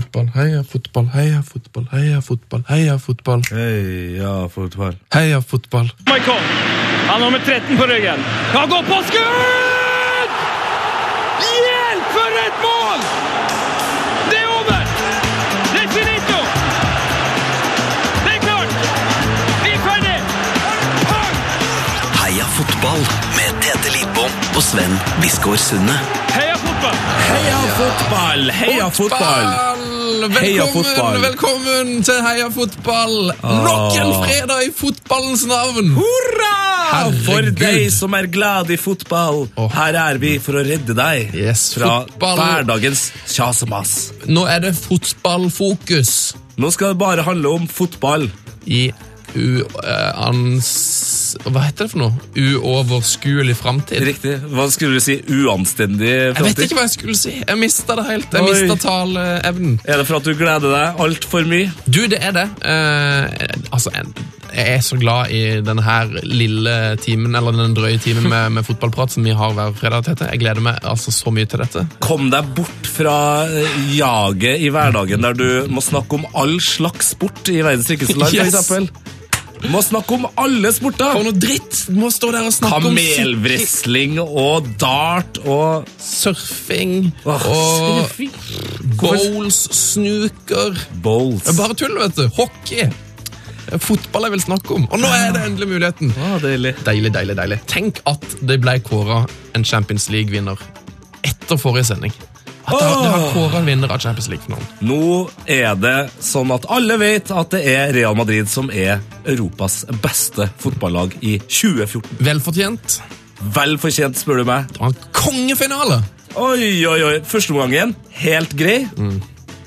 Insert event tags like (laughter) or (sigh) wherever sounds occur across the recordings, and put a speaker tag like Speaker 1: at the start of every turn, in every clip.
Speaker 1: fotball, heia fotball, heia fotball, heia fotball, heia fotball.
Speaker 2: Heia fotball.
Speaker 1: Heia fotball.
Speaker 3: Michael. Han har nummer 13 på ryggen. Han går på skudd! Hjelp, for et mål! Det er over! Det er finito! Det er klart! Vi er ferdig! Pang!
Speaker 4: Heia fotball med Tete Lidbom og Sven Biskår Sunde.
Speaker 3: Heia fotball!
Speaker 2: Heia fotball! Heia fotball!
Speaker 1: Velkommen,
Speaker 2: Heia fotball.
Speaker 1: velkommen til Heia fotball! Nok en fredag i fotballens navn!
Speaker 2: Hurra!
Speaker 1: Herregud.
Speaker 2: For deg som er glad i fotball.
Speaker 1: Åh.
Speaker 2: Her er vi for å redde deg
Speaker 1: Yes,
Speaker 2: fra
Speaker 1: fotball.
Speaker 2: hverdagens kjas og mas.
Speaker 1: Nå er det fotballfokus
Speaker 2: Nå skal det bare handle om fotball.
Speaker 1: i uans... Hva heter det for noe? Uoverskuelig framtid.
Speaker 2: Riktig. Hva skulle du si? Uanstendig
Speaker 1: Jeg vet
Speaker 2: framtid?
Speaker 1: ikke hva jeg skulle si. Jeg mista det helt. Jeg
Speaker 2: Oi.
Speaker 1: mista taleevnen.
Speaker 2: Er det for at du gleder deg altfor mye?
Speaker 1: Du, det er det. Eh, altså, en- jeg er så glad i denne her lille timen, eller den drøye timen med, med fotballprat som vi har hver fredag. Tete. Jeg gleder meg altså så mye til dette.
Speaker 2: Kom deg bort fra eh, jaget i hverdagen der du må snakke om all slags sport i verdens rikeste land,
Speaker 1: Yes.
Speaker 2: yes. f.eks. Må snakke om alle
Speaker 1: For
Speaker 2: sporter!
Speaker 1: noe dritt! Du må stå der og snakke om sykkel,
Speaker 2: Kamelwrestling og dart og
Speaker 1: surfing
Speaker 2: Åh,
Speaker 1: og
Speaker 2: surfing.
Speaker 1: bowls, snooker
Speaker 2: Bowls.
Speaker 1: Det er Bare tull, vet du. Hockey. Fotball jeg vil snakke om. Og nå er det endelig muligheten.
Speaker 2: Ah, deilig.
Speaker 1: Deilig, deilig, deilig. Tenk at det ble kåra en Champions League-vinner etter forrige sending. At det har, det har kåra en vinner av Champions League-finalen.
Speaker 2: Nå er det sånn at alle vet at det er Real Madrid som er Europas beste fotballag i 2014.
Speaker 1: Velfortjent.
Speaker 2: Vel fortjent, spør du meg.
Speaker 1: Det var en kongefinale!
Speaker 2: Oi, oi, oi. Første omgangen, helt grei.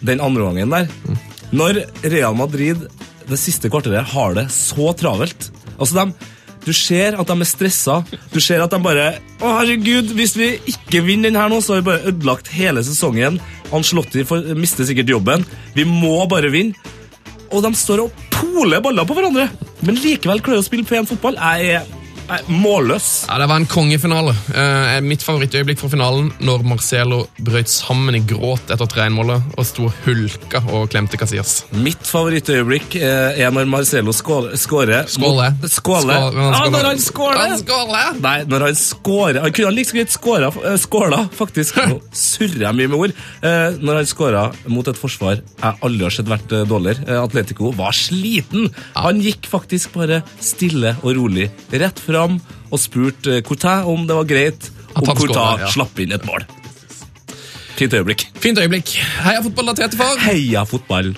Speaker 2: Den andre omgangen der Når Real Madrid det siste kvarteret har det så travelt Altså, dem du ser at de er stressa. Du ser at de bare Å, herregud, hvis vi ikke vinner den her nå, så har vi bare ødelagt hele sesongen. Ancelotti får, mister sikkert jobben. Vi må bare vinne. Og de står og poler baller på hverandre. Men likevel klarer de å spille pen fotball. Jeg er, jeg er målløs.
Speaker 1: Ja, Det var en kongefinale. Eh, mitt favorittøyeblikk fra finalen når Marcelo brøt sammen i gråt etter 3-1-målet og sto og hulka og klemte Casillas.
Speaker 2: Mitt favorittøyeblikk eh, er når Marcelo skåler
Speaker 1: Skåle.
Speaker 2: Skåle.
Speaker 1: Skål-
Speaker 2: eh. Ja, når han
Speaker 1: Han
Speaker 2: skåler!
Speaker 1: skåler. eh.
Speaker 2: Nei, når han skårer Han kunne like så greit skåra, eh, skåla, faktisk. Nå surrer jeg mye med ord. Eh, Når han skåra mot et forsvar jeg aldri har sett vært eh, dårligere. Eh, Atletico var sliten. Han gikk faktisk bare stille og rolig rett fram og spurte eh, Courtin om det var greit om
Speaker 1: han skåret,
Speaker 2: Courtin
Speaker 1: ja.
Speaker 2: slapp inn et mål. Fint øyeblikk.
Speaker 1: Fint øyeblikk. Heia fotball, da, Tete Far.
Speaker 2: Heia fotball!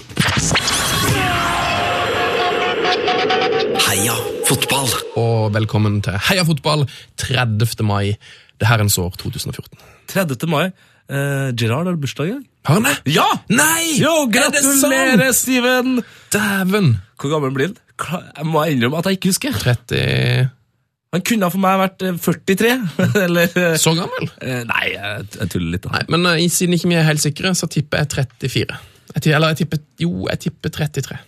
Speaker 4: Heia fotball.
Speaker 1: Og velkommen til Heia fotball 30. mai det herrens år 2014.
Speaker 2: 30. mai. Eh, Gerard har bursdag i dag.
Speaker 1: Har han det?
Speaker 2: Ja!
Speaker 1: Nei!
Speaker 2: Jo,
Speaker 1: Er
Speaker 2: gratulerer,
Speaker 1: det sant?
Speaker 2: Steven!
Speaker 1: Dæven!
Speaker 2: Hvor gammel blir han? Kla- Jeg må innrømme at jeg ikke husker.
Speaker 1: 30
Speaker 2: Han kunne for meg vært eh, 43, (laughs) eller eh,
Speaker 1: Så gammel?
Speaker 2: eh, Nei, jeg jeg tuller litt, da.
Speaker 1: Nei, men eh, siden ikke vi er helt sikre, så tipper jeg 34. Jeg tipper, eller jeg tipper Jo, jeg tipper 33.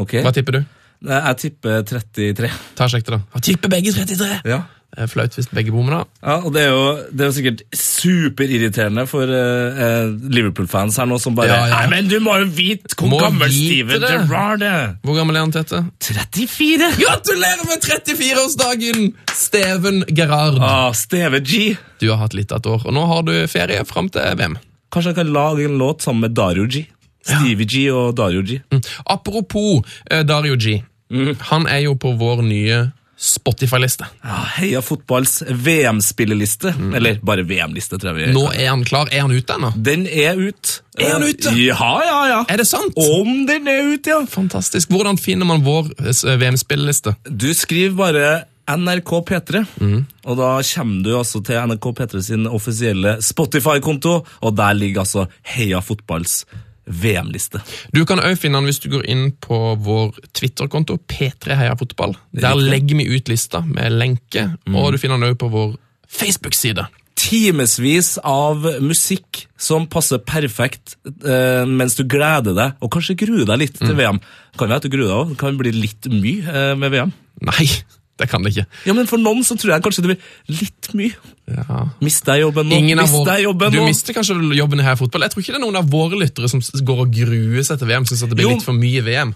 Speaker 2: Ok,
Speaker 1: Hva tipper du?
Speaker 2: Nei, Jeg tipper 33.
Speaker 1: Ta og Sjekk det, da. Jeg tipper begge 33!
Speaker 2: Ja.
Speaker 1: Det er flaut hvis begge bommer, da.
Speaker 2: Ja, og Det er jo, det er jo sikkert superirriterende for eh, eh, Liverpool-fans her nå som bare
Speaker 1: Ja, ja.
Speaker 2: Nei, men du må jo vite hvor
Speaker 1: Må
Speaker 2: gammel
Speaker 1: vite
Speaker 2: Steven
Speaker 1: det.
Speaker 2: Gerrard er!
Speaker 1: Hvor gammel er han, Tete?
Speaker 2: 34!
Speaker 1: Gratulerer med 34-årsdagen, Steven Gerrard!
Speaker 2: Ah, Steve G.
Speaker 1: Du har hatt litt av et år, og nå har du ferie fram til VM.
Speaker 2: Kanskje jeg kan lage en låt sammen med Dario G. Stevie G og Dario G.
Speaker 1: Mm. Apropos eh, Dario G. Han er jo på vår nye Spotify-liste.
Speaker 2: Ja, heia fotballs VM-spilleliste. Eller bare VM-liste, tror jeg vi
Speaker 1: Mm. Nå er han klar. Er han ute ennå?
Speaker 2: Den er ut. Eh,
Speaker 1: Er den ute?
Speaker 2: Ja, ja, ja.
Speaker 1: Er det sant?
Speaker 2: Om den er ut, ja.
Speaker 1: Fantastisk. Hvordan finner man vår eh, VM-spilleliste?
Speaker 2: Du skriver bare NRK P3,
Speaker 1: Mm.
Speaker 2: og da kommer du altså til NRK P3 sin offisielle Spotify-konto, og der ligger altså Heia fotballs VM-liste.
Speaker 1: Du kan òg finne den hvis du går inn på vår Twitter-konto, P3 Heia Fotball. Der legger vi ut lista med lenke, og du finner den òg på vår Facebook-side.
Speaker 2: Timevis av musikk som passer perfekt eh, mens du gleder deg, og
Speaker 1: Mm.
Speaker 2: kanskje gruer deg litt til VM. Kan være at du gruer deg òg. Det kan bli litt mye eh, med VM.
Speaker 1: Nei, (laughs) Det kan det ikke.
Speaker 2: Ja, men For noen så tror jeg kanskje det blir litt mye.
Speaker 1: Ja.
Speaker 2: Mista jeg jobben nå?
Speaker 1: Ingen av
Speaker 2: Mista jeg
Speaker 1: våre,
Speaker 2: jobben
Speaker 1: du
Speaker 2: nå?
Speaker 1: mister kanskje jobben i her fotball. Jeg tror ikke det er noen av våre lyttere som s- går og gruer seg til VM. Synes at det blir
Speaker 2: Jo.
Speaker 1: litt for mye VM.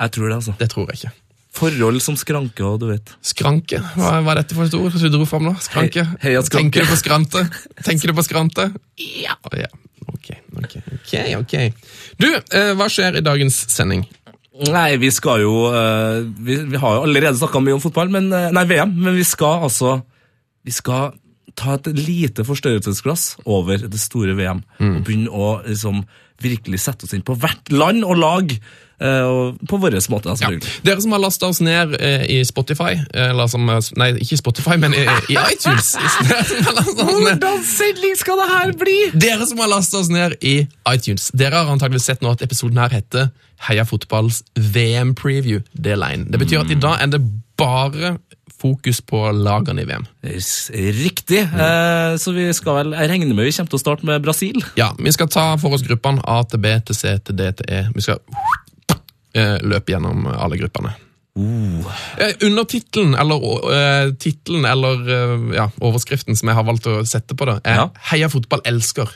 Speaker 2: Jeg tror det, altså.
Speaker 1: Det tror jeg ikke.
Speaker 2: Forhold som skranker og du vet.
Speaker 1: Skranke? Hva hva er dette for et ord som du dro fram nå? Skranke?
Speaker 2: Hei- heia skranke.
Speaker 1: Tenker du på skrante? Tenker du på skrante? Ja. ja. Ok, ok, ok. ok. Du, eh, hva skjer i dagens sending?
Speaker 2: Nei, vi skal jo eh, Vi, vi har jo allerede snakka mye om fotball, men, eh, nei, VM, men vi skal altså Vi skal ta et lite forstørrelsesglass over det store VM. Og begynne å liksom virkelig sette oss inn på hvert land og lag. eh, og på vår måte, altså.
Speaker 1: Ja.
Speaker 2: selvfølgelig.
Speaker 1: Dere som har lasta oss ned eh, i Spotify eller som, eh, Nei, ikke i Spotify, men i, i
Speaker 2: (laughs)
Speaker 1: iTunes. Dere som har lastet oss ned-
Speaker 2: sending skal det her bli?!
Speaker 1: Dere som har lastet oss ned i iTunes, dere har antageligvis sett nå at episoden her heter Heia fotballs VM-preview del 1. Det betyr at i dag er det bare fokus på lagene i VM.
Speaker 2: Riktig. Eh, så vi skal vel Jeg regner med vi kommer til å starte med Brasil.
Speaker 1: Ja, vi skal ta for oss gruppene A til B til C til D til E. Vi skal eh, løpe gjennom alle gruppene.
Speaker 2: Uh.
Speaker 1: Eh, under tittelen, eller eh, tittelen, eller eh, ja, overskriften som jeg har valgt å sette på det, er
Speaker 2: Ja.
Speaker 1: Heia fotball elsker.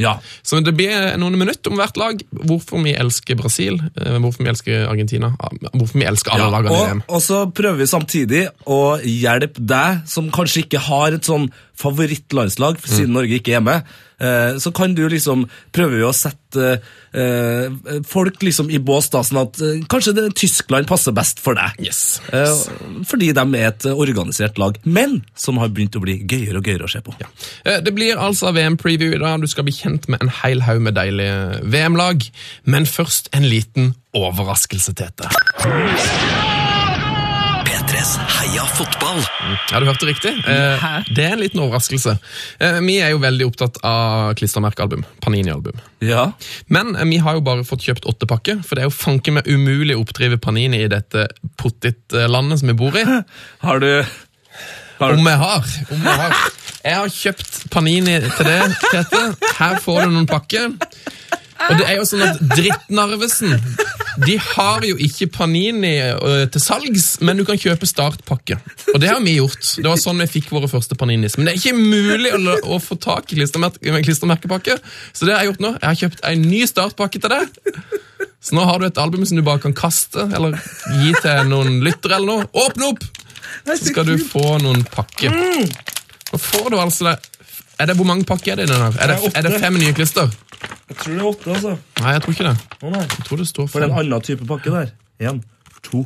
Speaker 2: Ja.
Speaker 1: Så det blir noen minutter om hvert lag. Hvorfor vi elsker Brasil, eh, hvorfor vi elsker Argentina, ah, hvorfor vi elsker alle lagene i
Speaker 2: og,
Speaker 1: VM.
Speaker 2: og så prøver vi samtidig å hjelpe deg, som kanskje ikke har et sånn favorittlandslag, for siden Norge ikke er med. eh, Så kan du liksom prøve å sette eh, folk liksom i bås, da, sånn at eh, kanskje det, Tyskland passer best for deg.
Speaker 1: Yes.
Speaker 2: Eh, Fordi de er et organisert lag, men som har begynt å bli gøyere og gøyere å se på.
Speaker 1: Eh, Det blir altså VM-preview i dag. Du skal bli kjent med en hel haug med deilige VM-lag. Men først en liten overraskelse, Tete.
Speaker 4: P3s Heia fotball.
Speaker 1: Ja, du hørte riktig. Eh, Det er en liten overraskelse. Eh, Vi er jo veldig opptatt av klistremerkealbum. Panini-album.
Speaker 2: Ja.
Speaker 1: Men eh, vi har jo bare fått kjøpt åtte pakker, for det er jo fanken meg umulig å oppdrive Panini i dette pottitlandet som vi bor i.
Speaker 2: Har du Har du-
Speaker 1: Om jeg har. Om jeg har. Jeg har kjøpt Panini til deg, Tete. Her får du noen pakker. Og det er jo sånn at Drittnarvesen De har jo ikke Panini ø, til salgs, men du kan kjøpe startpakke. Og det har vi gjort. Det var sånn vi fikk våre første Paninis. Men det er ikke mulig å, la- å få tak i klistremer- en klistremerkepakke, så det har jeg gjort nå. Jeg har kjøpt en ny startpakke til deg. Så nå har du et album som du bare kan kaste eller gi til noen lyttere eller noe. Åpne opp! Så skal du få noen pakker.
Speaker 2: Mm.
Speaker 1: Nå får du altså det. Er det Hvor mange pakker er det i den her? Er det,
Speaker 2: Det er åtte.
Speaker 1: er det fem nye klister?
Speaker 2: Jeg tror det er åtte, altså.
Speaker 1: Nei, jeg tror ikke det.
Speaker 2: Å, nei.
Speaker 1: Jeg tror det står
Speaker 2: For en
Speaker 1: fem,
Speaker 2: annen type pakke der. Én, to,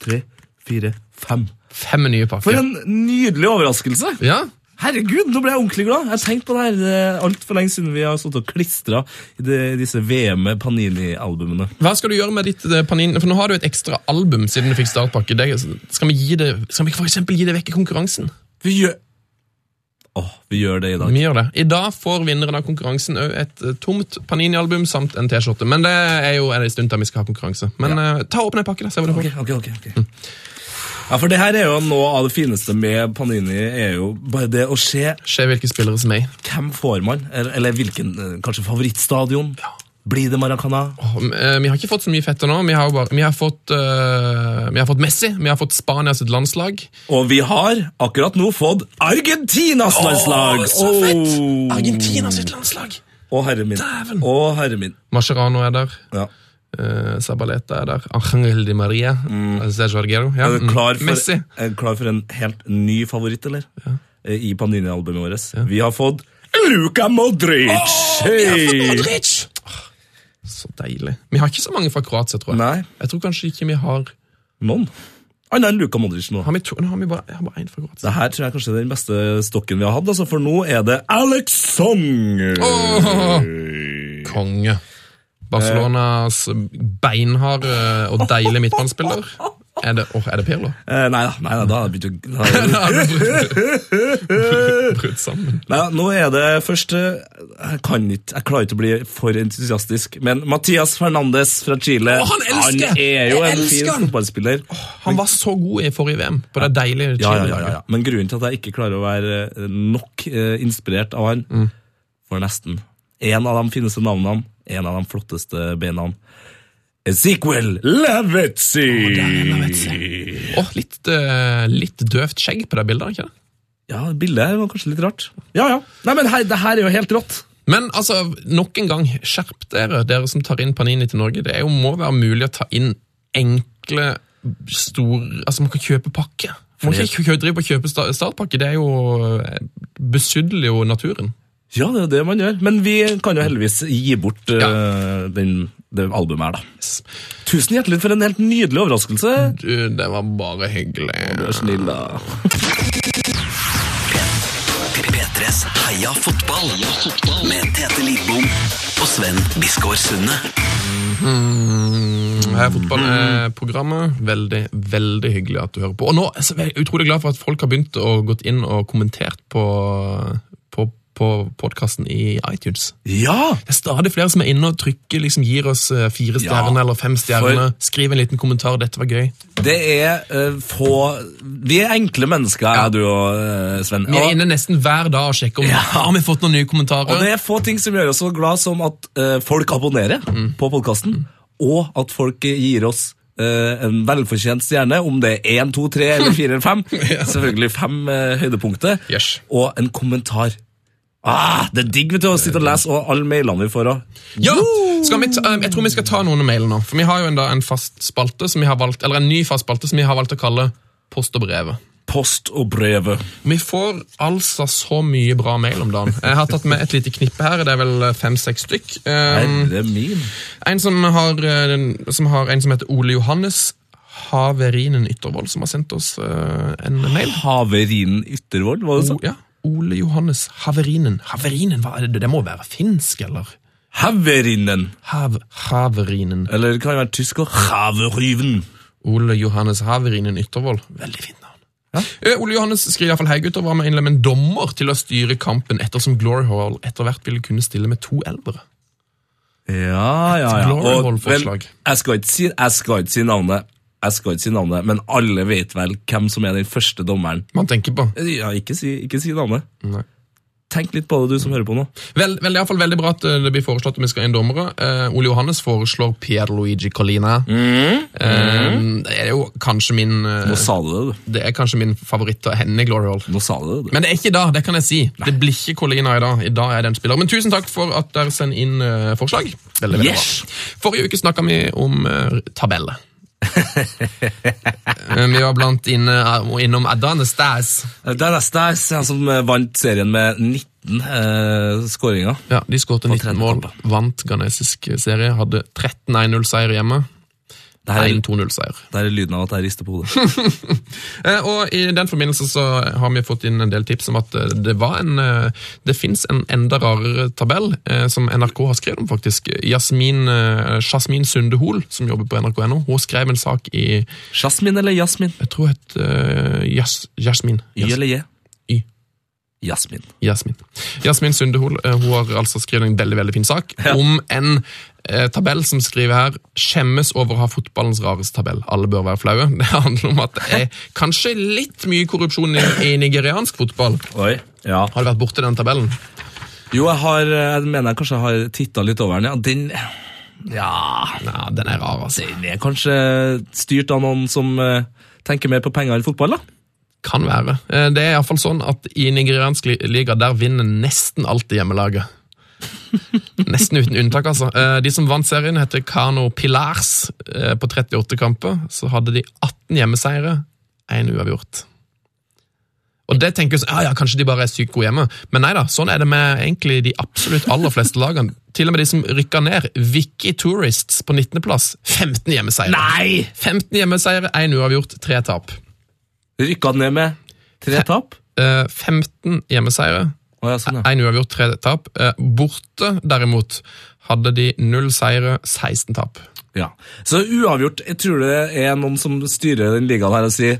Speaker 2: tre, fire, fem.
Speaker 1: fem nye
Speaker 2: For
Speaker 1: pakker.
Speaker 2: en nydelig overraskelse!
Speaker 1: Ja,
Speaker 2: Herregud, nå ble jeg ordentlig glad. Jeg har tenkt på det her eh, altfor lenge siden vi har stått og klistra i de, disse VM-Panini-albumene.
Speaker 1: Hva skal du gjøre med ditt eh, Panini? For nå har du et ekstra album siden du fikk startpakke. Det, skal vi gi det, skal vi for eksempel gi det vekk i konkurransen?
Speaker 2: Vi gjør Åh, vi gjør det i dag.
Speaker 1: Vi gjør det. I dag får vinneren av konkurransen òg et eh, tomt Panini-album samt en T-skjorte. Men det er jo en stund til vi skal ha konkurranse. Men eh, ta åpne en pakke, da. Se hva du får.
Speaker 2: Ok, ok, ok. ok.
Speaker 1: Mm.
Speaker 2: Ja, for det her er jo noe av det fineste med Panini, er jo bare det å se
Speaker 1: Se hvilke spillere som er i.
Speaker 2: hvem får man, eller, eller hvilken eh, kanskje favorittstadion. Blir det Maracana?
Speaker 1: Åh, m- eh, Vi har ikke fått så mye fett nå. Vi har, jo bare, vi, har fått, eh, vi har fått Messi, vi har fått Spania sitt landslag.
Speaker 2: Og vi har akkurat nå fått Argentinas landslag! Åh.
Speaker 1: sitt landslag!
Speaker 2: Å, herre min.
Speaker 1: Dæven.
Speaker 2: Å, herre min.
Speaker 1: Mascherano er der.
Speaker 2: Ja.
Speaker 1: eh, Zabaleta er der. Angel di Maria. Sergio Argero. Ja,
Speaker 2: Mm. Er du
Speaker 1: mm.
Speaker 2: klar for,
Speaker 1: Messi.
Speaker 2: er du klar for en helt ny favoritt, eller? Eh, I Panini-albumet vårt. Vi har fått Luka Modric! Hey!
Speaker 1: Åh, Så deilig. Vi har ikke så mange fra Kroatia, tror jeg.
Speaker 2: Nei.
Speaker 1: Jeg tror kanskje ikke vi har
Speaker 2: Noen. Annet enn Luka Modric nå.
Speaker 1: Har vi to? Nå har vi bare, jeg har bare én fra Kroatia.
Speaker 2: Det her tror jeg kanskje er den beste stokken vi har hatt, altså, for nå er det Alex Song!
Speaker 1: Konge. Barcelonas
Speaker 2: Eh.
Speaker 1: beinharde og deilige midtbanespiller. Er det, åh, er det Pirlo?
Speaker 2: Eh, nei da, nei da, da har jeg begynt å da- (laughs)
Speaker 1: (laughs) Da har vi brutt- brutt sammen.
Speaker 2: Nei, nå er det først eh, Jeg kan ikke, jeg klarer ikke å bli for entusiastisk, men Mathias Fernandes fra Chile
Speaker 1: Å, han elsker!
Speaker 2: Han er jo
Speaker 1: Jeg
Speaker 2: en
Speaker 1: elsker
Speaker 2: fin
Speaker 1: han!
Speaker 2: fotballspiller.
Speaker 1: Han var så god i forrige VM, på det deilige
Speaker 2: Ja, ja, ja, ja,
Speaker 1: Chile-laget.
Speaker 2: ja. Men grunnen til at jeg ikke klarer å være eh, nok eh, inspirert av han, for nesten En av de fineste navnene, en av de flotteste beina. Ezequel Lavetzi!
Speaker 1: Åh, litt, eh, litt døvt skjegg på det bildet, ikke det?
Speaker 2: Ja, bildet her var kanskje litt rart. Ja, ja. Nei, men her, det her er jo helt rått.
Speaker 1: Men altså, nok en gang, skjerp dere, dere som tar inn Panini til Norge. Det er jo, må være mulig å ta inn enkle, store Altså, man kan kjøpe pakke. Man kan ikke kjø- drive og kjøpe sta- startpakke. Det er jo eh, besudler jo naturen.
Speaker 2: Ja, det er jo det man gjør. Men vi kan jo heldigvis gi bort eh, den, det albumet her, da.
Speaker 1: Yes.
Speaker 2: Tusen hjertelig for en helt nydelig overraskelse.
Speaker 1: Du, det var bare hyggelig.
Speaker 2: Vær så snill, da.
Speaker 4: P3s Heia fotball med Tete Lidbom og Sven Biskår Sunde.
Speaker 1: Her er fotballprogrammet. Veldig, veldig hyggelig at du hører på. Og nå så er jeg utrolig glad for at folk har begynt å gått inn og kommentert på, på, på podkasten i iTunes.
Speaker 2: Ja!
Speaker 1: Det er stadig flere som er inne og trykker, liksom gir oss eh, fire
Speaker 2: Ja,
Speaker 1: stjerner eller fem stjerner. Skriv en liten kommentar, dette var gøy.
Speaker 2: Det er eh, få Vi er enkle mennesker, jeg, du og eh, Sven.
Speaker 1: Vi er
Speaker 2: Og-
Speaker 1: inne nesten hver dag og sjekker om har vi fått noen nye kommentarer.
Speaker 2: Og det er få ting som gjør oss så glad som at eh, folk abonnerer
Speaker 1: Mm.
Speaker 2: på podkasten, og at folk eh, gir oss eh, en velfortjent stjerne, om det er én, to, tre eller fire eller
Speaker 1: (laughs)
Speaker 2: fem. Selvfølgelig fem eh, høydepunkter.
Speaker 1: Yes.
Speaker 2: Og en kommentar. Ah, det er digg vet du, å sitte og lese og alle mailene vi får. Og.
Speaker 1: Ja! Skal vi ta, eh, jeg tror vi skal ta noen av mailene nå. For vi har jo en, da, en fast spalte som vi har valgt, eller en ny fast spalte som vi har valgt å kalle Post og brevet.
Speaker 2: Post og brevet.
Speaker 1: Vi får altså så mye bra mail om dagen. Jeg har tatt med et lite knippe her. Det er vel fem-seks stykk. Um,
Speaker 2: Herre min.
Speaker 1: en som har, eh, den- som har en som heter Ole Johannes Haverinen Yttervold, som har sendt oss eh, en mail.
Speaker 2: Haverinen Yttervold, var det
Speaker 1: O,
Speaker 2: sånn?
Speaker 1: ja. Ole Johannes Haverinen. Haverinen, hva er det? Det må være finsk, eller?
Speaker 2: Haverinen.
Speaker 1: Hav, Haverinen.
Speaker 2: Eller det kan være tysk og Haveriven.
Speaker 1: Ole Johannes Haverinen Yttervold. Veldig fint navn. Eh, Ole Johannes skriver iallfall Heigutter var med å innlemme en dommer til å styre kampen, ettersom Glory Hall etter hvert ville kunne stille med to elvere.
Speaker 2: Ja, ja, ja.
Speaker 1: glory
Speaker 2: Og,
Speaker 1: hole-forslag.
Speaker 2: vel, jeg, skal ikke si, jeg skal ikke si navnet, Jeg skal ikke si navnet, men alle vet vel hvem som er den første dommeren.
Speaker 1: Man tenker på.
Speaker 2: Ja, ikke si, ikke si navnet.
Speaker 1: Nei.
Speaker 2: Tenk litt på det, du som hører på nå.
Speaker 1: Vel, vel, det er i hvert fall veldig bra at eh, det blir foreslått at vi skal ha inn dommere. Eh, Ole Johannes foreslår Pierluigi Colina. Eh, det er jo kanskje min eh,
Speaker 2: Nå sa du det, du.
Speaker 1: Det er kanskje min favoritt av henne i Glory Hall.
Speaker 2: Nå sa du det, du.
Speaker 1: Men det er ikke da, det kan jeg si. Det blir ikke Colina i dag. I dag er det en spiller. Men tusen takk for at dere sender inn eh, forslag. Veldig, veldig
Speaker 2: Yes.
Speaker 1: bra. Forrige uke snakka vi om eh, (laughs) tabeller. Eh, vi var blant inne, eh, innom Adane Stas.
Speaker 2: Eh, Det er neste her, han som eh, vant serien med 19 eh, skåringer.
Speaker 1: Ja, De skåret 19
Speaker 2: tredje
Speaker 1: mål, vant ghanesisk serie, hadde 13 1-0-seier hjemme.
Speaker 2: Det her, er,
Speaker 1: 1-2-0-seier.
Speaker 2: det her er lyden av at jeg rister
Speaker 1: (laughs)
Speaker 2: på hodet.
Speaker 1: Eh, Og I den forbindelse så har vi fått inn en del tips om at eh, det var en eh, Det fins en enda rarere tabell eh, som NRK har skrevet om, faktisk. Jasmin, eh, Jasmin Sunde Hol, som jobber på NRK.no, hun skrev en sak i
Speaker 2: Jasmin eller Jasmin?
Speaker 1: Jeg tror het eh, Jas, Jasmin.
Speaker 2: Y
Speaker 1: Jas,
Speaker 2: eller J?
Speaker 1: Y.
Speaker 2: Jasmin.
Speaker 1: Jasmin. Jasmin Sunde Hol eh, hun har altså skrevet en veldig veldig fin sak om en eh, tabell som skriver her 'Skjemmes over å ha fotballens rareste tabell'. Alle bør være flaue. (laughs) Det handler om at det er kanskje litt mye korrupsjon i, i nigeriansk fotball.
Speaker 2: Oi, ja.
Speaker 1: Har du vært borti den tabellen?
Speaker 2: Jo, jeg har, eh, jeg mener jeg kanskje har tittet litt over den, ja. Den, ja,
Speaker 1: Ja, den er rar, altså.
Speaker 2: Vi er kanskje styrt av noen som eh, tenker mer på penger enn fotball, da.
Speaker 1: Kan være. Eh, Det er iallfall sånn at i nigeriansk li- liga der vinner nesten alltid hjemmelaget. (laughs) Nesten uten unntak, altså. Eh, De som vant serien, heter Kano Pilars. Eh, På 38 kamper så hadde de 18 hjemmeseire, én uavgjort. Og det tenker vi sånn, ja, ja, kanskje de bare er sykt gode hjemme. Men nei da, sånn er det med egentlig de absolutt aller fleste lagene. Til og med de som rykker ned. Vicky Tourists på 19.-plass. 15 hjemmeseire.
Speaker 2: Nei!
Speaker 1: 15 hjemmeseire, én uavgjort, tre tap.
Speaker 2: Rykka ned med tre tap.
Speaker 1: Eh, 15 hjemmeseire,
Speaker 2: Å, ja, sånn, ja.
Speaker 1: én uavgjort, tre tap. Eh, Borte, derimot, hadde de null seire, 16 tap.
Speaker 2: ja. Så uavgjort. Jeg tror det er noen som styrer den ligaen her og sier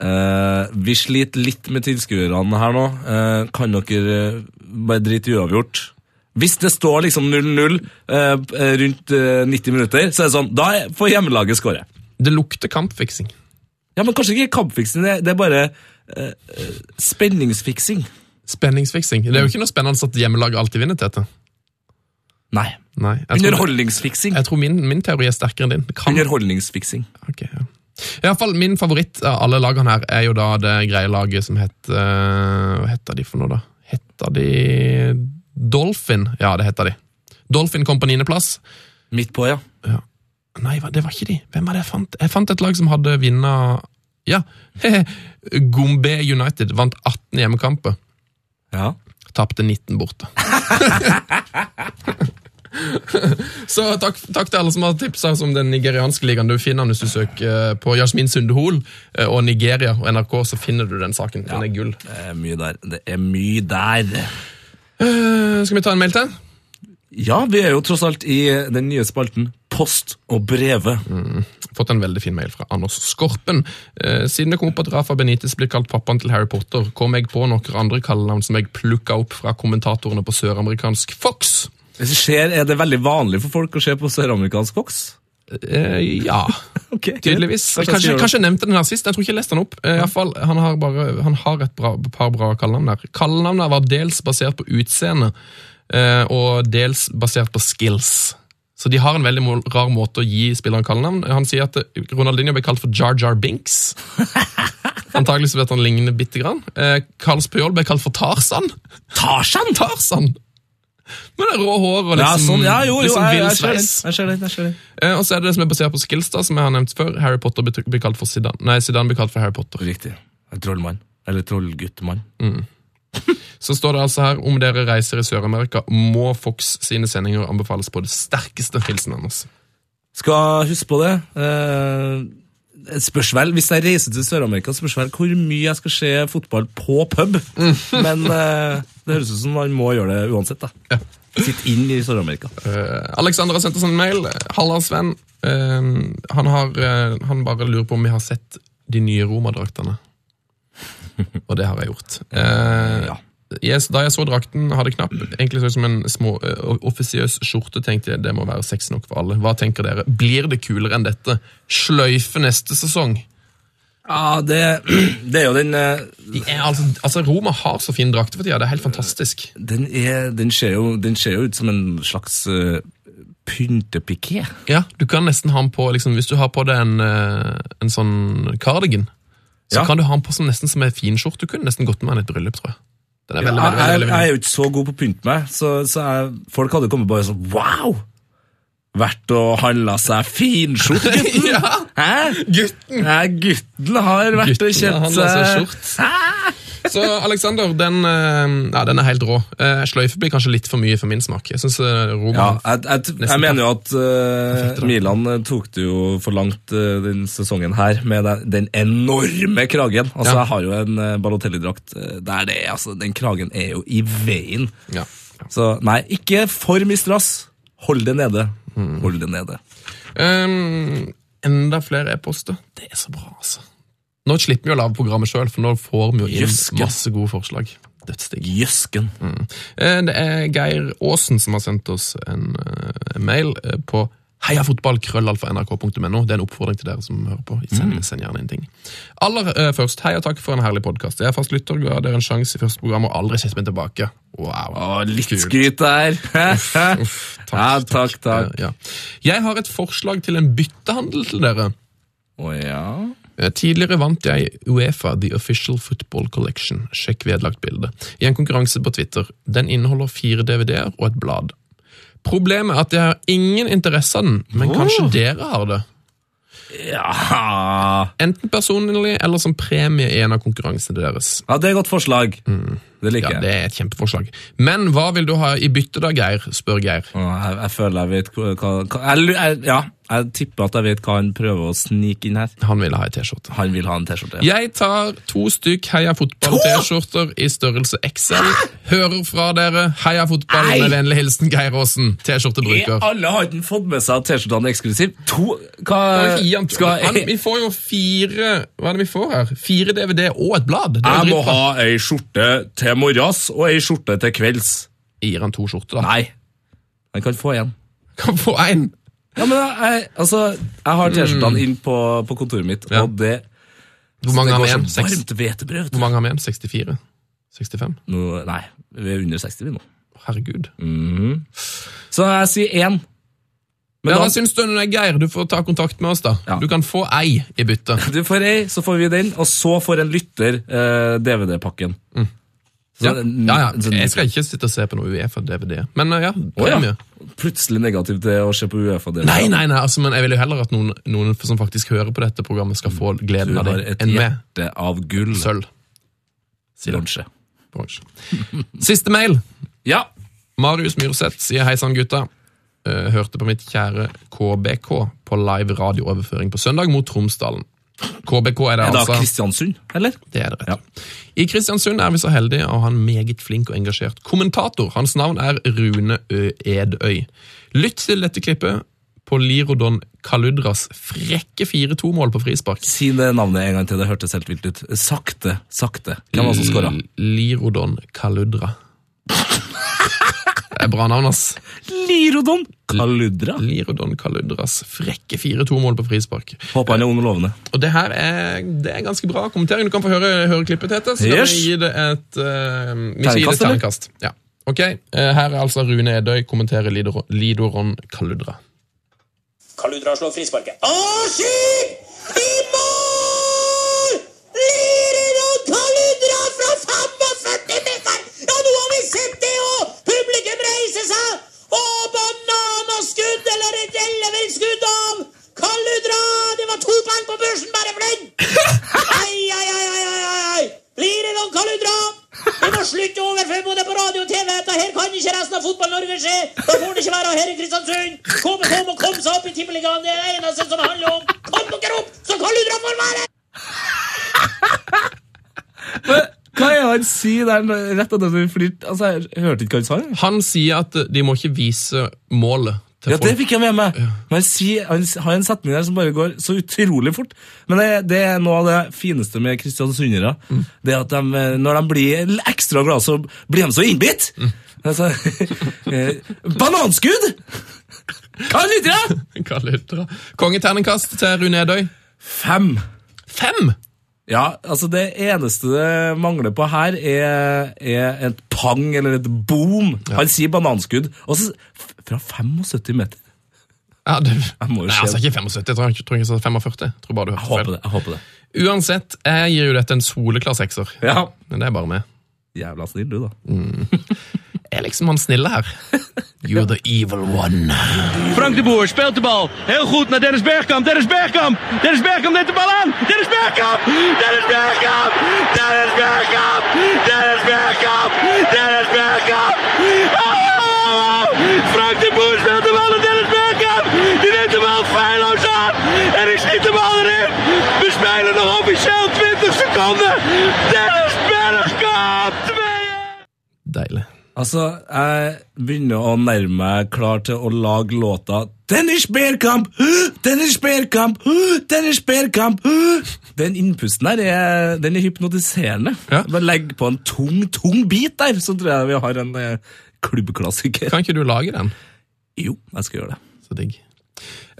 Speaker 2: eh, Vi sliter litt med tilskuerne her nå. Eh, kan dere eh, bare drite i uavgjort? Hvis det står liksom 0-0 eh, rundt eh, 90 minutter, så er det sånn Da får hjemmelaget skåre.
Speaker 1: Det lukter kampfiksing.
Speaker 2: Ja, men kanskje ikke kampfiksing. Det, det er bare eh, eh, spenningsfiksing.
Speaker 1: Spenningsfiksing. Det er jo ikke noe spennende at hjemmelaget alltid vinner, Tete.
Speaker 2: Nei.
Speaker 1: Nei, jeg tror,
Speaker 2: Underholdningsfiksing.
Speaker 1: jeg tror min, min teori er sterkere enn din. Det Kan,
Speaker 2: Underholdningsfiksing.
Speaker 1: Ok, ja. I hvert fall, Min favoritt av alle lagene her er jo da det greie laget som het eh, Hva heter de for noe, da? Heter de Dolphin? Ja, det heter de. Dolphin kom på niendeplass.
Speaker 2: Midt på, ja.
Speaker 1: Nei, hva- det var ikke de. Hvem var det jeg fant? Jeg fant et lag som hadde vinna Ja, (laughs) Gombe United vant 18 hjemmekamper.
Speaker 2: ja.
Speaker 1: Tapte 19 borte. (laughs) Så takk, takk til alle som har tipsa om den nigerianske ligaen. Du finner den hvis du søker eh, på Jasmin Sundehol eh, og Nigeria og NRK, så finner du den saken. Den er gull.
Speaker 2: Det er mye der. Det er mye der.
Speaker 1: Eh, Skal vi ta en mail til?
Speaker 2: Ja, vi er jo tross alt i den nye spalten Post og brevet.
Speaker 1: Fått en veldig fin mail fra Anders Skorpen. Eh, siden det kom opp at Rafa Benitez blir kalt pappaen til Harry Potter, kom jeg på noen andre kallenavn som jeg plukka opp fra kommentatorene på søramerikansk Fox.
Speaker 2: Hvis det skjer, Er det veldig vanlig for folk å se på søramerikansk voks?
Speaker 1: Eh, ja,
Speaker 2: Okay,
Speaker 1: tydeligvis. Kanskje, kanskje jeg nevnte den her sist. Jeg tror ikke jeg leste den opp. Eh, i hvert fall, han har, bare, han har et bra, par bra kallenavn der. Kallenavnene var dels basert på utseende eh, og dels basert på skills. Så de har en veldig mo- rar måte å gi spilleren kallenavn. Han sier at eh, Ronaldinho ble kalt for Jar Jar
Speaker 2: (laughs)
Speaker 1: Binks. Antagelig så vet han lignende bitte grann. Eh, Carls Puyol ble kalt for Tarzan.
Speaker 2: Tarzan!
Speaker 1: Tarzan! Med det rå håret og
Speaker 2: Ja,
Speaker 1: liksom,
Speaker 2: sånn, ja, jo, jo,
Speaker 1: liksom
Speaker 2: jeg,
Speaker 1: vill
Speaker 2: jeg, ser den,
Speaker 1: sveis.
Speaker 2: jeg ser den. jeg ser den.
Speaker 1: Eh, Og så er det det som er basert på skills, da, som jeg har nevnt før. Harry Potter blir blir kalt for Zidane. Nei, Zidane blir kalt for Harry Potter.
Speaker 2: Riktig. En trollmann. Eller trollguttmann.
Speaker 1: Så står det altså her om dere reiser i Sør-Amerika, må Fox sine sendinger anbefales på det sterkeste. Hilsen Anders.
Speaker 2: Skal huske på det. Eh, det spørs vel, Hvis jeg reiser til Sør-Amerika, spørs vel hvor mye jeg skal se fotball på pub.
Speaker 1: Mm.
Speaker 2: Men eh, det høres ut som man må gjøre det uansett. da. Sitt inn i Sør-Amerika.
Speaker 1: Eh, Alexander har sendt oss en mail. Halla, Sven. Eh, han, har, eh, han bare lurer på om vi har sett de nye (laughs) romadraktene. Og det har jeg gjort. Eh, yes, da jeg så drakten, hadde knapp egentlig så ut som en små, eh, offisiøs skjorte. tenkte jeg, Det må være sexy nok for alle. Hva tenker dere? Blir det kulere enn dette? Sløyfe neste sesong?
Speaker 2: Ja, det, det er jo den eh,
Speaker 1: De er altså, altså Roma har så fin drakt for tida. Det er helt fantastisk.
Speaker 2: Den, er, den, ser jo, den ser jo ut som en slags uh, pyntepiké.
Speaker 1: Ja, Du kan nesten ha den på liksom, hvis du har på deg en, eh, en sånn cardigan. Så
Speaker 2: Ja.
Speaker 1: kan du ha den på som nesten som en finskjorte. Du kunne nesten gått med den i et bryllup, tror jeg. Den er veldig,
Speaker 2: Jeg,
Speaker 1: veldig,
Speaker 2: jeg,
Speaker 1: veldig,
Speaker 2: jeg er
Speaker 1: veldig,
Speaker 2: jo ikke så god på å pynte meg, så, så jeg, folk hadde kommet bare sånn Wow! Vært og handla seg finskjorte, (laughs) gutten!
Speaker 1: (laughs) Ja.
Speaker 2: Hæ?
Speaker 1: Gutten!
Speaker 2: Nei, gutten har vært
Speaker 1: Gutten
Speaker 2: og kjøpt
Speaker 1: handlet seg
Speaker 2: seg
Speaker 1: skjort. Så Alexander, den, eh, ja, den er helt rå. Eh, Sløyfe blir kanskje litt for mye for min smak. Jeg synes eh,
Speaker 2: Ja,
Speaker 1: Roma
Speaker 2: jeg, jeg, jeg, mener jo at eh,
Speaker 1: Perfekt, da.
Speaker 2: Milan eh, tok det jo for langt eh, den sesongen her med den, den enorme kragen. Altså,
Speaker 1: Ja.
Speaker 2: Jeg har jo en eh, Balotelli-drakt eh, der det er altså, Den kragen er jo i veien.
Speaker 1: ja.
Speaker 2: Så nei, ikke for mye strass. Hold det nede.
Speaker 1: Mm.
Speaker 2: Hold det nede.
Speaker 1: Ehm, enda flere e-poster. Det er så bra, altså. Nå slipper vi å lage programmet sjøl, for nå får vi jo inn
Speaker 2: Jøske.
Speaker 1: masse gode forslag. Dødsdigg.
Speaker 2: Jøsken.
Speaker 1: Eh, Det er Geir Aasen som har sendt oss en eh, mail eh, på heiafotballkrøllalfa.nrk.no. Det er en oppfordring til dere som hører på.
Speaker 2: Mm.
Speaker 1: Send, send gjerne inn ting. Aller eh, først, hei og takk for en herlig podkast. Jeg er fast lytter, ga dere en sjanse i første program og aldri sett meg tilbake. Wow.
Speaker 2: Å, litt skryt der.
Speaker 1: Uff, takk,
Speaker 2: (laughs) Ja, takk, takk.
Speaker 1: Eh, Ja. Jeg har et forslag til en byttehandel til dere.
Speaker 2: Å ja.
Speaker 1: Eh, Tidligere vant jeg Uefa The Official Football Collection, sjekk vedlagt bilde, i en konkurranse på Twitter. Den inneholder fire DVD-er og et blad. Problemet er at jeg har ingen interesse av den, men kanskje dere har det?
Speaker 2: ja.
Speaker 1: Enten personlig eller som premie i en av konkurransene deres.
Speaker 2: Ja, det er et godt forslag. Det
Speaker 1: Mm. Ja,
Speaker 2: liker jeg.
Speaker 1: Det er et kjempeforslag. Men hva vil du ha i bytte da, Geir? spør Geir.
Speaker 2: Å, Jeg, jeg føler jeg vet hva, hva jeg, lu- jeg, Ja, jeg tipper at jeg vet hva han prøver å snike inn her.
Speaker 1: Han ville ha ei T-skjorte.
Speaker 2: Han vil ha en T-skjorte.
Speaker 1: Jeg tar to stykk Heia Fotball-T-skjorter i størrelse XL. Hører fra dere. Heia Fotball
Speaker 2: Nei!
Speaker 1: med vennlig hilsen Geir Aasen,
Speaker 2: Er
Speaker 1: T-skjortebruker.
Speaker 2: Alle har ikke fått med seg T-skjortene eksklusiv. To Hva
Speaker 1: Kan vi ikke gi han-
Speaker 2: skal
Speaker 1: han,
Speaker 2: jeg
Speaker 1: vi får jo fire Hva er det vi får her? Fire DVD og et blad. Det er jo
Speaker 2: Jeg må
Speaker 1: dritbra.
Speaker 2: ha ei skjorte til morgens og ei skjorte til kvelds.
Speaker 1: Gir han to skjorter, da?
Speaker 2: Nei. Han kan få én.
Speaker 1: Kan få én!
Speaker 2: Ja, men jeg, altså, jeg har T-skjortene inn på, på kontoret mitt,
Speaker 1: Mm. Ja.
Speaker 2: og det,
Speaker 1: Hvor mange
Speaker 2: det
Speaker 1: har vi
Speaker 2: går
Speaker 1: igjen?
Speaker 2: som
Speaker 1: Seks-
Speaker 2: varmt hvetebrød.
Speaker 1: Hvor mange har vi igjen? 64? 65?
Speaker 2: Nå, nei, vi er under 60 vi nå.
Speaker 1: Herregud.
Speaker 2: Så jeg sier én.
Speaker 1: ja,
Speaker 2: Men da-
Speaker 1: Hva syns du når det er Geir? Du får ta kontakt med oss, da.
Speaker 2: Ja.
Speaker 1: Du kan få ei i bytte.
Speaker 2: Du får ei, så får vi den, og så får en lytter eh, DVD-pakken.
Speaker 1: Ja.
Speaker 2: Så en-
Speaker 1: ja, ja.
Speaker 2: så-
Speaker 1: Jeg skal ikke sitte og se på noe Uefa-DVD. Men eh, ja,
Speaker 2: Å, ja.
Speaker 1: premie.
Speaker 2: Plutselig negativ til å se på Uefa-DVD.
Speaker 1: Nei, nei, nei, altså, men jeg vil jo heller at noen, noen som faktisk hører på dette programmet, skal få
Speaker 2: Du
Speaker 1: gleden av
Speaker 2: har
Speaker 1: det,
Speaker 2: et
Speaker 1: enn meg.
Speaker 2: hjerte av gull.
Speaker 1: Sølv. Sier han.
Speaker 2: Bransje.
Speaker 1: Bransje. Siste mail.
Speaker 2: Ja.
Speaker 1: Marius Myrseth sier hei sann, gutta. Eh, Hørte på mitt kjære KBK på live radiooverføring på søndag mot Tromsdalen. KBK er det,
Speaker 2: Er det
Speaker 1: altså.
Speaker 2: Kristiansund, eller?
Speaker 1: Det er det rett. I Kristiansund er vi så heldige å ha en meget flink og engasjert kommentator. Hans navn er Rune Ø. Edøy. Lytt til dette klippet på Lirodon Kaludras frekke 4-2-mål på frispark.
Speaker 2: Si det navnet en gang til, det hørtes helt vilt ut. Sakte, sakte. Hvem var det som skåra?
Speaker 1: L- Lirodon Kaludra. Det er bra navn, ass.
Speaker 2: Lirodon Kaludra.
Speaker 1: Lirodon Kaludras frekke 4-2-mål på frispark.
Speaker 2: Håper han er ond og lovende.
Speaker 1: Og det her er, det er ganske bra kommentering. Du kan få høre, høre klippet, Tete. Så
Speaker 2: Yes.
Speaker 1: yes. vi gi det et uh, vi skal gi det et
Speaker 2: Terningkast, eller?
Speaker 1: terningkast. Ja. Ok, eh, Her er altså Rune Edøy kommenterer Lidoron, Lidoron Kaludra.
Speaker 5: Kaludra slår frisparket. Askim i mål! Lirer og Kaludra fra 45 meter! Ja, nå har vi sett det òg! Publikum reiser seg! Og bananaskudd eller et ellevill-skudd av Kaludra! Det var to poeng på børsen bare for den! Ai, ai, ai, ai, ai, ai. Lirer og Kaludra! Vi må slutte å overføre både på radio og TV. Dette her kan ikke resten av Fotball-Norge skje. Da får det ikke være her i Kristiansund. Kom, kom og kom seg opp i Tippeligaen. Det er det eneste som det handler om. Kom dere opp, så Kaludra får være!
Speaker 2: Hva er det han sier der rett etter at vi flirte? Altså, jeg hørte ikke hva han sa. jeg.
Speaker 1: Han sier at eh, de må ikke vise målet til
Speaker 2: Ja, det
Speaker 1: folk.
Speaker 2: fikk jeg med meg. Men han sier- han s- har en setning der som bare går så utrolig fort. Men det, det er noe av det fineste med kristiansundere.
Speaker 1: Mm.
Speaker 2: Det er at de, eh, når de blir l- ekstra glad, så blir de så innbitt.
Speaker 1: Mm.
Speaker 2: Altså, (laughs) eh, bananskudd! Hva lytter jeg?
Speaker 1: (laughs) Kaludra. Kongeterningkast til Rune Edøy.
Speaker 2: Fem.
Speaker 1: Fem!
Speaker 2: Ja, altså det eneste det mangler på her er, er et pang eller et boom. Han sier bananskudd. Og så f- fra 75 meter.
Speaker 1: Ja, det,
Speaker 2: må jo
Speaker 1: Nei,
Speaker 2: se.
Speaker 1: altså ikke 75, jeg tror, jeg tror ikke jeg sa 45. Jeg tror bare du
Speaker 2: Jeg
Speaker 1: hørte
Speaker 2: håper
Speaker 1: feil.
Speaker 2: det. jeg håper det.
Speaker 1: Uansett, jeg gir jo dette en soleklar sekser.
Speaker 2: Ja.
Speaker 1: Men det er bare meg.
Speaker 2: Jævla snill du, da.
Speaker 1: Jeg er liksom han snille
Speaker 2: (laughs)
Speaker 1: her. You're the evil one.
Speaker 3: Frank de Boer speelt de bal. Heel goed naar Dennis Bergkamp. Dennis Bergkamp. Dennis Bergkamp neemt de bal aan. Dennis Bergkamp. Dennis Bergkamp. Dennis Bergkamp. Dennis Bergkamp. Dennis Bergkamp. Oh! Frank de Boer speelt de bal naar Dennis Bergkamp. Die neemt de bal feilloos aan. En ik schiet de bal erin. We spelen nog officieel 20 seconden. Dennis Bergkamp. 2-1.
Speaker 1: Deilig.
Speaker 2: Altså, jeg begynner å nærme meg klar til å lage låta Dennis Bergkamp! Hø! Dennis Bergkamp! Hø! Dennis Bergkamp! Hø! Den innpusten der er, den er hypnotiserende.
Speaker 1: Ja.
Speaker 2: Bare legg på en tung, tung bit der, så tror jeg vi har en eh, klubbklassiker.
Speaker 1: Kan ikke du lage den?
Speaker 2: Jo, jeg skal gjøre det.
Speaker 1: Så digg.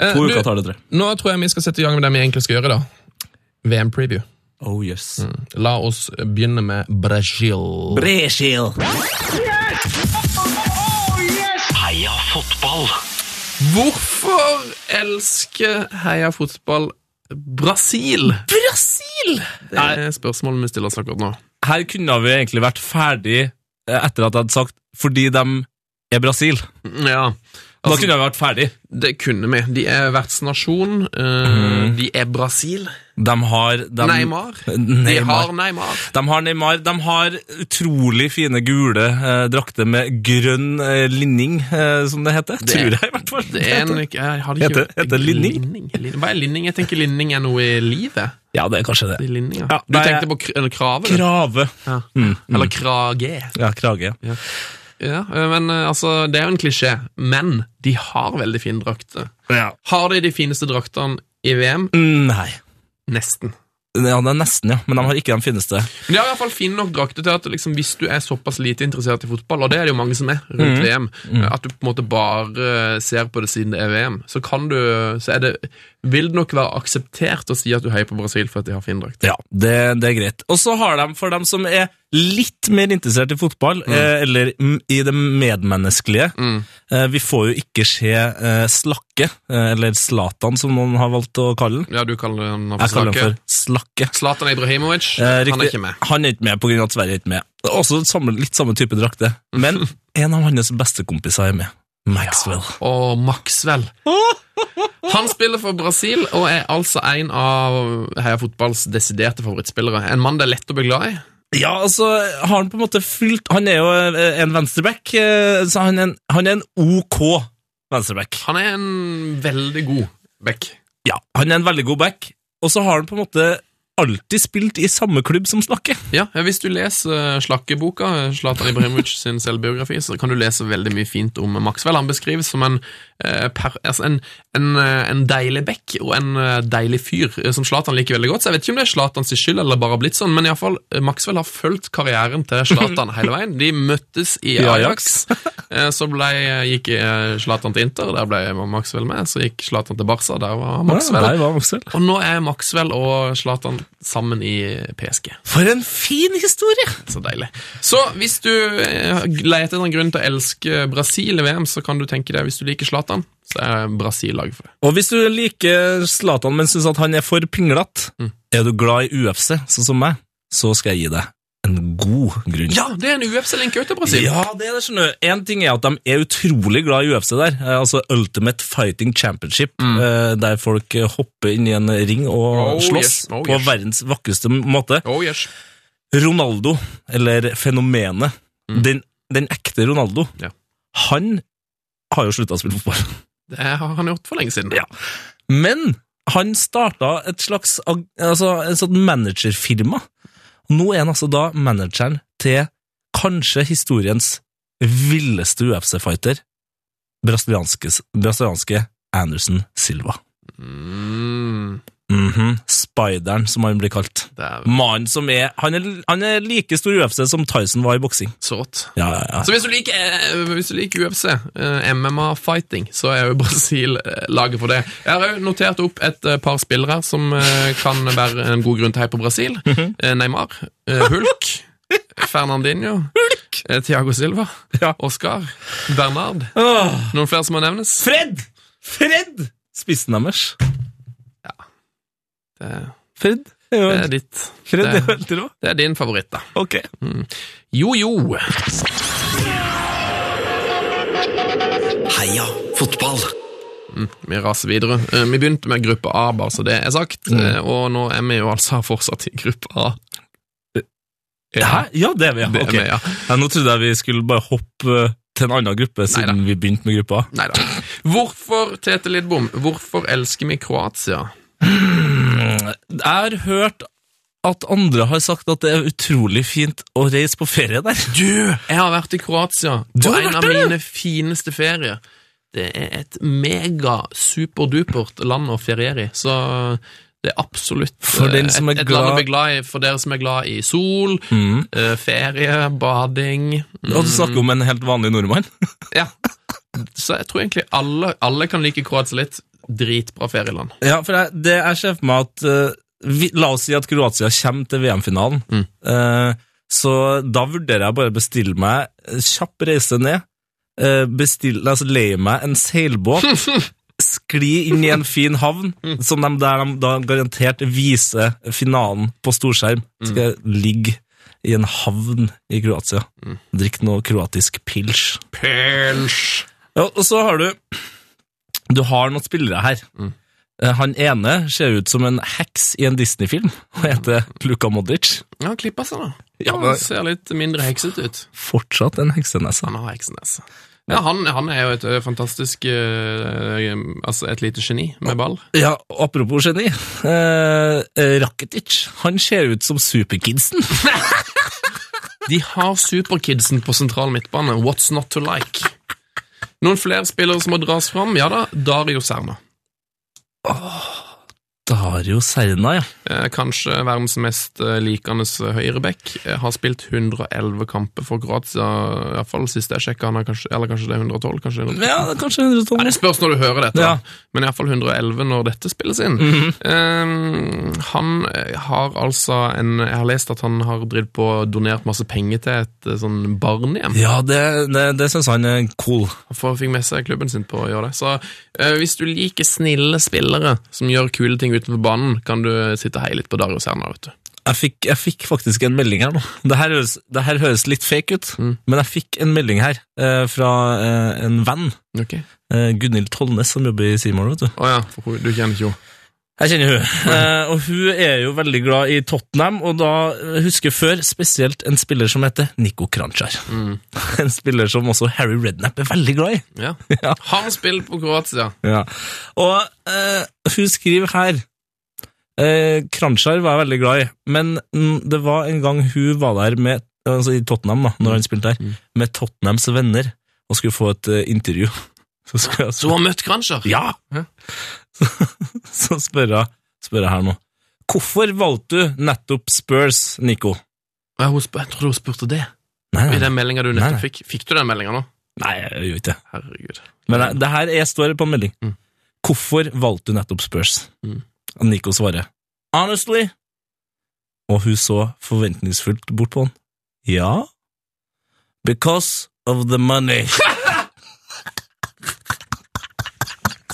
Speaker 1: Eh,
Speaker 2: To uker
Speaker 1: du,
Speaker 2: tar det, tror jeg.
Speaker 1: nå tror jeg vi skal sette i gang med det vi egentlig skal gjøre, da. VM-preview.
Speaker 2: Oh yes.
Speaker 6: Mm.
Speaker 1: La oss begynne med Brasil.
Speaker 2: Bresil!
Speaker 7: Heia fotball.
Speaker 1: Hvorfor elsker Heia Fotball Brasil?
Speaker 6: Brasil!
Speaker 1: Det er spørsmålet vi stiller oss akkurat nå.
Speaker 6: Her kunne vi egentlig vært ferdig eh, etter at jeg hadde sagt fordi de er Brasil.
Speaker 1: Ja,
Speaker 6: Da
Speaker 2: Altså-
Speaker 6: kunne vi vært ferdig.
Speaker 1: det kunne vi. De er vertsnasjon. eh,
Speaker 6: Mhm.
Speaker 1: De er Brasil.
Speaker 6: De har de,
Speaker 1: Neymar.
Speaker 6: eh,
Speaker 1: De har Neymar.
Speaker 6: De har Neymar. De har utrolig fine gule eh, drakter med grønn eh, linning, eh, som det heter. Tror jeg, i hvert fall.
Speaker 1: Det er en, jeg hadde ikke,
Speaker 6: Heter- heter linning?
Speaker 1: Lin- Hva er linning? Jeg tenker linning er noe i livet.
Speaker 6: Ja, det er kanskje
Speaker 1: Det
Speaker 6: det.
Speaker 1: er linning, ja.
Speaker 6: Ja,
Speaker 1: Du
Speaker 6: nei, Mm,
Speaker 1: tenkte på kr eller krave? du?
Speaker 6: Krave.
Speaker 1: Ja. Eller krage.
Speaker 6: Ja, krage.
Speaker 1: Ja, eh, men eh, altså, det er jo en klisjé. Men de har veldig fine drakter.
Speaker 6: Ja.
Speaker 1: Har de de fineste draktene i VM?
Speaker 2: Mm,
Speaker 6: Nei.
Speaker 1: Nesten.
Speaker 6: Ja, det er nesten, ja. Men de har ikke de fineste.
Speaker 1: Men de har i hvert fall fine nok drakter til at liksom, hvis du er såpass lite interessert i fotball, og det er det jo mange som er
Speaker 2: Mhm.
Speaker 1: rundt VM, eh, at du på en måte bare ser på det siden det er VM, så kan du Så er det vil det nok være akseptert å si at du heier på Brasil for at de har fin drakt.
Speaker 2: Ja, det, det er greit. Og så har de, for dem som er litt mer interessert i fotball, eh, eller mm, i det medmenneskelige
Speaker 1: Mm.
Speaker 2: eh, Vi får jo ikke se eh, Slakke, eh, eller Zlatan, som noen har valgt å kalle den.
Speaker 1: Ja, du kaller han for
Speaker 2: Jeg kaller
Speaker 1: Slake.
Speaker 2: den for Slakke.
Speaker 1: Zlatan Ibrahimovic.
Speaker 2: Eh,
Speaker 1: han er
Speaker 2: riktig.
Speaker 1: ikke med.
Speaker 2: Han er ikke med på grunn av at Sverige er ikke med. Det er Også samme, litt samme
Speaker 1: (laughs)
Speaker 2: type drakte. Men en av hans bestekompiser er med. Maxwell.
Speaker 1: Og Maxwell.
Speaker 2: (laughs)
Speaker 1: Han spiller for Brasil og er altså en av Heia Fotballs desiderte favorittspillere. En mann det er lett å bli glad i.
Speaker 2: Ja, altså, har han på en måte fylt Han er jo eh, en venstreback, eh, så han er en, han er en OK venstreback.
Speaker 1: Han er en veldig god back.
Speaker 2: Ja, han er en veldig god back, og så har han på en måte alltid spilt i samme klubb som Slakke.
Speaker 1: Ja, Hvis du leser eh, Slakkeboka, Zlatan Ibrahimovic sin selvbiografi, så kan du lese veldig mye fint om Maxwell. Han beskrives som en, eh, per, altså en, en, eh, en deilig bekk og en eh, deilig fyr, eh, som Zlatan liker veldig godt. Så jeg vet ikke om det er Zlatans skyld, eller bare har blitt sånn, men i alle fall, eh, Maxwell har fulgt karrieren til Zlatan hele veien. De møttes (laughs) i
Speaker 2: I
Speaker 1: Ajax. Eh, Så ble, gikk eh, Zlatan til Inter, der ble Maxwell med. Så gikk Zlatan til Barca, der var Maxwell.
Speaker 2: var Maxwell.
Speaker 1: Og nå er Maxwell og Zlatan sammen i PSG.
Speaker 2: For en fin historie!
Speaker 1: Så deilig. Så hvis du eh, leter etter en grunn til å elske Brasil i VM, så kan du tenke deg, hvis du liker Zlatan, så er Brasil laget for det.
Speaker 2: Og hvis du liker Zlatan, men syns at han er for pinglete,
Speaker 1: Mm.
Speaker 2: er du glad i UFC, sånn som meg, så skal jeg gi deg en god grunn.
Speaker 1: Ja, det er en UFC-link ut til Brasil!
Speaker 2: Ja, det er det, skjønner du. En ting er at de er utrolig glad i UFC der, eh, altså Ultimate Fighting Championship, eh, der folk eh, hopper inn i en ring og
Speaker 1: Mm. Oh,
Speaker 2: slåss
Speaker 1: yes. Oh,
Speaker 2: på
Speaker 1: yes.
Speaker 2: verdens vakreste måte.
Speaker 1: Oh yes.
Speaker 2: Ronaldo, eller fenomenet, den, den ekte Ronaldo,
Speaker 1: Mm. Ja.
Speaker 2: han har jo slutta å spille fotball.
Speaker 1: Det har han gjort for lenge siden.
Speaker 2: Ja. Men han starta et slags ag- altså, et sånt managerfirma. Nå er han altså da manageren til kanskje historiens villeste UFC-fighter, brasilianskes- brasilianske Anderson Silva.
Speaker 1: Mm,
Speaker 2: Mhm, Spideren, som han blir kalt.
Speaker 1: det er
Speaker 2: Mannen som er han, er han er like stor i UFC som Tyson var i boksing.
Speaker 1: så rått.
Speaker 2: Ja, ja, ja.
Speaker 1: Så hvis du liker, eh, hvis du liker UFC, eh, MMA-fighting, så er jo Brasil eh, laget for det. Jeg har òg notert opp et eh, par spillere som eh, kan være en god grunn til å heie på Brasil.
Speaker 2: Mhm.
Speaker 1: Eh, Neymar, eh, Hulk, Fernandinho, eh, Thiago Silva, Oscar, Bernard.
Speaker 2: Åh,
Speaker 1: Noen flere som må nevnes?
Speaker 2: Fred! Fred! Spissen deres.
Speaker 1: Det,
Speaker 2: Fred? Det
Speaker 1: det
Speaker 2: er
Speaker 1: er ditt.
Speaker 2: Fred er jo
Speaker 1: Det,
Speaker 2: helt rå.
Speaker 1: det er din favoritt, da.
Speaker 2: Ok.
Speaker 1: Jo, jo.
Speaker 4: Heia fotball.
Speaker 1: Vi raser videre. Eh, Vi begynte med gruppe A, bare så det er sagt,
Speaker 2: Mm.
Speaker 1: eh, og nå er vi jo altså fortsatt i gruppe A.
Speaker 2: Hæ? Eh, Ja, det er vi, ja.
Speaker 1: Det er
Speaker 2: Ok.
Speaker 1: vi, ja.
Speaker 2: Ja, nå trodde jeg vi skulle bare hoppe eh, til en annen gruppe, siden vi begynte med gruppa.
Speaker 1: Neida. Hvorfor, Tete Lidbom, hvorfor elsker vi Kroatia?
Speaker 2: Jeg har hørt at andre har sagt at det er utrolig fint å reise på ferie der. Du!
Speaker 1: Jeg har vært i Kroatia
Speaker 2: Du
Speaker 1: på
Speaker 2: har
Speaker 1: en
Speaker 2: vært
Speaker 1: av
Speaker 2: der, du?
Speaker 1: mine fineste ferier. Det er et mega superdupert land å feriere i, så det er absolutt
Speaker 2: For den som
Speaker 1: eh,
Speaker 2: er
Speaker 1: et, et land å
Speaker 2: glad- Mm.
Speaker 1: bli glad i for dere som er glad i sol, eh, ferie, bading
Speaker 2: Og du snakker om en helt vanlig nordmann.
Speaker 1: Ja. Så jeg tror egentlig alle, alle kan like Kroatia litt. Dritbra ferieland.
Speaker 2: Ja, for jeg, det jeg ser for meg at eh, vi, La oss si at Kroatia kommer til VM-finalen. Eh, så da vurderer jeg bare å bestille meg eh, kjapp reise ned, eh, bestille, altså leie meg en seilbåt, skli inn i en fin havn, som de, der de da garantert viser finalen på storskjerm. Skal jeg ligge i en havn i Kroatia, drikke noe kroatisk pils.
Speaker 1: Pels!
Speaker 2: Ja, og så har du Du har noen spillere her. Eh, Han ene ser ut som en heks i en Disney-film og heter Luka Modric.
Speaker 1: Ja, han klipper seg, da.
Speaker 2: Ja,
Speaker 1: han
Speaker 2: men-
Speaker 1: ser litt mindre heksete ut.
Speaker 2: Fortsatt en heksenesse.
Speaker 1: Han har heksenese. Ja, han, han er jo et ø, fantastisk ø, Altså et lite geni med ball.
Speaker 2: Ja, og apropos geni. Eh, eh, Rakitic, han ser ut som Superkidsen.
Speaker 1: De har superkidsen på sentral midtbane. What's not to like? Noen flere spillere som må dras fram? Ja da, Dario Serna.
Speaker 2: Dario Serna, ja.
Speaker 1: Eh, Kanskje verdens mest eh, likende høyreback. Eh, Har spilt 111 kamper for Kroatia, i hvert fall sist jeg sjekka. han er kanskje- Eller kanskje det er 112? kanskje det er 112.
Speaker 2: Ja, det er kanskje 112.
Speaker 1: Ja, det spørs når du hører dette,
Speaker 2: Ja.
Speaker 1: da.
Speaker 2: Mhm.
Speaker 1: men iallfall 111 når dette spilles inn. Eh, han eh, har altså en Jeg har lest at han har drivet på og donert masse penger til et eh, sånn barnehjem.
Speaker 2: Ja, det, det, det syns han er cool.
Speaker 1: For han fikk med seg klubben sin på å gjøre det. Så eh, hvis du liker snille spillere som gjør kule ting utenfor banen, kan du sitte og heie litt på Dario Serna, vet du.
Speaker 2: Jeg fikk, jeg fikk faktisk en melding her nå. Det her høres, det her høres litt fake ut, men jeg fikk en melding her eh, fra eh, en venn.
Speaker 1: Ok.
Speaker 2: Eh, Gunhild Tollnes, som jobber i Seymour, vet du.
Speaker 1: Å ja, for hun- du kjenner ikke henne.
Speaker 2: Jeg kjenner hun. Eh, og hun er jo veldig glad i Tottenham, og da eh, husker jeg før spesielt en spiller som heter Nico Kranjčar. (laughs) En spiller som også Harry Redknapp er veldig glad i.
Speaker 1: Ja.
Speaker 2: (laughs) Ja.
Speaker 1: Har spilt på Kroatia.
Speaker 2: Ja. Og eh, hun skriver her uh, Kranskjær var jeg veldig glad i, men mm, det var en gang hun var der med, altså i Tottenham, da, når han spilte der, med Tottenhams venner og skulle få et eh, intervju. (laughs) Så, skulle jeg,
Speaker 1: Så hun har møtt Granscher?
Speaker 2: ja! (laughs)
Speaker 1: Ja.
Speaker 2: Så spør jeg, spør jeg her nå. Hvorfor valgte du nettopp Spurs, Nico?
Speaker 1: Ja, hun spør, jeg trodde hun spurte det.
Speaker 2: Nei,
Speaker 1: I
Speaker 2: nei,
Speaker 1: den meldinga du
Speaker 2: Nei,
Speaker 1: nettopp
Speaker 2: nei.
Speaker 1: fikk. Fikk du den meldinga nå?
Speaker 2: nei jeg gjør ikke det.
Speaker 1: Herregud.
Speaker 2: Men det, det her er, står på en melding.
Speaker 1: Mm.
Speaker 2: Hvorfor valgte du nettopp Spurs?
Speaker 1: Mm.
Speaker 2: Og Nico svarer Honestly. Og hun så forventningsfullt bort på han. Ja? Because of the money.
Speaker 1: (laughs)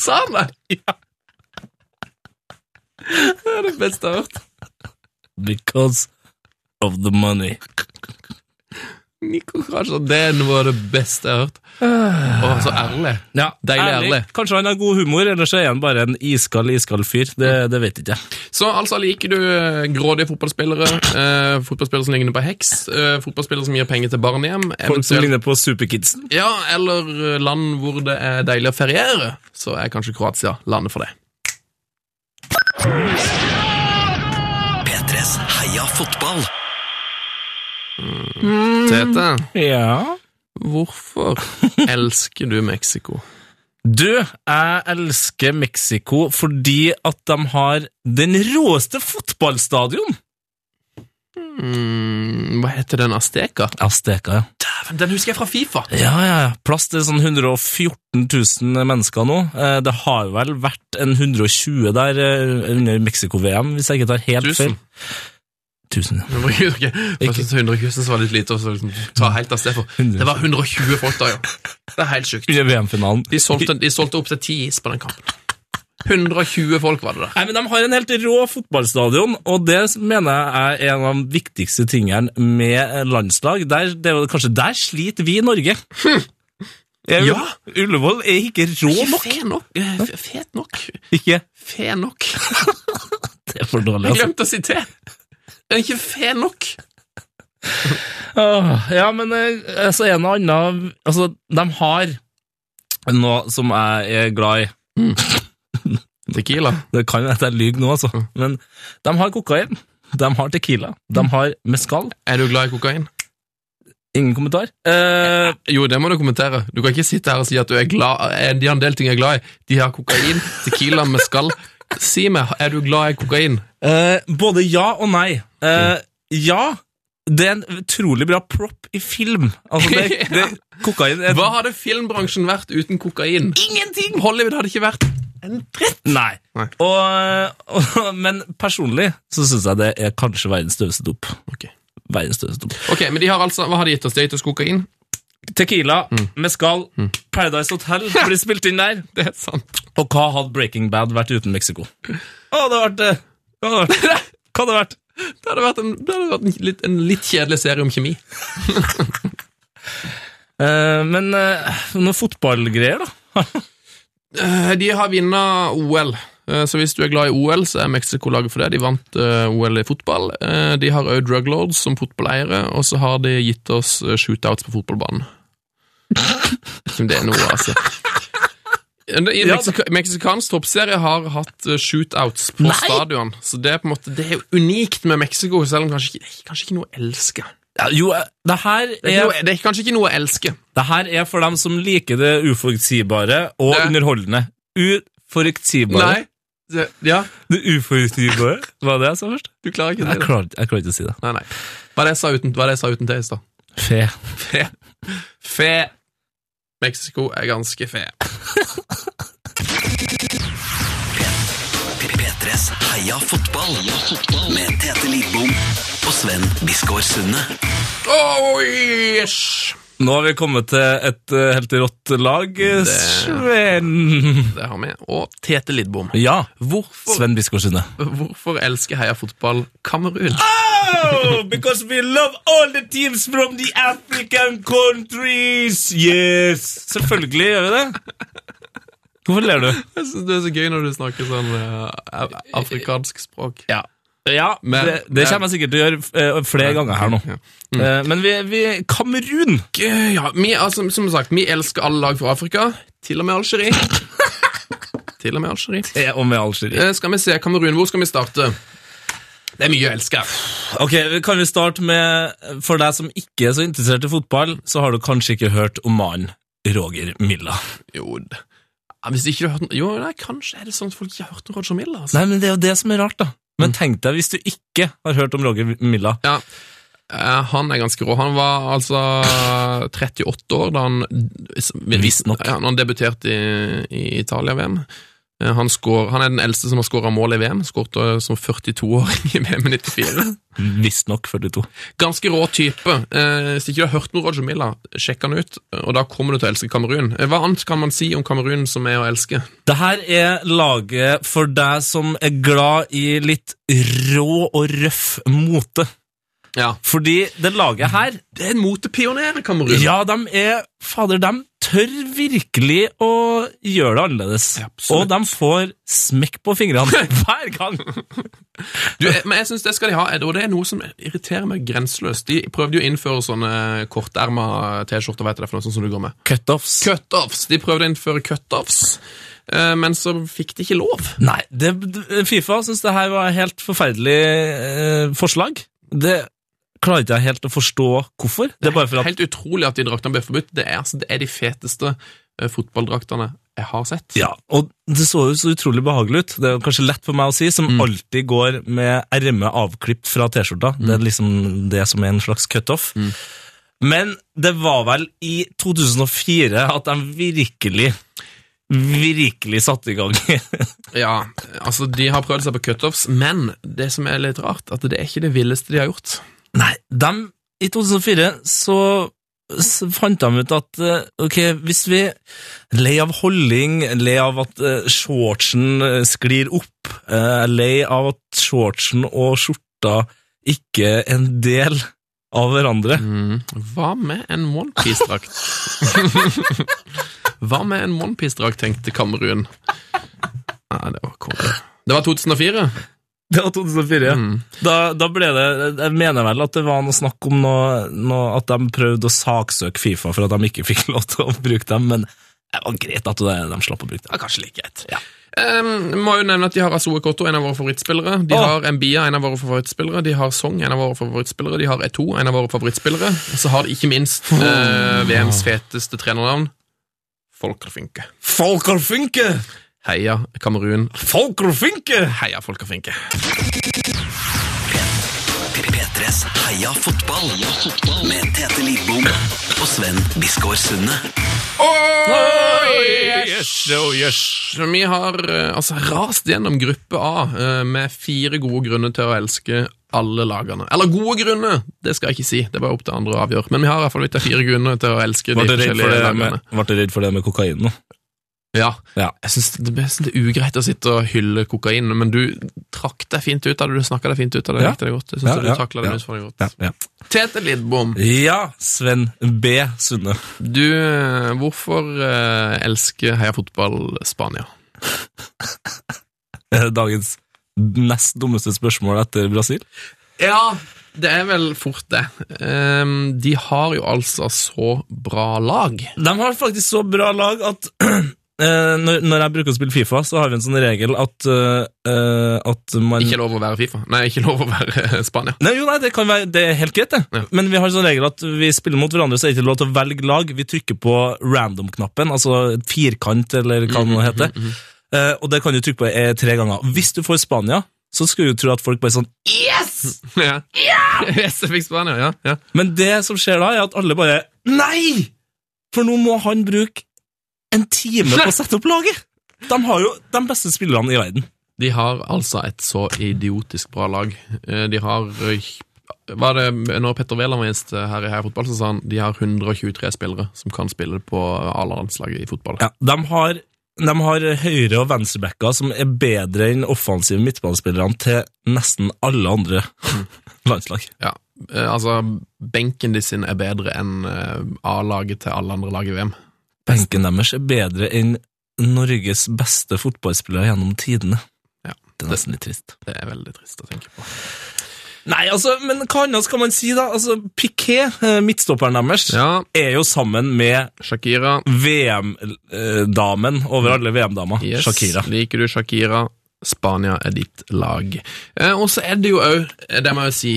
Speaker 1: Sa han
Speaker 2: (laughs)
Speaker 1: det? Ja. Det er det beste jeg har hørt.
Speaker 2: Because of the money.
Speaker 1: Nico Granscher, det er noe av det beste jeg har hørt. Å, så ærlig.
Speaker 2: Ja,
Speaker 1: Deilig, ærlig.
Speaker 2: Kanskje han har god humor, eller så er han bare en iskald, iskald fyr. Det, det vet ikke jeg.
Speaker 1: Så altså, liker du eh, grådige fotballspillere, eh, fotballspillere som ligner på heks, eh, fotballspillere som gir penger til barnehjem,
Speaker 2: Folk som
Speaker 1: eventuelt-
Speaker 2: ligner på Superkidsen.
Speaker 1: ja, eller eh, land hvor det er deilig å feriere, så er kanskje Kroatia landet for det.
Speaker 4: P3s Heia fotball.
Speaker 1: Mm. Tete,
Speaker 2: Ja.
Speaker 1: (laughs) hvorfor elsker du Mexico?
Speaker 2: Du, jeg elsker Mexico fordi at de har den råeste fotballstadion.
Speaker 1: Mm, hva heter den Azteca?
Speaker 2: Azteca, ja.
Speaker 1: Dæven, den husker jeg fra Fifa.
Speaker 2: Ja, ja, ja. Plass til sånn 114 000 mennesker nå. Eh, Det har vel vært en 120 der eh, under Mexico-VM, hvis jeg ikke tar helt feil.
Speaker 1: Tusen.
Speaker 2: 1000.
Speaker 1: Men bruker du ikke- Jeg synes 100 000 så var det litt lite, og så liksom ta helt av sted for. Det var 120 folk da, ja. Det er helt sjukt.
Speaker 2: Under VM-finalen.
Speaker 1: De solgte, de solgte opp til 10 is på den kampen. 120 folk var det der.
Speaker 2: Nei, men De har en helt rå fotballstadion, og det mener jeg er en av de viktigste tingene med landslag. Der, det er jo kanskje der sliter vi i Norge. Jeg-
Speaker 1: Ja.
Speaker 2: Hm. Ullevål er ikke rå
Speaker 1: Ikke
Speaker 2: nok.
Speaker 1: Fe nok. eh, f- Fet nok.
Speaker 2: Ikke
Speaker 1: Fe nok.
Speaker 2: Det er for dårlig,
Speaker 1: Jeg
Speaker 2: altså.
Speaker 1: glemte å si til. Det er ikke fe nok.
Speaker 2: Åh, Ja, men eh, altså, en og annen Altså, de har noe som jeg er glad i.
Speaker 1: Tequila.
Speaker 2: Det kan jo at jeg lyver nå, altså. Men de har kokain, de har tequila, de har mescal.
Speaker 1: Er du glad i kokain?
Speaker 2: Ingen kommentar. Eh,
Speaker 1: Jo, det må du kommentere. Du kan ikke sitte her og si at du er glad eh, De har en del ting jeg er glad i. De har kokain, tequila med skall. Si meg, er du glad i kokain?
Speaker 2: eh, både ja og nei. Eh,
Speaker 1: Mm.
Speaker 2: ja, det er en utrolig bra prop i film. Altså,
Speaker 1: (laughs)
Speaker 2: det, det, kokain er
Speaker 1: Hva hadde filmbransjen vært uten kokain? Ingenting! Hollywood hadde ikke vært
Speaker 2: Nei.
Speaker 1: Nei.
Speaker 2: Og, og, men personlig så syns jeg det er kanskje verdens døveste dop.
Speaker 1: Ok.
Speaker 2: Verdens døveste dop.
Speaker 1: Ok, men de har altså, Hva har de gitt oss? De har gitt oss kokain?
Speaker 2: Tequila,
Speaker 1: Mm.
Speaker 2: mescal,
Speaker 1: (laughs)
Speaker 2: Paradise Hotel blir spilt inn der.
Speaker 1: Det er sant.
Speaker 2: Og hva hadde Breaking Bad vært uten Mexico? Å, det hadde vært eh, det. Hva hadde det
Speaker 1: (laughs)
Speaker 2: vært? Hva hadde det vært?
Speaker 1: Det hadde vært en, det hadde vært en, litt, en litt kjedelig serie om kjemi.
Speaker 2: Eh, men uh, noen fotballgreier, da?
Speaker 1: Eh, De har vunnet OL. Eh, Så hvis du er glad i OL, så er Mexico laget for det. De vant eh, OL i fotball. Eh, De har òg druglords som fotballeiere, og så har de gitt oss eh, shootouts på (laughs) fotballbanen. Vet ikke om det er noe, altså. Eh, I
Speaker 2: Ja,
Speaker 1: Meksika Meksikansk toppserie har hatt eh, shootouts på
Speaker 2: Nei!
Speaker 1: stadion. Så det er på en måte Det er jo unikt med Mexico, selv om kanskje ikke, det er kanskje ikke noe å elske.
Speaker 2: Ja, jo, eh, det her
Speaker 1: Det er,
Speaker 2: er,
Speaker 1: noe, det er kanskje ikke noe å elske.
Speaker 2: det her er for dem som liker det uforutsigbare og
Speaker 1: Det-
Speaker 2: underholdende. Uforutsigbare.
Speaker 1: Nei, det- Ja,
Speaker 2: Det uforutsigbare? Var det jeg sa først?
Speaker 1: du klarer ikke
Speaker 2: Jeg
Speaker 1: det.
Speaker 2: klarer, jeg klarer ikke å si det.
Speaker 1: Nei, nei. Hva er det jeg sa uten, hva er det jeg sa uten teis, da?
Speaker 2: Fe.
Speaker 1: Fe. Fe. Mexico er ganske fe.
Speaker 4: P3s Heia fotball. Med Tete Lidbom og Sven Biskår Sunde.
Speaker 1: Oh, yes!
Speaker 2: Nå har vi kommet til et eh, helt rått lag, eh, Sven.
Speaker 1: Det har vi. Og Tete Lidbom.
Speaker 2: Ja.
Speaker 1: Hvorfor,
Speaker 2: Sven Biskår Sunde.
Speaker 1: hvorfor elsker Heia Fotball Kamerun?
Speaker 2: Oh, because we love all the teams from the African countries! Yes! Selvfølgelig gjør vi det. Hvorfor ler du?
Speaker 1: Jeg synes det er så gøy når du snakker sånn eh, afrikansk språk.
Speaker 2: Ja, men, det, det kommer jeg sikkert til å gjøre eh, flere ganger her nå. Eh, Men vi, vi Kamerun!
Speaker 1: Gøy, ja. Vi, altså, som sagt, vi elsker alle lag fra Afrika. Til og med Algerie. til og med Algerie.
Speaker 2: Eh, Og med Algerie.
Speaker 1: Eh, skal vi se, Kamerun, hvor skal vi starte? Det er mye jeg elsker.
Speaker 2: Ok, Kan vi starte med For deg som ikke er så interessert i fotball, så har du kanskje ikke hørt om mannen Roger Milla.
Speaker 1: Jo, d- ja, hvis ikke du har hørt den- Jo, nei, kanskje er det sånn at folk ikke har hørt om Roger Miller. Altså.
Speaker 2: Nei, men Det er jo det som er rart, da. Men tenk deg hvis du ikke har hørt om Roger Milla.
Speaker 1: Ja. Eh, Han er ganske rå. Han var altså 38 år da han
Speaker 2: Visstnok.
Speaker 1: Ja, når han debuterte i, i Italia-VM. Eh, Han, skår- han er den eldste som har skåra mål i VM. Skårte eh, som 42-åring i VM i 94.
Speaker 2: Visstnok 42.
Speaker 1: Ganske rå type. Eh, Hvis ikke du har hørt noe Roger Milla, sjekk han ut, og da kommer du til å elske Kamerun. Eh, Hva annet kan man si om Kamerun som er å elske?
Speaker 2: Det her er laget for deg som er glad i litt rå og røff mote.
Speaker 1: Ja.
Speaker 2: Fordi det laget her
Speaker 1: Det er en motepioner, Kamerun.
Speaker 2: Ja, de er Fader, de tør virkelig å gjøre det annerledes.
Speaker 1: absolutt.
Speaker 2: og de får smekk på fingrene (laughs) hver gang!
Speaker 1: Du, jeg- men jeg synes det skal de ha, Ed, og det er noe som irriterer meg grenseløst. De prøvde jo å innføre sånne korterma T-skjorter, vet du det, for noe sånt som du går med.
Speaker 2: Cutoffs.
Speaker 1: Cutoffs! De prøvde å innføre cutoffs, eh, men så fikk de ikke lov.
Speaker 2: Nei, det, Fifa syns det her var et helt forferdelig eh, forslag. Det klarer ikke jeg helt å forstå hvorfor. Det er bare for at
Speaker 1: Helt utrolig at de draktene ble forbudt. Det er, altså, det er de feteste eh, fotballdraktene jeg har sett.
Speaker 2: Ja, og det så jo så utrolig behagelig ut. Det er jo kanskje lett for meg å si, som alltid går med ermet avklipt fra T-skjorta. Det er liksom det som er en slags cutoff. Men det var vel i 2004 at de virkelig, virkelig satte i gang.
Speaker 1: Ja, altså De har prøvd seg på cutoffs, men det som er litt rart, at det er ikke det villeste de har gjort.
Speaker 2: Nei, de, i 2004 så s- fant de ut at eh, ok, hvis vi lei av holding, lei av at eh, shortsen eh, sklir opp, eh, lei av at shortsen og skjorta ikke er en del av hverandre.
Speaker 1: Mm. Hva med en onepiece-drakt? Hva med en onepiece-drakt, tenkte Kamerun. Nei, det var konge. Det var 2004.
Speaker 2: Det var 2004, ja.
Speaker 1: Mm.
Speaker 2: Da, da ble det, jeg mener vel at det var noe snakk om noe, noe, at de prøvde å saksøke Fifa for at de ikke fikk (laughs) lov til å bruke dem, men det var greit at de de slapp å bruke dem.
Speaker 1: Ja, kanskje like greit.
Speaker 2: Ja.
Speaker 1: Em, må jo nevne at De har Azoe Kotto, en av våre favorittspillere. De
Speaker 2: Åh.
Speaker 1: har Mbia, en av våre favorittspillere. De har Song, en av våre favorittspillere. De har Eto, en av våre favorittspillere. Og så har de ikke minst eh, VMs feteste trenernavn, Folker Finke.
Speaker 2: Folker Funke!
Speaker 1: Heia Kamerun.
Speaker 2: Folker Funke!
Speaker 1: Heia Folker Finke.
Speaker 4: P3s Heia fotball. Med Tete Lidbom og Sven Biskår Sunde.
Speaker 1: yes, oh yes. Vi har eh, altså, rast gjennom gruppe A eh, med fire gode grunner til å elske alle lagene. Eller gode grunner, det skal jeg ikke si. Det var opp til andre å avgjøre. Men vi har i hvert fall vite fire grunner til å elske de
Speaker 2: Ble du redd for
Speaker 1: forskjellige
Speaker 2: det
Speaker 1: lagene.
Speaker 2: med, ble du redd for det med kokainen? nå?
Speaker 1: Ja.
Speaker 2: Ja.
Speaker 1: Jeg synes det, det er ugreit å sitte og hylle kokain, men du trakk deg fint ut av det. Du snakka deg fint ut av det.
Speaker 2: Ja.
Speaker 1: Jeg likte det godt. Jeg synes
Speaker 2: Ja,
Speaker 1: du
Speaker 2: ja,
Speaker 1: takla den
Speaker 2: ja.
Speaker 1: utfordringen godt.
Speaker 2: Ja, ja.
Speaker 1: Tete Lidbom,
Speaker 2: Sven B. Sunde. (laughs)
Speaker 1: du, eh, hvorfor eh, elsker Heia Fotball Spania?
Speaker 2: Eh, Dagens nest dummeste spørsmål etter Brasil.
Speaker 1: Ja, det er vel fort det. Ehm, de har jo altså så bra lag.
Speaker 2: De har faktisk så bra lag at (clears throat) eh, når, når jeg bruker å spille Fifa, så har vi en sånn regel at, eh, eh, at man
Speaker 1: Ikke lov å være Fifa. Nei, ikke lov å være (laughs) Spania.
Speaker 2: Nei, jo, nei, det, kan være, det er helt greit, det.
Speaker 1: Ja.
Speaker 2: Men vi har en sånn regel at vi spiller mot hverandre, så er det ikke lov til å velge lag. Vi trykker på random-knappen, altså firkant, eller hva det nå heter. Eh, og det kan du trykke på eh, tre ganger. Hvis du får Spania, så skulle du tro at folk bare sånn
Speaker 1: Ja! (laughs) Yes, jeg fikk Spania, ja. ja.
Speaker 2: Men det som skjer da, er at alle bare Nei! For nå må han bruke en time på å sette opp laget! De har jo de beste spillerne i verden.
Speaker 1: De har altså et så idiotisk bra lag. Eh, De har eh, var det, Når Petter Wæland var gjest her i Heia Fotball, så sa han de har 123 spillere som kan spille på A-landslaget i fotball.
Speaker 2: Ja, de har, de har høyre- og venstrebacker som er bedre enn offensive midtbanespillerne til nesten alle andre (laughs) landslag.
Speaker 1: Ja. Eh, Altså, benken de sin er bedre enn eh, A-laget til alle andre lag i VM.
Speaker 2: Benken deres er bedre enn Norges beste fotballspillere gjennom tidene.
Speaker 1: Ja.
Speaker 2: Det er nesten litt trist.
Speaker 1: Det er veldig trist å tenke på.
Speaker 2: Nei, altså, men hva annet skal man si, da? Altså, Piquet, eh, midtstopperen deres,
Speaker 1: Ja,
Speaker 2: er jo sammen med
Speaker 1: Shakira.
Speaker 2: VM-damen over alle VM-damer.
Speaker 1: Yes.
Speaker 2: Shakira.
Speaker 1: Liker du Shakira? Spania er ditt lag. Eh, og så er det jo òg, det må jeg jo si,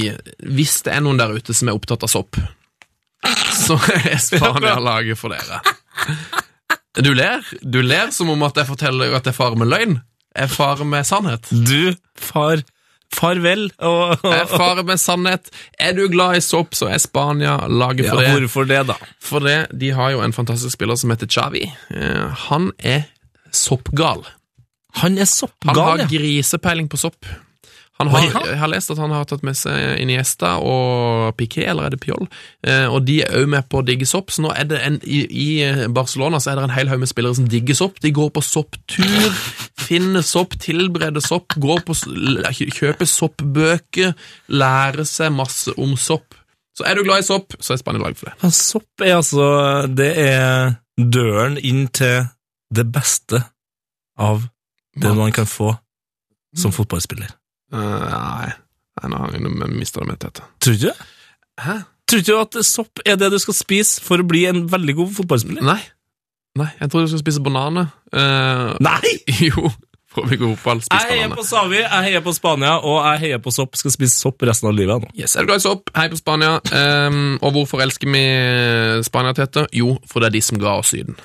Speaker 1: hvis det er noen der ute som er opptatt av sopp, så er
Speaker 2: (laughs)
Speaker 1: Spania laget for dere. Du ler Du ler som om at jeg forteller at jeg farer med løgn. Jeg farer med sannhet.
Speaker 2: Du, far, farvel og,
Speaker 1: Jeg farer med sannhet. Er du glad i sopp, så er Spania laget
Speaker 2: ja,
Speaker 1: for det.
Speaker 2: Hvorfor det, da?
Speaker 1: For det, de har jo en fantastisk spiller som heter Chavi. Eh, han er soppgal.
Speaker 2: Han er
Speaker 1: Han
Speaker 2: soppgal,
Speaker 1: har
Speaker 2: ja.
Speaker 1: grisepeiling på sopp. Han har,
Speaker 2: Å, ja.
Speaker 1: Jeg har lest at han har tatt med seg Iniesta og Piqué, eller er det Pjoll? Eh, og de er òg med på å digge sopp, så nå er det en, i, i Barcelona så er det en hel haug med spillere som digger sopp. De går på sopptur, finner sopp, tilbereder sopp, går på, s- l- kjøper soppbøker, lærer seg masse om sopp. Så er du glad i sopp, så er Spania lag for det.
Speaker 2: Men Sopp er altså Det er døren inn til det beste av det
Speaker 1: Mat.
Speaker 2: man kan få som fotballspiller.
Speaker 1: Eh, nei, nei, nå har jeg mista det med dette.
Speaker 2: Tror du det?
Speaker 1: Hæ?
Speaker 2: Tror du at sopp er det du skal spise for å bli en veldig god fotballspiller?
Speaker 1: Nei. Nei, jeg trodde du skulle spise bananer. Eh,
Speaker 2: Nei!
Speaker 1: (laughs) Jo, for å bli god fotball, spis
Speaker 2: Jeg heier
Speaker 1: bananer.
Speaker 2: på Savi, jeg heier på Spania, og jeg heier på sopp. Skal spise sopp resten av livet. nå.
Speaker 1: Yes, er du glad i sopp? Hei på Spania. Ehm, og hvorfor elsker vi Spania, Tete? Jo, for det er de som ga oss Syden.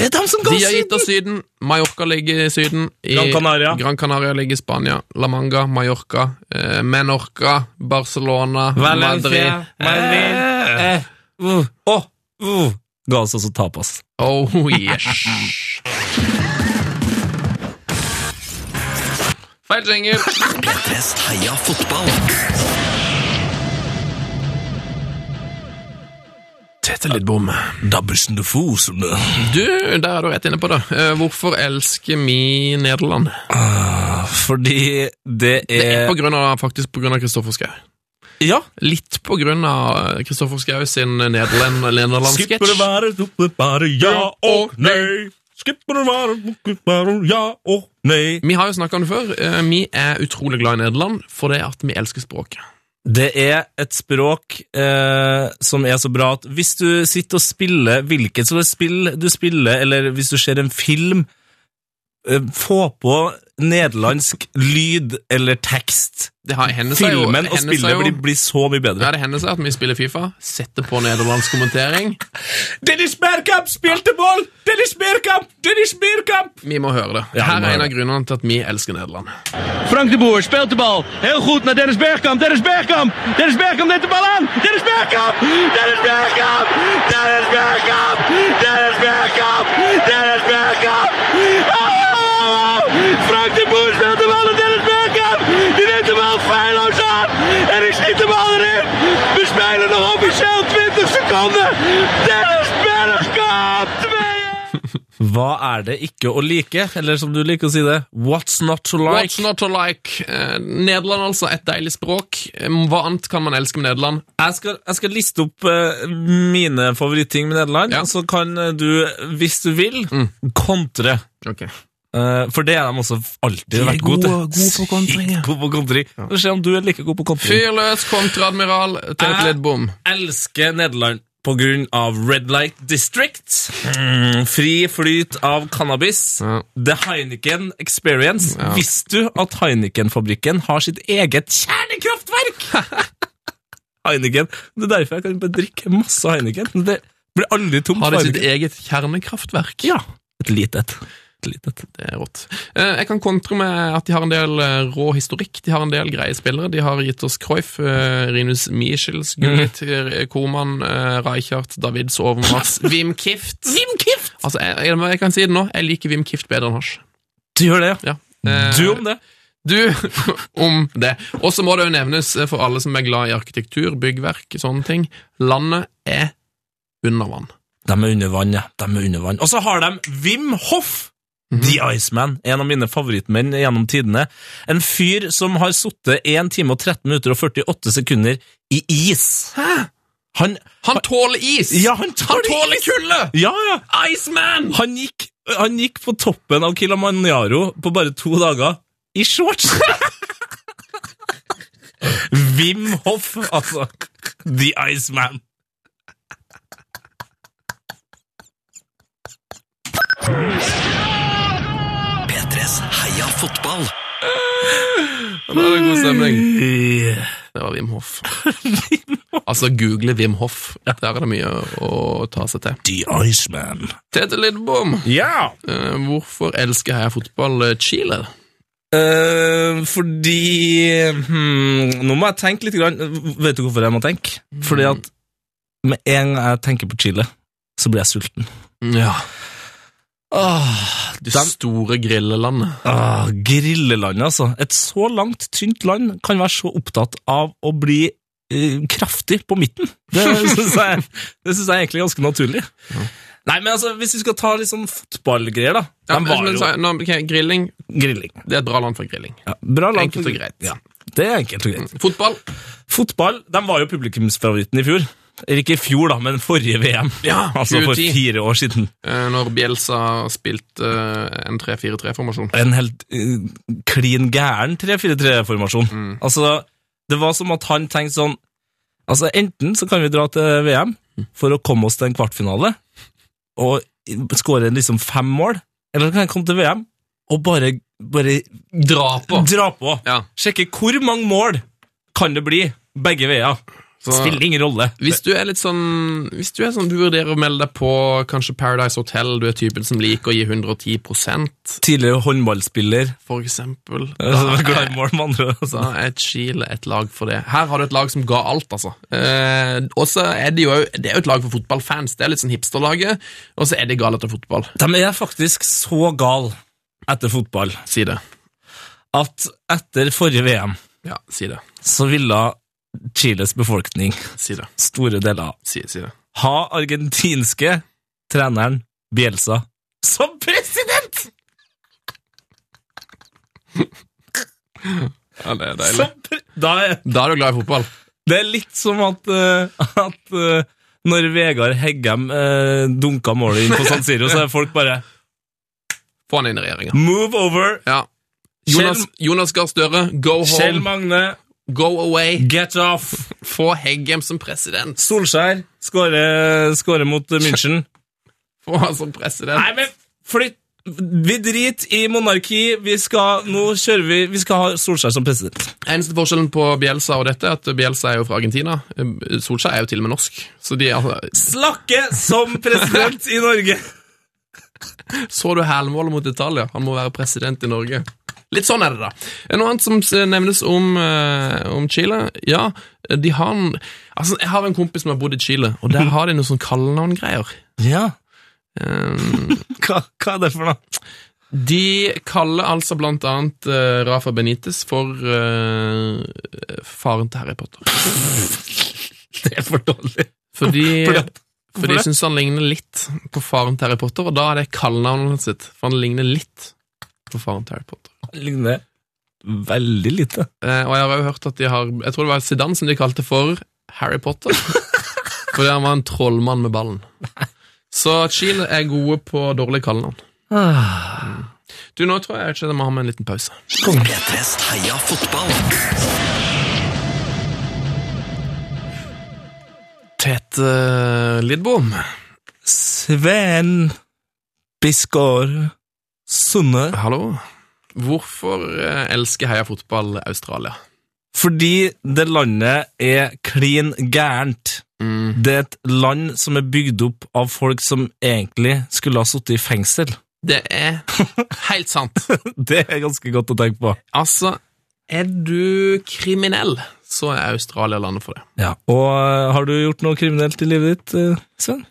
Speaker 2: Det er dem som
Speaker 1: De
Speaker 2: går
Speaker 1: har gitt
Speaker 2: syden!
Speaker 1: oss Syden. Mallorca ligger i Syden. I
Speaker 2: Gran Canaria.
Speaker 1: Gran Canaria ligger i Spania. La Manga, Mallorca, eh, Menorca, Barcelona, Madrid.
Speaker 2: Madrid. Uh, oh, uh. Ga oss også tapas.
Speaker 1: Oh yes. Feil jingle.
Speaker 4: P3s Heia fotball.
Speaker 1: Tete Lidbom.
Speaker 2: Dabbersen de Fosen.
Speaker 1: Du, der er du rett inne på det. Eh, Hvorfor elsker vi Nederland?
Speaker 2: Fordi det
Speaker 1: Det er
Speaker 2: er
Speaker 1: på grunn av, faktisk på grunn av Kristoffer Schau.
Speaker 2: Ja!
Speaker 1: Litt på grunn av Kristoffer Schau sin nederland-
Speaker 2: Skipper det
Speaker 1: nederlandssketsj.
Speaker 2: være, skipper det være, ja og nei. Skipper det være, skipper det være, ja og nei.
Speaker 1: Vi har jo snakka om det før. eh, Vi er utrolig glad i Nederland fordi at vi elsker språket.
Speaker 2: Det er et språk eh, som er så bra at hvis du sitter og spiller hvilket som helst spill du spiller, eller hvis du ser en film, eh, få på nederlandsk lyd eller tekst.
Speaker 1: Det har hender seg jo,
Speaker 2: Filmen og
Speaker 1: hender seg
Speaker 2: spillet
Speaker 1: jo-
Speaker 2: blir, blir så mye bedre.
Speaker 1: Ja, det hender seg at vi spiller Fifa, setter på nederlandsk kommentering.
Speaker 2: (laughs) Dennis Bergkamp spilte mål! Dennis Bergkamp! Dennis Bergkamp!
Speaker 1: Vi må høre det.
Speaker 2: Ja, vi
Speaker 1: Her
Speaker 2: må
Speaker 1: er en
Speaker 2: høre
Speaker 1: av grunnene til at vi elsker Nederland.
Speaker 3: Frank de Boer speelt de bal. Heel goed naar Dennis Bergkamp. Dennis Bergkamp. Dennis Bergkamp neemt de bal aan. Dennis Bergkamp. Dennis Bergkamp. Dennis Bergkamp. Dennis Bergkamp. Dennis Bergkamp. Oh! Frank de Boer speelt de bal naar Dennis Bergkamp. Die neemt de bal feilloos aan. En ik schiet de bal erin. We spelen nog officieel 20 seconden. Dennis Bergkamp. 2-1.
Speaker 2: Hva er det ikke å like? Eller som du liker å si det, what's not to like?
Speaker 1: What's not to like? Eh, Nederland, altså. Et deilig språk. Eh, Hva annet kan man elske med Nederland?
Speaker 2: Jeg, skal, jeg skal liste opp eh, mine favorittting med Nederland,
Speaker 1: Ja. Mm.
Speaker 2: så kan eh, du, hvis du vil, kontre.
Speaker 1: Ok.
Speaker 2: Eh, for det er de også alltid vært gode til.
Speaker 1: gode på kontring, ja.
Speaker 2: Sykt gode på kontring. Så Se om du er like god på kontring.
Speaker 1: Fyr løs, kontreadmiral Tete
Speaker 2: Jeg-
Speaker 1: Lidbom.
Speaker 2: elsker Nederland på grunn av Red Light District. Mm, fri flyt av cannabis.
Speaker 1: Ja.
Speaker 2: The Heineken Experience. Visste du at Heineken-fabrikken har sitt eget
Speaker 1: (laughs)
Speaker 2: kjernekraftverk? Heineken. Det er derfor jeg kan bare drikke masse Heineken. Det blir aldri tomt
Speaker 1: Har
Speaker 2: for
Speaker 1: de sitt
Speaker 2: Heineken.
Speaker 1: eget kjernekraftverk?
Speaker 2: Ja, et lite et. Splittlitet.
Speaker 1: Det er rått. Eh, Jeg kan kontre med at de har en del eh, rå historikk. De har en del greie spillere. De har gitt oss Cruyff, eh, Rinus Michels, Gullit, eh, Koman, eh, Rijkaard, Davids Overmars, Wim Kift. Wim Kift! Altså, jeg, jeg, jeg kan si det nå, jeg liker Wim Kift bedre enn Hasj.
Speaker 2: Du gjør det, ja.
Speaker 1: Ja. Eh,
Speaker 2: Du om det.
Speaker 1: Du (laughs) om det. Og så må det jo nevnes eh, for alle som er glad i arkitektur, byggverk, sånne ting. Landet er under vann.
Speaker 2: De er under vann, ja. De er under vann. Og så har de Wim Hoff! The Iceman, en av mine favorittmenn gjennom tidene. En fyr som har sittet 1 time og 13 minutter og 48 sekunder i is. Han,
Speaker 1: Han tåler is!
Speaker 2: ja, han tar
Speaker 1: Han tåler kulde!
Speaker 2: Ja, ja!
Speaker 1: Iceman!
Speaker 2: Han gikk, han gikk på toppen av Kilimanjaro på bare to dager i (laughs) shorts! Wim Hoff, altså. The Iceman.
Speaker 4: P3s Heia fotball.
Speaker 1: Ja, Det var en god stemning. Det var Wim (laughs) Hoff. Altså, google Wim Hoff. Der er det mye å ta seg til.
Speaker 2: The Iceman.
Speaker 1: Tete Lidbom,
Speaker 2: Ja!
Speaker 1: eh, hvorfor elsker jeg fotball eh, Chile?
Speaker 2: Eh, fordi hmm, Nå må jeg tenke litt. Grann. Vet du hvorfor jeg må tenke?
Speaker 1: Mm.
Speaker 2: Fordi at med en gang jeg tenker på chili, så blir jeg sulten.
Speaker 1: Ja,
Speaker 2: Åh,
Speaker 1: Det store grillelandet.
Speaker 2: ah, Grillelandet, altså. Et så langt, tynt land kan være så opptatt av å bli eh, kraftig på midten. Det syns jeg, det synes jeg er egentlig er ganske naturlig. Nei, men altså, Hvis vi skal ta litt sånn fotballgreier, da.
Speaker 1: Ja,
Speaker 2: De
Speaker 1: men,
Speaker 2: var
Speaker 1: men,
Speaker 2: jo
Speaker 1: så- nå, ok, grilling
Speaker 2: grilling.
Speaker 1: det er et bra land for grilling.
Speaker 2: Ja, bra land.
Speaker 1: Enkelt og greit.
Speaker 2: Ja, det er enkelt og greit.
Speaker 1: Fotball?
Speaker 2: Fotball de var jo publikumsfavoritten i fjor. Eller ikke i fjor, da, men forrige VM.
Speaker 1: Ja,
Speaker 2: altså for
Speaker 1: 2010.
Speaker 2: fire år siden.
Speaker 1: eh, Når Bielsa spilte eh, en 3-4-3-formasjon.
Speaker 2: En helt eh, klin gæren 3-4-3-formasjon.
Speaker 1: Mm.
Speaker 2: Altså, det var som at han tenkte sånn Altså, enten så kan vi dra til VM for å komme oss til en kvartfinale og skåre liksom fem mål, eller så kan jeg komme til VM og bare, bare
Speaker 1: Dra på!
Speaker 2: dra på.
Speaker 1: Ja.
Speaker 2: Sjekke hvor mange mål kan det bli begge veier.
Speaker 1: Så-
Speaker 2: Spiller ingen rolle.
Speaker 1: Hvis du er litt sånn Hvis du er sånn, du vurderer å melde deg på kanskje Paradise Hotel, du er typen som liker å gi 110
Speaker 2: Tidligere håndballspiller
Speaker 1: for eksempel. (laughs)
Speaker 2: (laughs) Altså, glad i mål, med andre ord. altså.
Speaker 1: Da er Chile et lag for det. Her har du et lag som ga alt, altså. Eh, og så er det jo det er jo et lag for fotballfans. Det er litt sånn hipsterlaget, og så er det galt etter fotball.
Speaker 2: De er faktisk så gal etter fotball
Speaker 1: Si det.
Speaker 2: at etter forrige VM
Speaker 1: Ja, si det.
Speaker 2: så ville Chiles befolkning,
Speaker 1: Si det.
Speaker 2: store deler,
Speaker 1: Si, si det.
Speaker 2: ha argentinske treneren Bielsa som president!
Speaker 1: Ja, det er
Speaker 2: Som pre da er,
Speaker 1: Da er du glad i fotball.
Speaker 2: det er litt som at, eh, at eh, når Vegard Heggem eh, dunka målet inn på San Siro, så er folk bare
Speaker 1: Få han inn i regjeringa.
Speaker 2: Move over!
Speaker 1: Ja. Jonas, Jonas Gahr Støre, go
Speaker 2: Kjell
Speaker 1: home,
Speaker 2: Magne,
Speaker 1: go away.
Speaker 2: get off!
Speaker 1: Få Heggem som president.
Speaker 2: Solskjær skårer skårer mot München.
Speaker 1: Få han som president.
Speaker 2: Nei, men flytt Vi driter i monarki. Vi skal, nå kjører vi Vi skal ha Solskjær som president.
Speaker 1: Eneste forskjellen på Bielsa og dette er at Bielsa er jo fra Argentina. Eh, Solskjær er jo til og med norsk. Så de, altså,
Speaker 2: Slakke som president i Norge!
Speaker 1: Så du Hælmålet mot Italia? Han må være president i Norge. Litt sånn er det, da. Noe annet som s- nevnes om, eh, om Chile? Ja, de har en Altså, jeg har en kompis som har bodd i Chile, og der har de noe sånn kallenavngreier.
Speaker 2: Ja,
Speaker 1: Eh,
Speaker 2: hva, hva er det for noe?
Speaker 1: De kaller altså blant annet eh, Rafa Benitez for eh, faren til Harry Potter.
Speaker 2: Det er for dårlig.
Speaker 1: Fordi
Speaker 2: Fordi at-
Speaker 1: For de
Speaker 2: det?
Speaker 1: syns han ligner litt på faren til Harry Potter, og da er det kallenavnet sitt. For han ligner litt på faren til Harry Potter.
Speaker 2: Han ligner veldig lite.
Speaker 1: Eh, og jeg har jo hørt at de har Jeg tror det var Zidane som de kalte for Harry (laughs) Potter. Fordi han var en trollmann med ballen. Så Chile er gode på dårlige kallenavn. Mm. Du, nå tror jeg ikke jeg må ha med en liten pause.
Speaker 4: P3s Heia fotball.
Speaker 1: Tete eh, Lidbom.
Speaker 2: Sven Bisgaard Sunde.
Speaker 1: Hallo. Hvorfor eh, elsker Heia Fotball Australia?
Speaker 2: Fordi det landet er klin gærent.
Speaker 1: Mm.
Speaker 2: Det er et land som er bygd opp av folk som egentlig skulle ha sittet i fengsel. (laughs)
Speaker 1: Det (laughs) er helt sant.
Speaker 2: Det er ganske godt å tenke på.
Speaker 1: Altså, er du kriminell, så er Australia landet for det.
Speaker 2: Ja. Og eh, har du gjort noe kriminelt i livet ditt, eh, Sven?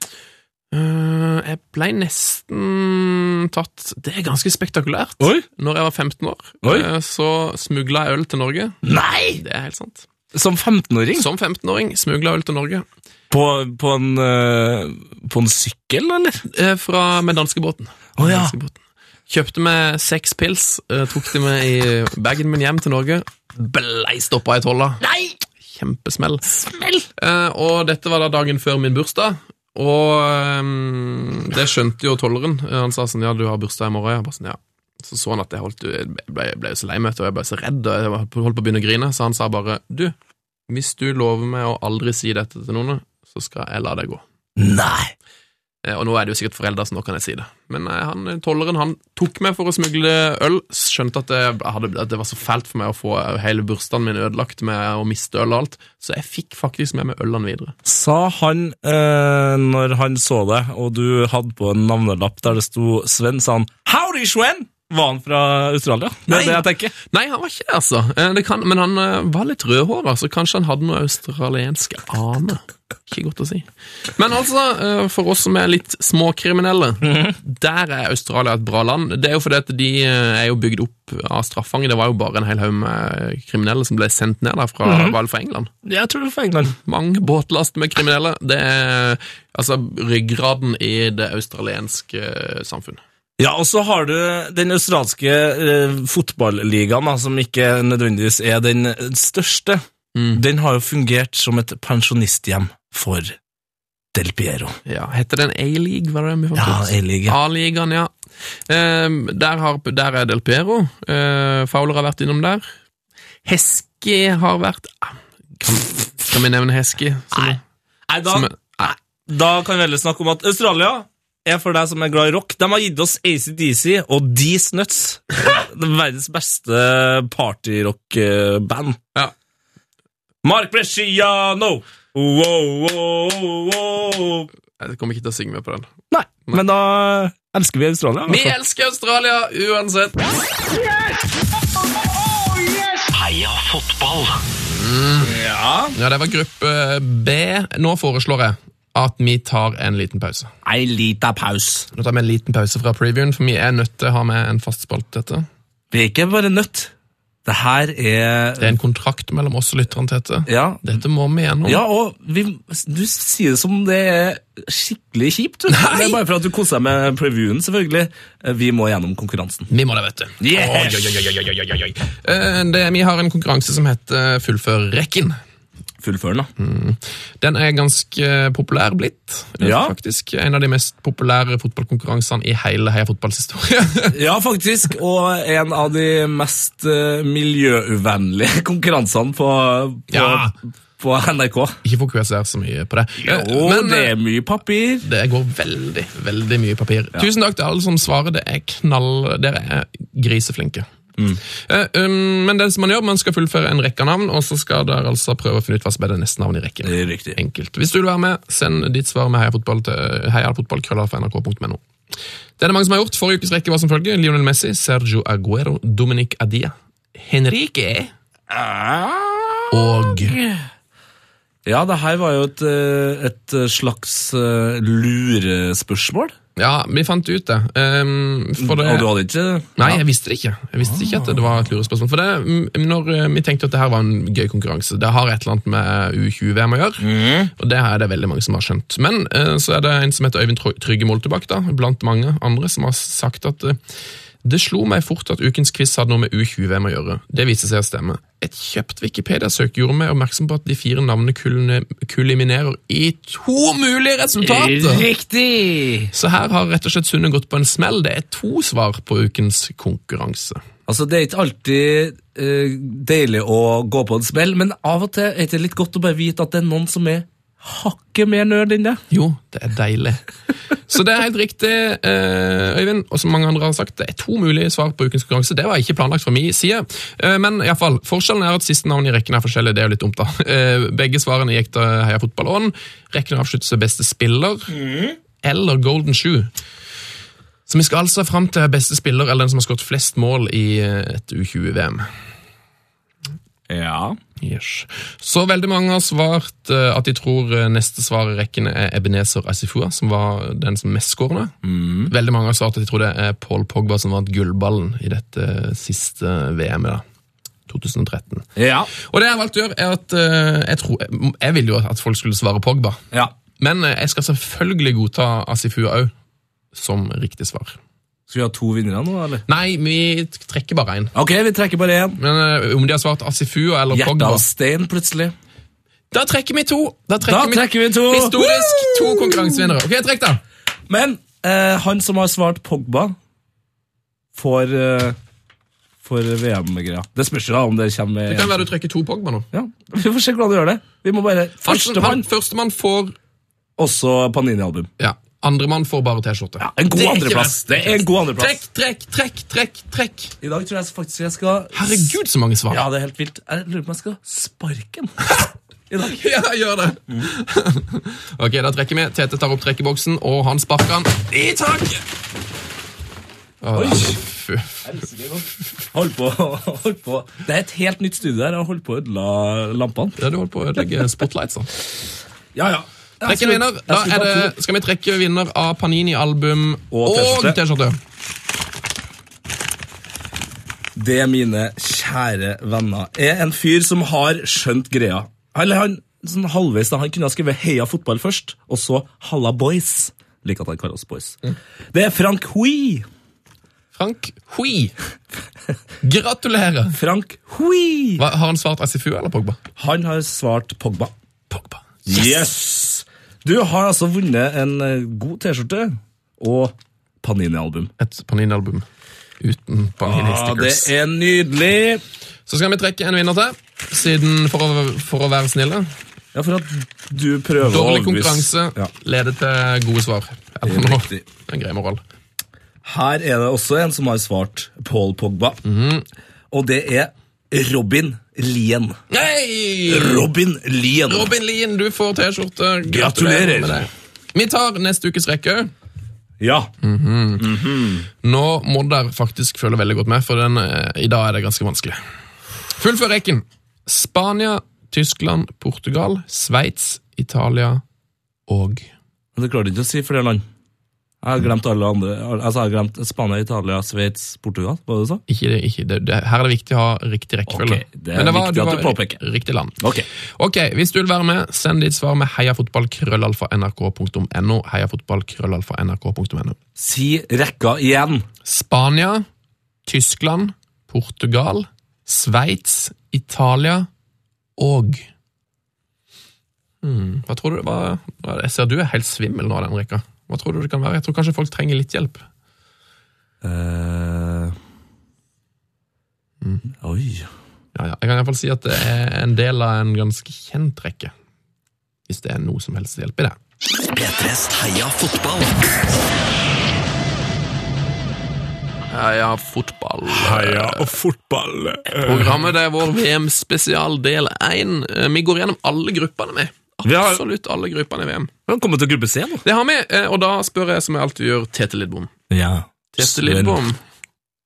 Speaker 1: Eh, jeg ble nesten tatt Det er ganske spektakulært.
Speaker 2: Oi.
Speaker 1: Når jeg var 15 år,
Speaker 2: Oi.
Speaker 1: eh, så smugla jeg øl til Norge.
Speaker 2: Nei!
Speaker 1: Det er helt sant.
Speaker 2: Som 15-åring?
Speaker 1: Som 15-åring smugla øl til Norge
Speaker 2: På, på, en, eh, på en sykkel, eller?
Speaker 1: eh, fra, med danskebåten.
Speaker 2: Å, ja.
Speaker 1: Danskebåten. Kjøpte meg seks pils, eh, tok de med i bagen min hjem til Norge. Blei stoppa i tolla.
Speaker 2: Nei!
Speaker 1: Kjempesmell. Eh, og dette var da dagen før min bursdag, og ehm, det skjønte jo tolleren. Eh, Han sa sånn, ja, du har bursdag i morgen. Jeg bare sånn, ja. Så så han at jeg holdt, jeg ble, jeg ble jo så lei meg, vet du, og jeg ble så redd, og jeg holdt på å begynne å grine, så han sa bare, du, hvis du lover meg å aldri si dette til noen, så skal jeg la deg gå.
Speaker 2: Nei!
Speaker 1: Eh, Og nå er det jo sikkert foreldre, så nå kan jeg si det. Men eh, han, tolleren han tok meg for å smugle øl. Skjønte at, jeg hadde, at det var så fælt for meg å få hele bursdagen min ødelagt med å miste øl og alt, så jeg fikk faktisk med meg ølene videre.
Speaker 2: Sa han, eh, når han så det, og du hadde på en navnelapp der det sto Sven, sa han 'Howdy, Sven'? Var han fra Australia? Det
Speaker 1: Nei.
Speaker 2: er det jeg tenker.
Speaker 1: Nei, han var ikke det, altså. Eh, Det kan, men han eh, var litt rødhåra, så kanskje han hadde noe australienske aner. Ikke godt å si. Men altså, eh, for oss som er litt småkriminelle, der er Australia et bra land. Det er jo fordi at de eh, er jo bygd opp av straffanger. Det var jo bare en hel haug med kriminelle som ble sendt ned der fra, var det fra England.
Speaker 2: Jeg tror det var fra England.
Speaker 1: Mange båtlast med kriminelle. Det er altså ryggraden i det australienske eh, samfunnet.
Speaker 2: Ja, og så har du den australske eh, fotballigaen, da, som ikke nødvendigvis er den største.
Speaker 1: Mm.
Speaker 2: Den har jo fungert som et pensjonisthjem for Del Piero.
Speaker 1: Ja, Heter det en A-league? var det vi fant
Speaker 2: Ja,
Speaker 1: ut?
Speaker 2: A-liga.
Speaker 1: A-ligaen, ja. Ehm, der, har, der er Del Piero. Eh, Fowler har vært innom der. Heski har vært ah, kan, Skal vi nevne Heski? som-
Speaker 2: Nei, da,
Speaker 1: som- nei.
Speaker 2: da kan vi heller snakke om at Australia er for deg som er glad i rock. De har gitt oss ACDC og Dees Nuts. (laughs) Det verdens beste partyrock-band.
Speaker 1: Ja.
Speaker 2: Mark Bresciano! Wow, wow, wow.
Speaker 1: Jeg kommer ikke til å synge med på den.
Speaker 2: Nei, men da elsker vi Australia. i hvert
Speaker 1: Vi
Speaker 2: fall.
Speaker 1: elsker Australia uansett!
Speaker 4: Heia fotball!
Speaker 1: Ja, Det var gruppe B. Nå foreslår jeg at vi tar en liten pause.
Speaker 2: Ei lita pause.
Speaker 1: Nå tar vi en liten pause fra previewen, for vi er nødt til å ha med en fast spalte til dette.
Speaker 2: Vi er ikke bare nødt. Det her er
Speaker 1: Det er en kontrakt mellom oss og lytterne til dette.
Speaker 2: Ja,
Speaker 1: Dette må vi gjennom.
Speaker 2: ja og vi, du sier det som det er skikkelig kjipt. Du. Det er bare for at du koser deg med previewen, selvfølgelig. Vi må gjennom konkurransen.
Speaker 1: Vi må det, vet du.
Speaker 2: Yes!
Speaker 1: Oi, oi, oi, oi, oi, oi, oi. Eh, Det, vi har en konkurranse som heter Fullfør rekken.
Speaker 2: Fullfør den,
Speaker 1: Mm.
Speaker 2: da.
Speaker 1: Den er ganske populær blitt, eh,
Speaker 2: Ja.
Speaker 1: faktisk. En av de mest populære fotballkonkurransene i hele Heia Fotballs historie.
Speaker 2: Ja, faktisk. Og en av de mest eh, miljøuvennlige (laughs) konkurransene på, på,
Speaker 1: Ja.
Speaker 2: på NRK.
Speaker 1: (laughs) Ikke fokuser så mye på det. Eh,
Speaker 2: Jo,
Speaker 1: Men
Speaker 2: det
Speaker 1: eh,
Speaker 2: er mye papir.
Speaker 1: det går veldig, veldig mye papir. Tusen takk til alle som svarer. Det er knall... Dere er griseflinke.
Speaker 2: Mm.
Speaker 1: Eh, um, Men det som man gjør, man skal fullføre en rekke av navn, og så skal dere altså prøve å finne ut hva som er det neste navnet i rekken.
Speaker 2: Det er riktig.
Speaker 1: enkelt. Hvis du vil være med, send ditt svar med heiafotball til heiafotballkrøllalfa.nrk.no. Det er det mange som har gjort. Forrige ukes rekke var som følger Lionel Messi, Sergio Aguero, Dominic Adia, Henrique
Speaker 2: Ah.
Speaker 1: og
Speaker 2: Ja, det her var jo et, eh, et slags eh, lurespørsmål.
Speaker 1: Ja, vi fant ut det. Ehm, for det
Speaker 2: Og du hadde ikke
Speaker 1: Nei, jeg visste det ikke. Jeg visste ikke at det var et lurespørsmål. For det, mm, når eh, Vi tenkte at det her var en gøy konkurranse. Det har et eller annet med U20-VM å gjøre. Og det her er det veldig mange som har skjønt. Men eh, så er det en som heter Øyvind Tro- Trygge Moltebakk, da, blant mange andre, som har sagt at eh, det slo meg fort at ukens quiz hadde noe med U20-VM å gjøre. Det viste seg å stemme. Et kjøpt Wikipedia-søk gjorde meg oppmerksom på at de fire navnene kulne- kuliminerer i to mulige resultater!
Speaker 2: Riktig!
Speaker 1: Så her har rett og slett Sunne gått på en smell. Det er to svar på ukens konkurranse.
Speaker 2: Altså, det er ikke alltid eh, deilig å gå på en smell, men av og til er det litt godt å bare vite at det er noen som er hakket mer nerd enn deg.
Speaker 1: Jo, det er deilig. Så det er helt riktig, eh, Øyvind, og som mange andre har sagt, det er to mulige svar på ukens konkurranse. Det var ikke planlagt fra min side, Eh, men i alle fall, forskjellen er at siste navn i rekken er forskjellig, det er jo litt dumt da. Eh, Begge svarene gikk til Heia Fotballånd, rekken avsluttes med beste spiller, eller Golden Shoe. Så vi skal altså fram til beste spiller, eller den som har skåret flest mål i eh, et U20-VM.
Speaker 2: Ja.
Speaker 1: Yes. Så veldig mange har svart eh, at de tror eh, neste svar i rekken er Ebenezer Asifua, som var den som mest skårende.
Speaker 2: Mm.
Speaker 1: Veldig mange har svart at de tror det er Paul Pogba som vant gullballen i dette eh, siste VM-et. da. 2013.
Speaker 2: Ja.
Speaker 1: Og det jeg har valgt å gjøre, er at eh, jeg, tror, jeg, jeg ville jo at folk skulle svare Pogba.
Speaker 2: ja.
Speaker 1: Men eh, jeg skal selvfølgelig godta Asifua òg som riktig svar.
Speaker 2: Skal vi ha to vinnere nå, eller?
Speaker 1: Nei, vi trekker bare én.
Speaker 2: Ok, vi trekker bare én.
Speaker 1: Men eh, om de har svart Asifua eller
Speaker 2: Hjertet
Speaker 1: Pogba
Speaker 2: av stein, plutselig.
Speaker 1: Da trekker vi to! Da trekker
Speaker 2: Da
Speaker 1: vi
Speaker 2: trekker vi to.
Speaker 1: Historisk to konkurransevinnere. Ok, trekk da.
Speaker 2: Men eh, han som har svart Pogba, får, eh, får VM-greia. Det spørs jo da om det kommer
Speaker 1: Det kan være du trekker to Pogba nå.
Speaker 2: ja. Vi får se hvordan du gjør det. Vi må bare Førstemann!
Speaker 1: Førstemann Førstemann får
Speaker 2: Også Panini-album.
Speaker 1: Ja. Andremann får bare T-skjorte.
Speaker 2: Ja, en god
Speaker 1: Det er ikke
Speaker 2: andreplass.
Speaker 1: verst.
Speaker 2: Det er en god andreplass.
Speaker 1: Trekk, trekk, trekk, trekk. trekk.
Speaker 2: I dag tror jeg faktisk jeg skal
Speaker 1: Herregud, så mange svar.
Speaker 2: Ja, det er helt vilt. Jeg lurer på om jeg skal sparke den.
Speaker 1: (laughs) Ja, gjør det. ok, da trekker vi. Tete tar opp trekkeboksen, og han sparker han i taket. Å, nei, fy.
Speaker 2: Hold på, hold på. Det er et helt nytt studio her. Jeg har holdt på å ødela lampene.
Speaker 1: Ja, du holdt på å ødelegge spotlightsa.
Speaker 2: Ja, ja. Jeg
Speaker 1: Trekk en
Speaker 2: skulle-
Speaker 1: vinner.
Speaker 2: jeg
Speaker 1: Da
Speaker 2: skulle
Speaker 1: er
Speaker 2: ta to.
Speaker 1: det, skal vi trekke vinner av Panini-album
Speaker 2: Og
Speaker 1: og
Speaker 2: T-skjorte.
Speaker 1: T-skjorte.
Speaker 2: Det, mine kjære venner, er en fyr som har skjønt greia. Eller han, sånn halvveis da, han kunne ha skrevet Heia fotball først, og så Halla boys. Liker at han kaller oss boys. Det er Frank Hui.
Speaker 1: Frank (laughs) Hui. Gratulerer.
Speaker 2: Frank Hui.
Speaker 1: Hva, har han svart SFU eller Pogba?
Speaker 2: Han har svart Pogba.
Speaker 1: Pogba.
Speaker 2: Yes! Du har altså vunnet en eh, god T-skjorte og Panini-album.
Speaker 1: Et Panini-album uten
Speaker 2: Ja, Ah, det
Speaker 1: Panini-stickers.
Speaker 2: er nydelig.
Speaker 1: Så skal vi trekke en vinner til, siden for å, for å være snille.
Speaker 2: Ja, for at du prøver å
Speaker 1: Dårlig
Speaker 2: overbevise-
Speaker 1: konkurranse
Speaker 2: Ja.
Speaker 1: leder til gode svar. Eller
Speaker 2: Det er
Speaker 1: noe.
Speaker 2: riktig.
Speaker 1: Det er En grei moral.
Speaker 2: Her er det også en som har svart Paul Pogba. Og det er Robin Lien.
Speaker 1: Hei!
Speaker 2: Robin Lien.
Speaker 1: Robin Lien, du får T-skjorte.
Speaker 2: Gratulerer.
Speaker 1: med det. Vi tar neste ukes rekke.
Speaker 2: Ja.
Speaker 1: Nå må dere faktisk følge veldig godt med, for den, eh, i dag er det ganske vanskelig. Fullfør rekken. Spania, Tyskland, Portugal, Sveits, Italia og
Speaker 2: Men Det klarte du ikke å si flere land. Jeg har glemt alle andre. Altså, jeg har glemt Spania, Italia, Sveits, Portugal. Var det du sa?
Speaker 1: ikke, det- ikke, det, det, Her er det viktig å ha riktig rekkefølge.
Speaker 2: Ok, det er
Speaker 1: Men
Speaker 2: viktig at du
Speaker 1: ri-
Speaker 2: påpeker.
Speaker 1: Riktig land.
Speaker 2: Ok.
Speaker 1: Ok, Hvis du vil være med, send ditt svar med heiafotballkrøllalfa.nrk.no. heiafotballkrøllalfa.nrk.no.
Speaker 2: Si rekka igjen.
Speaker 1: Spania, Tyskland, Portugal, Sveits, Italia og hmm, Hva tror du det var? Jeg ser du er helt svimmel nå av den rekka. Hva tror du det kan være? Jeg tror kanskje folk trenger litt hjelp.
Speaker 2: Eh, Oi.
Speaker 1: Ja, ja. Jeg kan i hvert fall si at det er en del av en ganske kjent rekke. Hvis det er noe som helst hjelp i det.
Speaker 4: P3s Heia fotball.
Speaker 1: Heia fotball.
Speaker 2: og fotball.
Speaker 1: Programmet det er vår VM-spesial del én. Eh, Vi går gjennom alle gruppene med.
Speaker 2: Vi har-
Speaker 1: Absolutt alle gruppene i VM.
Speaker 2: Velkommen til gruppe C nå.
Speaker 1: Det har vi, eh, og da spør jeg som jeg alltid gjør, Tete Lidbom.
Speaker 2: Ja.
Speaker 1: Tete Lidbom,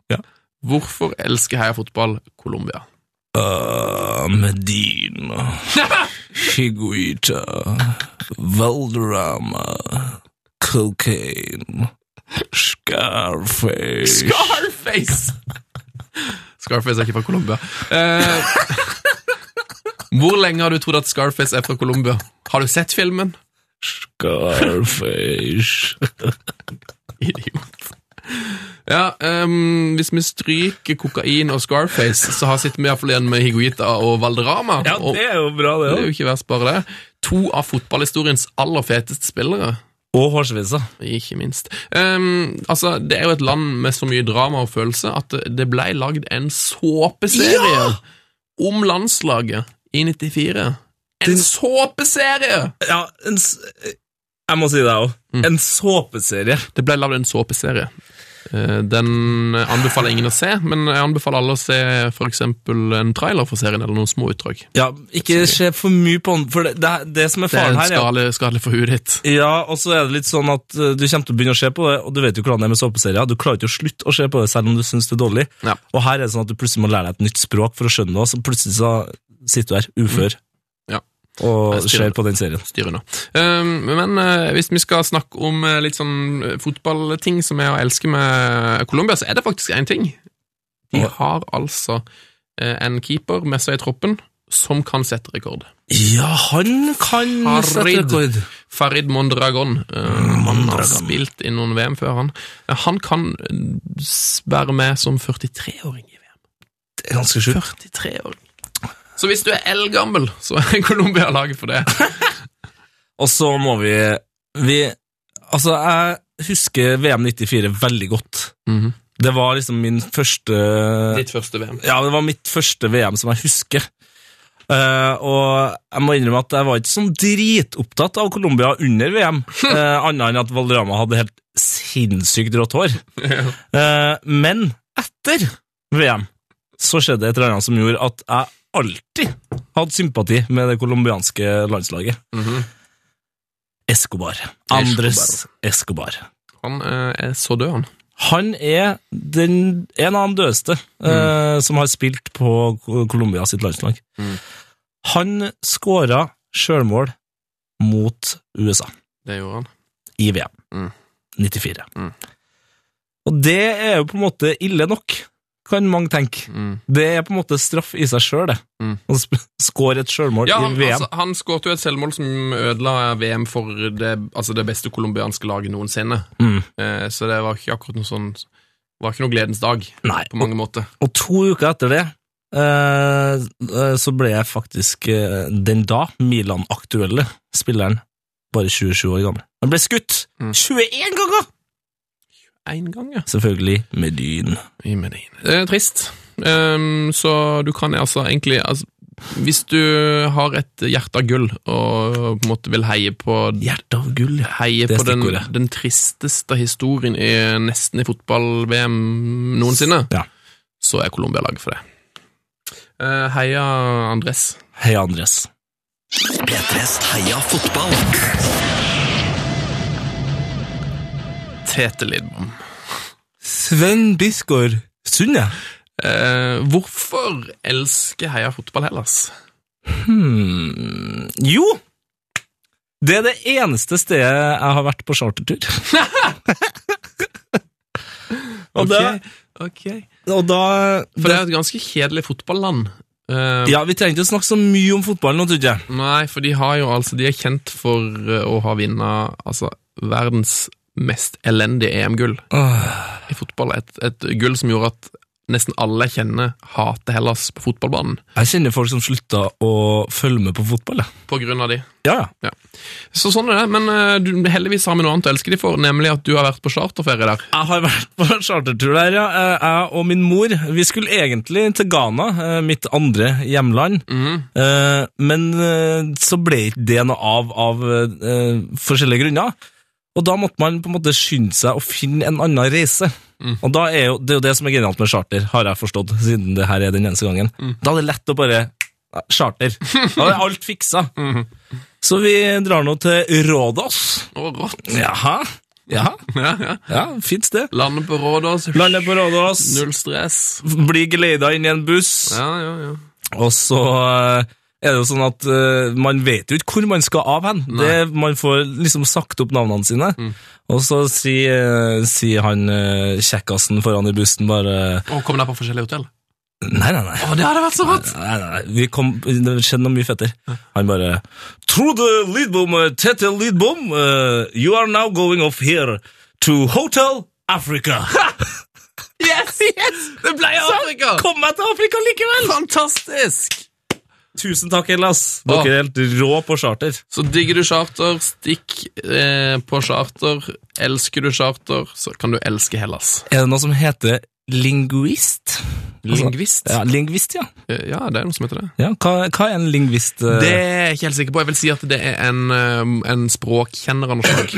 Speaker 2: Ja.
Speaker 1: hvorfor elsker heia fotball Colombia?
Speaker 2: Uh, (laughs) Medina, Higuita, Valderrama, Cocaine, Scarface
Speaker 1: Scarface! (laughs) Scarface er ikke fra Colombia. Eh, (laughs) hvor lenge har du trodd at Scarface er fra Colombia? Har du sett filmen?
Speaker 2: Scarface
Speaker 1: Idiot. Ja, ehm, hvis vi stryker kokain og Scarface, så har sitter vi iallfall igjen med Higuita og Valderrama. og,
Speaker 2: er jo bra,
Speaker 1: det er jo ikke verst, bare det. To av fotballhistoriens aller feteste spillere.
Speaker 2: Og hårsvisa.
Speaker 1: Ikke minst. Ehm, altså, Det er jo et land med så mye drama og følelse at det- det ble lagd en såpeserie om landslaget i 94. En såpeserie!
Speaker 2: Ja, Mm. en s- Jeg må si det òg. En såpeserie.
Speaker 1: Det ble lagd en såpeserie Eh, Den anbefaler ingen å se, men jeg anbefaler alle å se for eksempel en trailer for serien, eller noen små utdrag.
Speaker 2: Ja, ikke se for mye på den, for det, det, det som er
Speaker 1: Det er
Speaker 2: faren
Speaker 1: en
Speaker 2: her, er
Speaker 1: skadelig, skadelig for huet ditt.
Speaker 2: Ja, og så er det litt sånn at eh, du kommer til å begynne å se på det, og du vet jo hvordan det er med såpeserier. Du klarer ikke å slutte å se på det selv om du syns det er dårlig.
Speaker 1: Ja.
Speaker 2: Og her er det sånn at du plutselig må lære deg et nytt språk for å skjønne det, og så plutselig så sitter du her ufør
Speaker 1: Ja.
Speaker 2: og
Speaker 1: Jeg styrer.
Speaker 2: ser på den serien.
Speaker 1: styr unna. Ehm, men eh, hvis vi skal snakke om eh, litt sånn eh, fotballting som jeg elsker med eh, Colombia, så er det faktisk én ting. De har altså eh, en keeper med seg i troppen som kan sette rekord.
Speaker 2: Ja, han kan sette
Speaker 1: Farid.
Speaker 2: rekord.
Speaker 1: Farid Mondragon. eh, han har spilt i noen VM før, han. Eh, han kan eh, s- være med som 43-åring i VM.
Speaker 2: Det er ganske sjukt.
Speaker 1: 43-åring. Så hvis du er eldgammel, så er Colombia laget for det.
Speaker 2: Og så må vi, vi Altså, jeg husker VM 94 veldig godt.
Speaker 1: Mhm.
Speaker 2: Det var liksom min første
Speaker 1: Ditt første VM.
Speaker 2: Ja, det var mitt første VM som jeg husker. Eh, og jeg må innrømme at jeg var ikke sånn dritopptatt av Colombia under VM, eh, annet enn at Valderama hadde helt sinnssykt rått hår. Eh, men etter VM så skjedde et eller annet som gjorde at jeg alltid hadde sympati med det colombianske landslaget.
Speaker 1: Mhm.
Speaker 2: Escobar. Andres Escobar.
Speaker 1: Han eh, er så død, han.
Speaker 2: Han er den, en av de dødeste eh, som har spilt på Colombia sitt landslag.
Speaker 1: Mm.
Speaker 2: Han skåra sjølmål mot USA
Speaker 1: Det gjorde han.
Speaker 2: i VM
Speaker 1: Mm.
Speaker 2: 94.
Speaker 1: Mm.
Speaker 2: Og det er jo på en måte ille nok, kan mange tenke.
Speaker 1: Mm.
Speaker 2: Det er på en måte straff i seg sjøl, det.
Speaker 1: Mm.
Speaker 2: Å sp- skåre et sjølmål
Speaker 1: Ja,
Speaker 2: i
Speaker 1: han,
Speaker 2: VM.
Speaker 1: altså, han skåret jo et selvmål som ødela VM for det, altså det beste colombianske laget noensinne.
Speaker 2: Mm.
Speaker 1: Eh, så det var ikke akkurat noe sånn var ikke noe gledens dag
Speaker 2: Nei,
Speaker 1: på mange måter.
Speaker 2: Og to uker etter det eh, eh, så ble jeg faktisk eh, den da Milan-aktuelle spilleren, bare 27 år gammel. Han ble skutt
Speaker 1: Mm.
Speaker 2: 21 ganger!
Speaker 1: Én gang, ja.
Speaker 2: Selvfølgelig med dyn.
Speaker 1: I Medellin. Eh, trist. Ehm, så du kan altså egentlig altså, Hvis du har et hjerte av gull og på en måte vil heie på
Speaker 2: Hjerte av gull, ja.
Speaker 1: Heie
Speaker 2: Det er
Speaker 1: på den,
Speaker 2: stikkordet.
Speaker 1: den tristeste historien i, nesten i fotball-VM noensinne,
Speaker 2: Ja.
Speaker 1: så er Colombia laget for det. Eh, heia Andres.
Speaker 2: Hei, Andres.
Speaker 4: P3s Heia fotball.
Speaker 1: Tete Lidbom.
Speaker 2: Sven Bisgaard Sunde.
Speaker 1: Eh, hvorfor elsker Heia Fotball Hellas?
Speaker 2: Hmm. Jo! Det er det eneste stedet jeg har vært på
Speaker 1: (laughs)
Speaker 2: chartertur. og, da- og da
Speaker 1: For det er jo et ganske kjedelig fotballand. Eh,
Speaker 2: Ja, vi trenger ikke å snakke så mye om fotballen nå, trodde jeg.
Speaker 1: Nei, for de har jo altså De er kjent for eh, å ha vinnet altså, verdens mest elendige EM-gull i fotball. Et, et gull som gjorde at nesten alle jeg kjenner, hater Hellas på fotballbanen.
Speaker 2: Jeg kjenner folk som slutta å følge med på fotball, jeg.
Speaker 1: På grunn av de.
Speaker 2: Ja, ja.
Speaker 1: Så sånn er det, men eh, du, heldigvis har vi noe annet å elske de for, nemlig at du har vært på charterferie der.
Speaker 2: Jeg har vært på chartertur der, ja. Eh, Jeg og min mor vi skulle egentlig til Ghana, eh, mitt andre hjemland. Eh, Men eh, så ble ikke det noe av av eh, forskjellige grunner. Og da måtte man på en måte skynde seg å finne en annen reise. Og da er jo, Det er jo det som er genialt med charter, har jeg forstått, siden det her er den eneste gangen. Da er det lett å bare eh, Charter. Da er alt fiksa. Så vi drar nå til Rådås.
Speaker 1: Å, rått!
Speaker 2: Jaha. Jaha.
Speaker 1: (laughs) Ja, ja.
Speaker 2: Ja, fint sted.
Speaker 1: Landet på Rådås,
Speaker 2: Lander på Rådås,
Speaker 1: null stress.
Speaker 2: blir geleida inn i en buss,
Speaker 1: Ja, ja, ja.
Speaker 2: og så eh, er det jo sånn at eh, man vet jo ikke hvor man skal av hen. Det, man får liksom sagt opp navnene sine,
Speaker 1: Mm.
Speaker 2: og så sier sier han eh, kjekkasen foran i bussen bare
Speaker 1: Og kom der på forskjellige hotell.
Speaker 2: Nei, nei, nei.
Speaker 1: Å, det hadde vært så rått!
Speaker 2: Nei, nei, nei, vi kom, det skjedde noe mye fettere. Han bare Trude Lidbom, eh, Tete Lidbom, eh, you are now going off here to Hotel Africa.
Speaker 1: (laughs)
Speaker 2: (laughs) Sånn!
Speaker 1: Yes! yes! Det ble Afrika!
Speaker 2: Kom meg til Afrika likevel!
Speaker 1: Fantastisk!
Speaker 2: Tusen takk, Hellas. Dere er helt rå på charter.
Speaker 1: Så digger du charter, stikk eh, på charter. Elsker du charter, så kan du elske Hellas.
Speaker 2: Er det noe som heter lingvist?
Speaker 1: Lingvist?
Speaker 2: Ja, lingvist, ja.
Speaker 1: Eh, Ja, det er noe som heter det.
Speaker 2: ja hva, hva er en lingvist? eh?
Speaker 1: Det er jeg ikke helt sikker på. Jeg vil si at det er en, eh, en språkkjenner av noe slag.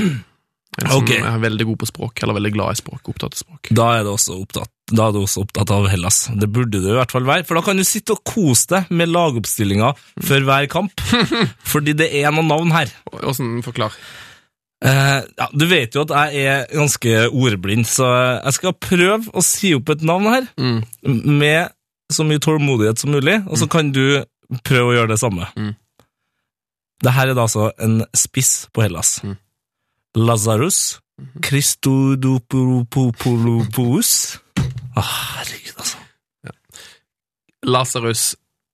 Speaker 1: En som
Speaker 2: Ok.
Speaker 1: er veldig god på språk, eller veldig glad i språk, opptatt av språk.
Speaker 2: Da er, det også opptatt, da er du også opptatt av Hellas. Det burde du i hvert fall være, for da kan du sitte og kose deg med lagoppstillinga før hver (laughs) kamp. Fordi det er noen navn her.
Speaker 1: Åssen forklar?
Speaker 2: Eh, ja, du vet jo at jeg er ganske ordblind, så jeg skal prøve å si opp et navn her
Speaker 1: Mm.
Speaker 2: med så mye tålmodighet som mulig, og så kan du prøve å gjøre det samme.
Speaker 1: Mm.
Speaker 2: Det her er da altså en spiss på Hellas.
Speaker 1: Mm. Mhm.
Speaker 2: Lazarus Christodopoulos ah, Herregud, altså.
Speaker 1: Lasarus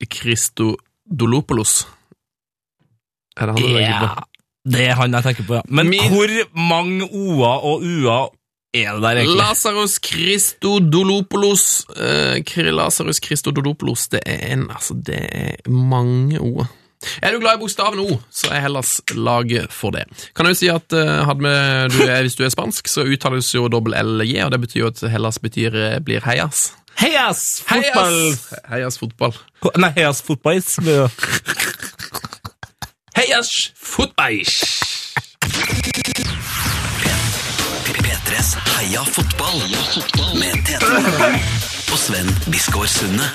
Speaker 1: Christodolopolos. Er det han du tenker på?
Speaker 2: Ja, det er han jeg tenker på, ja. Men
Speaker 1: Min-
Speaker 2: hvor mange o-er og u-er er det der, egentlig?
Speaker 1: Lasarus Christodolopolos eh, Kri- Lasarus Christodolopolos Det er en, altså det er mange ord Er du glad i bokstaven O Så er Hellas laget for det Kan jeg jo si at eh, hadde vi- du er, Hvis du er spansk så uttales jo dobbelt L-J Og det betyr jo at Hellas betyr, eh, blir heias
Speaker 2: Heias! Fotball!
Speaker 1: Heias, heias fotball
Speaker 2: Ko- Nei, Heias fotball.
Speaker 1: Heias fotball
Speaker 4: P3s Heia fotball. Med Tete Lidbom og Sven Biskår Sunde.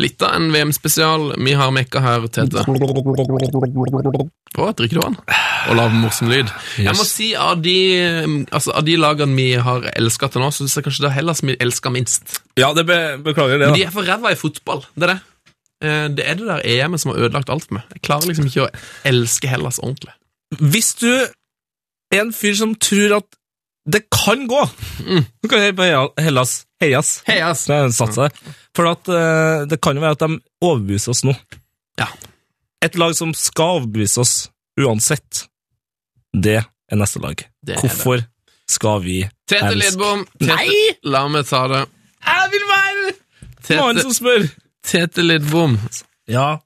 Speaker 1: Litt av en VM-spesial Vi har mekka her, Tete Å, drikker du vann? Og lager morsom lyd. Jeg må si av de, altså, av de lagene vi har elska til nå, så syns jeg kanskje det er Hellas vi elsker minst.
Speaker 2: Ja, det beklager det,
Speaker 1: Men de er for ræva i fotball. Det er det. Eh, Det er det der EM-et som har ødelagt alt for meg. Jeg klarer liksom ikke å elske Hellas ordentlig.
Speaker 2: Hvis du er en fyr som tror at det kan gå,
Speaker 1: Mm.
Speaker 2: så kan du heie på Heia- Hellas. Heias.
Speaker 1: Heias!
Speaker 2: Så jeg satser det. For at, eh, det kan jo være at de overbeviser oss nå.
Speaker 1: Ja.
Speaker 2: Et lag som skal overbevise oss uansett, det er neste lag.
Speaker 1: Det er det.
Speaker 2: Hvorfor skal vi
Speaker 1: Tete
Speaker 2: elsk.
Speaker 1: Lidbom. Tete,
Speaker 2: Nei!
Speaker 1: La meg ta det.
Speaker 2: Jeg vil være mannen
Speaker 1: Tete,
Speaker 2: som spør!
Speaker 1: Tete Lidbom,
Speaker 2: Ja,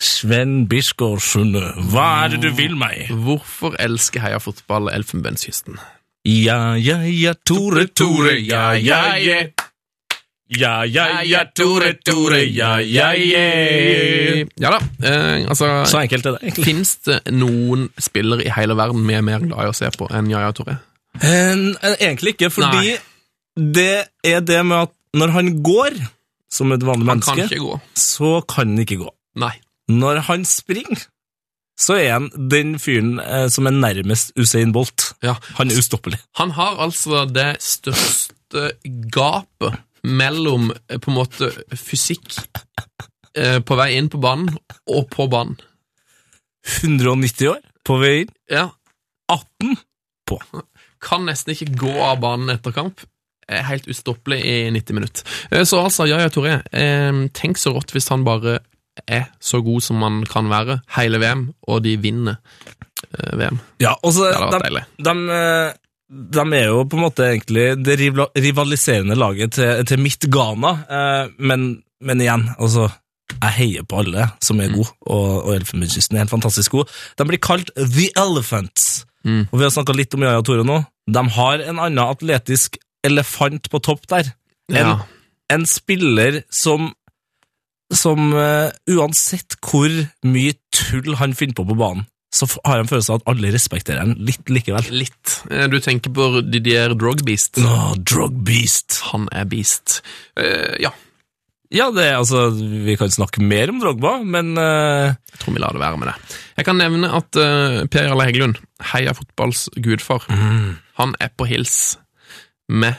Speaker 2: Sven Biskår Sunde, hva er det du vil meg?
Speaker 1: hvorfor elsker heia fotball Elfenbenskysten?
Speaker 2: Ja, ja, ja, Tore, Tore, ja, ja, ja. Ja, ja, ja, Tore, Tore, ja, ja, ja.
Speaker 1: Ja da. Eh, altså
Speaker 2: Så enkelt er det, egentlig.
Speaker 1: Fins det noen spillere i hele verden vi er mer glad i å se på enn Yaya Torre?
Speaker 2: En- en- Egentlig ikke, fordi det er det med at når han går, som et vanlig
Speaker 1: Han kan
Speaker 2: menneske,
Speaker 1: ikke gå.
Speaker 2: så kan han ikke gå.
Speaker 1: Nei.
Speaker 2: Når han springer, så er han den fyren eh, som er nærmest Usain Bolt.
Speaker 1: Ja.
Speaker 2: Han er ustoppelig.
Speaker 1: Han har altså det største gapet mellom eh, på en måte fysikk eh, på vei inn på banen og på banen.
Speaker 2: 190 år på vei inn.
Speaker 1: Ja.
Speaker 2: 18 på.
Speaker 1: Kan nesten ikke gå av banen etter kamp. Er helt ustoppelig i 90 minutter. Eh, Så altså, Yaya Torre, eh, tenk så rått hvis han bare er så god som han kan være hele VM, og de vinner eh, VM.
Speaker 2: Ja, og så
Speaker 1: Det hadde vært
Speaker 2: de,
Speaker 1: deilig.
Speaker 2: de, eh, de er jo på en måte egentlig det rival- rivaliserende laget til, til mitt Ghana, eh, men, men igjen, altså jeg heier på alle som er gode, og, og Elfenbenskysten er helt fantastisk god. De blir kalt The Elephants,
Speaker 1: Mm.
Speaker 2: og vi har snakket litt om Jaja og Tore nå. De har en annen atletisk elefant på topp der. En,
Speaker 1: Ja.
Speaker 2: en spiller som som eh, uansett hvor mye tull han finner på på banen, så f- har jeg en følelse av at alle respekterer han litt likevel.
Speaker 1: Litt. Eh, Du tenker på Didier Drogbeast.
Speaker 2: Åh, drug beast.
Speaker 1: Han er beast. Eh, ja,
Speaker 2: Ja, det er altså Vi kan snakke mer om Drogba, men eh,
Speaker 1: jeg tror vi lar det være med det. Jeg kan nevne at eh, Per Jarle Heggelund, heia fotballs gudfar, han er på hils med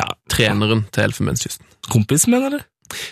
Speaker 2: ja,
Speaker 1: treneren til Elfenbenskysten.
Speaker 2: Kompis, mener du?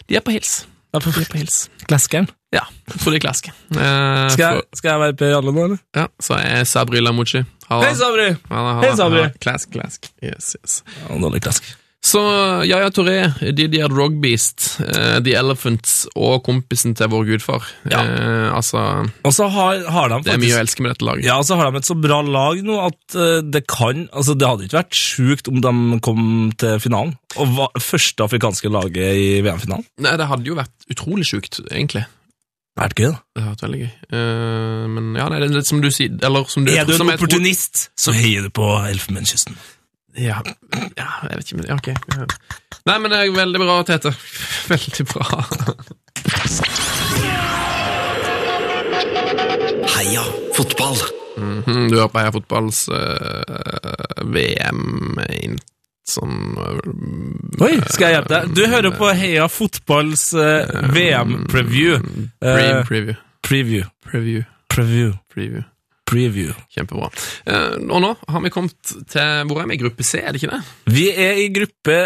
Speaker 1: De er på hils.
Speaker 2: Ja, på, på hils. Glaskeren.
Speaker 1: Ja, jeg tror de klasker. Eh,
Speaker 2: Skal, jeg- skal jeg være Per Jarle nå, eller?
Speaker 1: for- ja, så er Sabri Lamucci Halla.
Speaker 2: Hei, Sabri!
Speaker 1: Halla, halla,
Speaker 2: Hei, Sabri.
Speaker 1: halla. Klask, klask. Yes, yes.
Speaker 2: Ja, dårlig klask.
Speaker 1: Så Yaya Toré, Didier Drogbeast, eh, The Elephants og kompisen til vår gudfar.
Speaker 2: Ja.
Speaker 1: Eh, altså,
Speaker 2: Og så har, har de
Speaker 1: det er mye
Speaker 2: faktisk
Speaker 1: å elske med dette laget.
Speaker 2: ja, og så har de et så bra lag nå at eh, det kan Altså, det hadde ikke vært sjukt om de kom til finalen og var første afrikanske laget i VM-finalen.
Speaker 1: Nei, det hadde jo vært utrolig sjukt, egentlig.
Speaker 2: Det hadde vært gøy, da.
Speaker 1: Det hadde vært veldig gøy. Eh, men ja, nei, det er litt som du sier Eller som du
Speaker 2: Er du
Speaker 1: som
Speaker 2: en
Speaker 1: jeg tror-
Speaker 2: opportunist, så heier du på Elfenbenskysten.
Speaker 1: Ja, ja, jeg vet ikke, men ja, ok. Ja. Nei, men det er veldig bra, Tete. (laughs) Veldig bra.
Speaker 4: Heia fotball.
Speaker 1: Mhm, Du hører på Heia Fotballs eh, VM inn, sånn eh,
Speaker 2: Oi, skal jeg hjelpe deg? Du hører på Heia fotballs eh, VM-preview.
Speaker 1: pre
Speaker 2: Eh,
Speaker 1: preview.
Speaker 2: preview.
Speaker 1: Preview.
Speaker 2: Preview.
Speaker 1: Preview.
Speaker 2: Preview.
Speaker 1: Kjempebra. Eh, og nå har vi kommet til Hvor er vi? Gruppe C, er det ikke det?
Speaker 2: Vi er i gruppe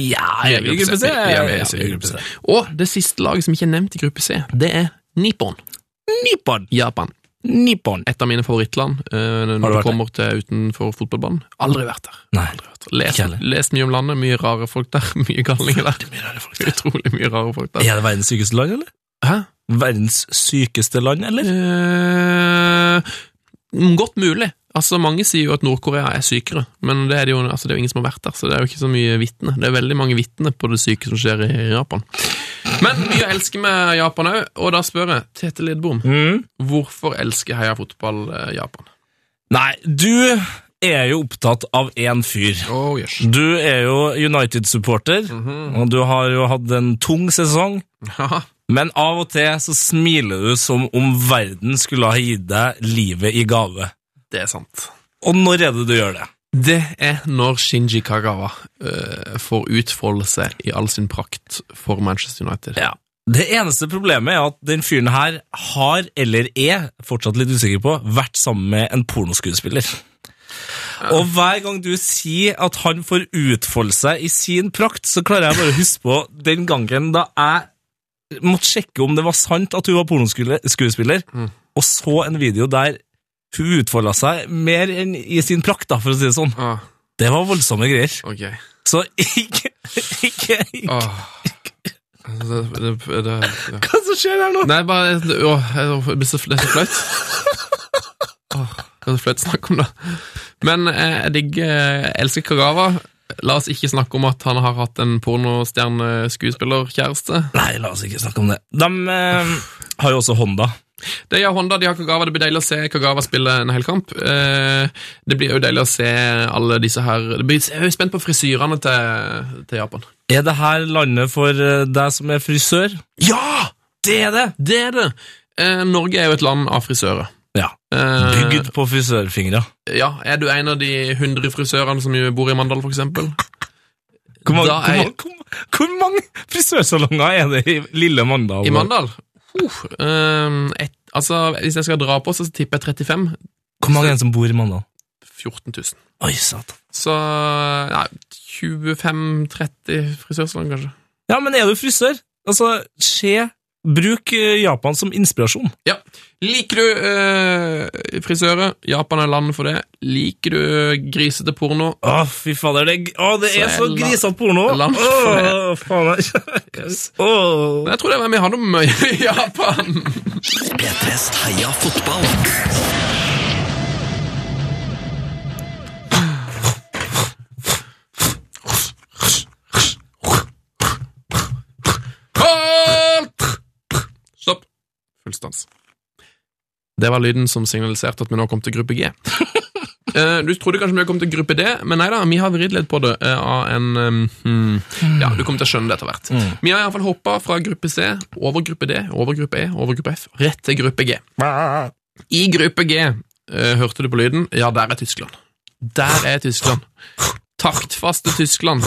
Speaker 2: Ja, er vi i gruppe C?
Speaker 1: Vi er med,
Speaker 2: Ja,
Speaker 1: så
Speaker 2: vi er i gruppe C.
Speaker 1: Og det siste laget som ikke er nevnt i gruppe C, det er Nippon.
Speaker 2: Nippon.
Speaker 1: Japan.
Speaker 2: Nippon.
Speaker 1: Et av mine favorittland eh,
Speaker 2: Har
Speaker 1: når du
Speaker 2: du vært
Speaker 1: kommer til utenfor fotballbanen. Aldri vært der.
Speaker 2: Nei.
Speaker 1: Lest,
Speaker 2: Ikke heller.
Speaker 1: lest mye om landet, mye rare folk der, (laughs) mye galninger der. Utrolig mye rare folk der.
Speaker 2: Er det verdens sykeste land, eller?
Speaker 1: Hæ?
Speaker 2: Verdens sykeste land, eller?
Speaker 1: Eh, godt mulig. Altså, Mange sier jo at Nord-Korea er sykere, men det er, det, jo, altså, det er jo ingen som har vært der, så det er jo ikke så mye vitne. Det er veldig mange vitne på det syke som skjer i Japan. Men mye elsker med Japan òg, og da spør jeg Tete Lidbom hvorfor elsker Heia Fotball eh, Japan?
Speaker 2: Nei, du er jo opptatt av én fyr.
Speaker 1: Oh, yes. (laughs)
Speaker 2: Du er jo United-supporter, og du har jo hatt en tung sesong.
Speaker 1: Haha.
Speaker 2: Men av og til så smiler du som om verden skulle ha gitt deg livet i gave.
Speaker 1: Det er sant.
Speaker 2: Og når er det du gjør det?
Speaker 1: Det er når Shinji Kagawa eh, får utfolde seg i all sin prakt for Manchester United.
Speaker 2: Ja. Det eneste problemet er at den fyren her har, eller er, fortsatt litt usikker på, vært sammen med en pornoskuespiller. Og hver gang du sier at han får utfolde seg i sin prakt, så klarer jeg bare å huske på den gangen da jeg måtte sjekke om det var sant at hun var pornoskuespiller, og så en video der hun utfolda seg mer enn i sin prakt, da, for å si det sånn.
Speaker 1: Ah,
Speaker 2: Det var voldsomme greier.
Speaker 1: ok.
Speaker 2: Så ikke, ikke, ikke
Speaker 1: Ah. Det, det, det, ja.
Speaker 2: Hva som skjer her nå?
Speaker 1: Nei, bare det- Åh, jeg blir så, det er så flaut. Åh, det er så flaut å snakke om det. Men eh, jeg digger Jeg elsker Kagawa. La oss ikke snakke om at han har hatt en pornostjerne-skuespillerkjæreste.
Speaker 2: Nei, la oss ikke snakke om det. De eh, har jo også Honda.
Speaker 1: Det gjør Honda, de har Kagawa. Det blir deilig å se Kagawa spille en hel kamp. Eh, det blir jo deilig å se alle disse her det blir, Jeg er jo spent på frisyrene til, til Japan.
Speaker 2: Er det her landet for eh, deg som er frisør?
Speaker 1: Ja! Det er det! Det er det! Eh, Norge er jo et land av frisører.
Speaker 2: Ja.
Speaker 1: Eh,
Speaker 2: Bygd på frisørfingre.
Speaker 1: Ja, Er du en av de hundre frisørene som jo bor i Mandal, for eksempel?
Speaker 2: Hvor mange,
Speaker 1: Da er-
Speaker 2: hvor, mange, hvor, mange- hvor mange frisørsalonger er det i lille Mandal?
Speaker 1: I Mandal? Uh, ehm, et, altså, Hvis jeg skal dra på, så tipper jeg 35
Speaker 2: Hvor mange er det som bor i Mandal?
Speaker 1: 14 000.
Speaker 2: Oi, satan.
Speaker 1: Så nei, 25-30 frisørsalong, kanskje.
Speaker 2: Ja, men er du frisør? Altså, se, bruk eh, Japan som inspirasjon.
Speaker 1: Ja. Liker du eh, frisører? Japan er landet for det. Liker du grisete porno?
Speaker 2: Å, fy fader, det, er- å, det er
Speaker 1: Så
Speaker 2: så
Speaker 1: er la-
Speaker 2: grisete porno!
Speaker 1: land
Speaker 2: Å,
Speaker 1: for
Speaker 2: faen, (laughs) Å.
Speaker 1: Men Jeg tror det er hvem vi har noe med i Japan.
Speaker 4: P3s Heia fotball.
Speaker 1: Halt! Stopp. Full stans. Det var lyden som signaliserte at vi nå kom til gruppe G. Eh, du trodde kanskje vi kom til gruppe D, men nei da, vi har vridd litt på det eh, av en eh, hmm. Ja, du kommer til å skjønne det etter hvert. Vi har iallfall hoppa fra gruppe C, over gruppe D, over gruppe E, over gruppe F, rett til gruppe G. I gruppe G, eh, hørte du på lyden, ja, der er Tyskland. Der er Tyskland. Taktfaste Tyskland.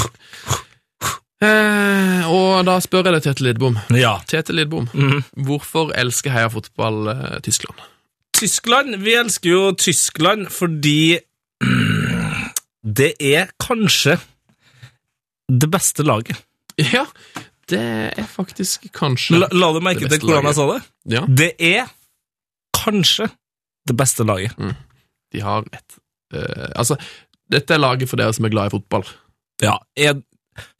Speaker 1: Eh, og da spør jeg deg, Tete Lidbom.
Speaker 2: Ja.
Speaker 1: Tete Lidbom, hvorfor elsker Heia Fotball eh, Tyskland?
Speaker 2: Tyskland, vi elsker jo Tyskland fordi det er kanskje det beste laget.
Speaker 1: (laughs) Ja, det er faktisk kanskje
Speaker 2: La, la du merke
Speaker 1: Det
Speaker 2: til
Speaker 1: beste
Speaker 2: hvordan
Speaker 1: laget.
Speaker 2: jeg sa det?
Speaker 1: Ja,
Speaker 2: Det er kanskje det beste laget.
Speaker 1: de har rett. Eh, altså, dette er laget for dere som er glad i fotball.
Speaker 2: Ja, jeg,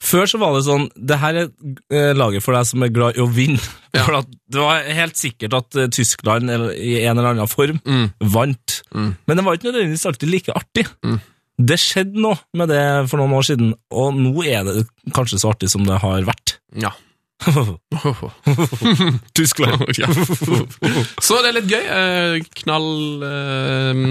Speaker 2: før så var det sånn, det her er eh, laget for deg som er glad i å vinne.
Speaker 1: (laughs) Ja.
Speaker 2: For at det var helt sikkert at eh, Tyskland eller, i en eller annen form
Speaker 1: Mm.
Speaker 2: vant.
Speaker 1: Mm.
Speaker 2: Men det var ikke nødvendigvis alltid like artig.
Speaker 1: Mm.
Speaker 2: Det skjedde noe med det for noen år siden, og nå er det kanskje så artig som det har
Speaker 1: (laughs)
Speaker 2: vært.
Speaker 1: Ja.
Speaker 2: Tyskland.
Speaker 1: (laughs) Ja. Så det er litt gøy. eh, knall eh,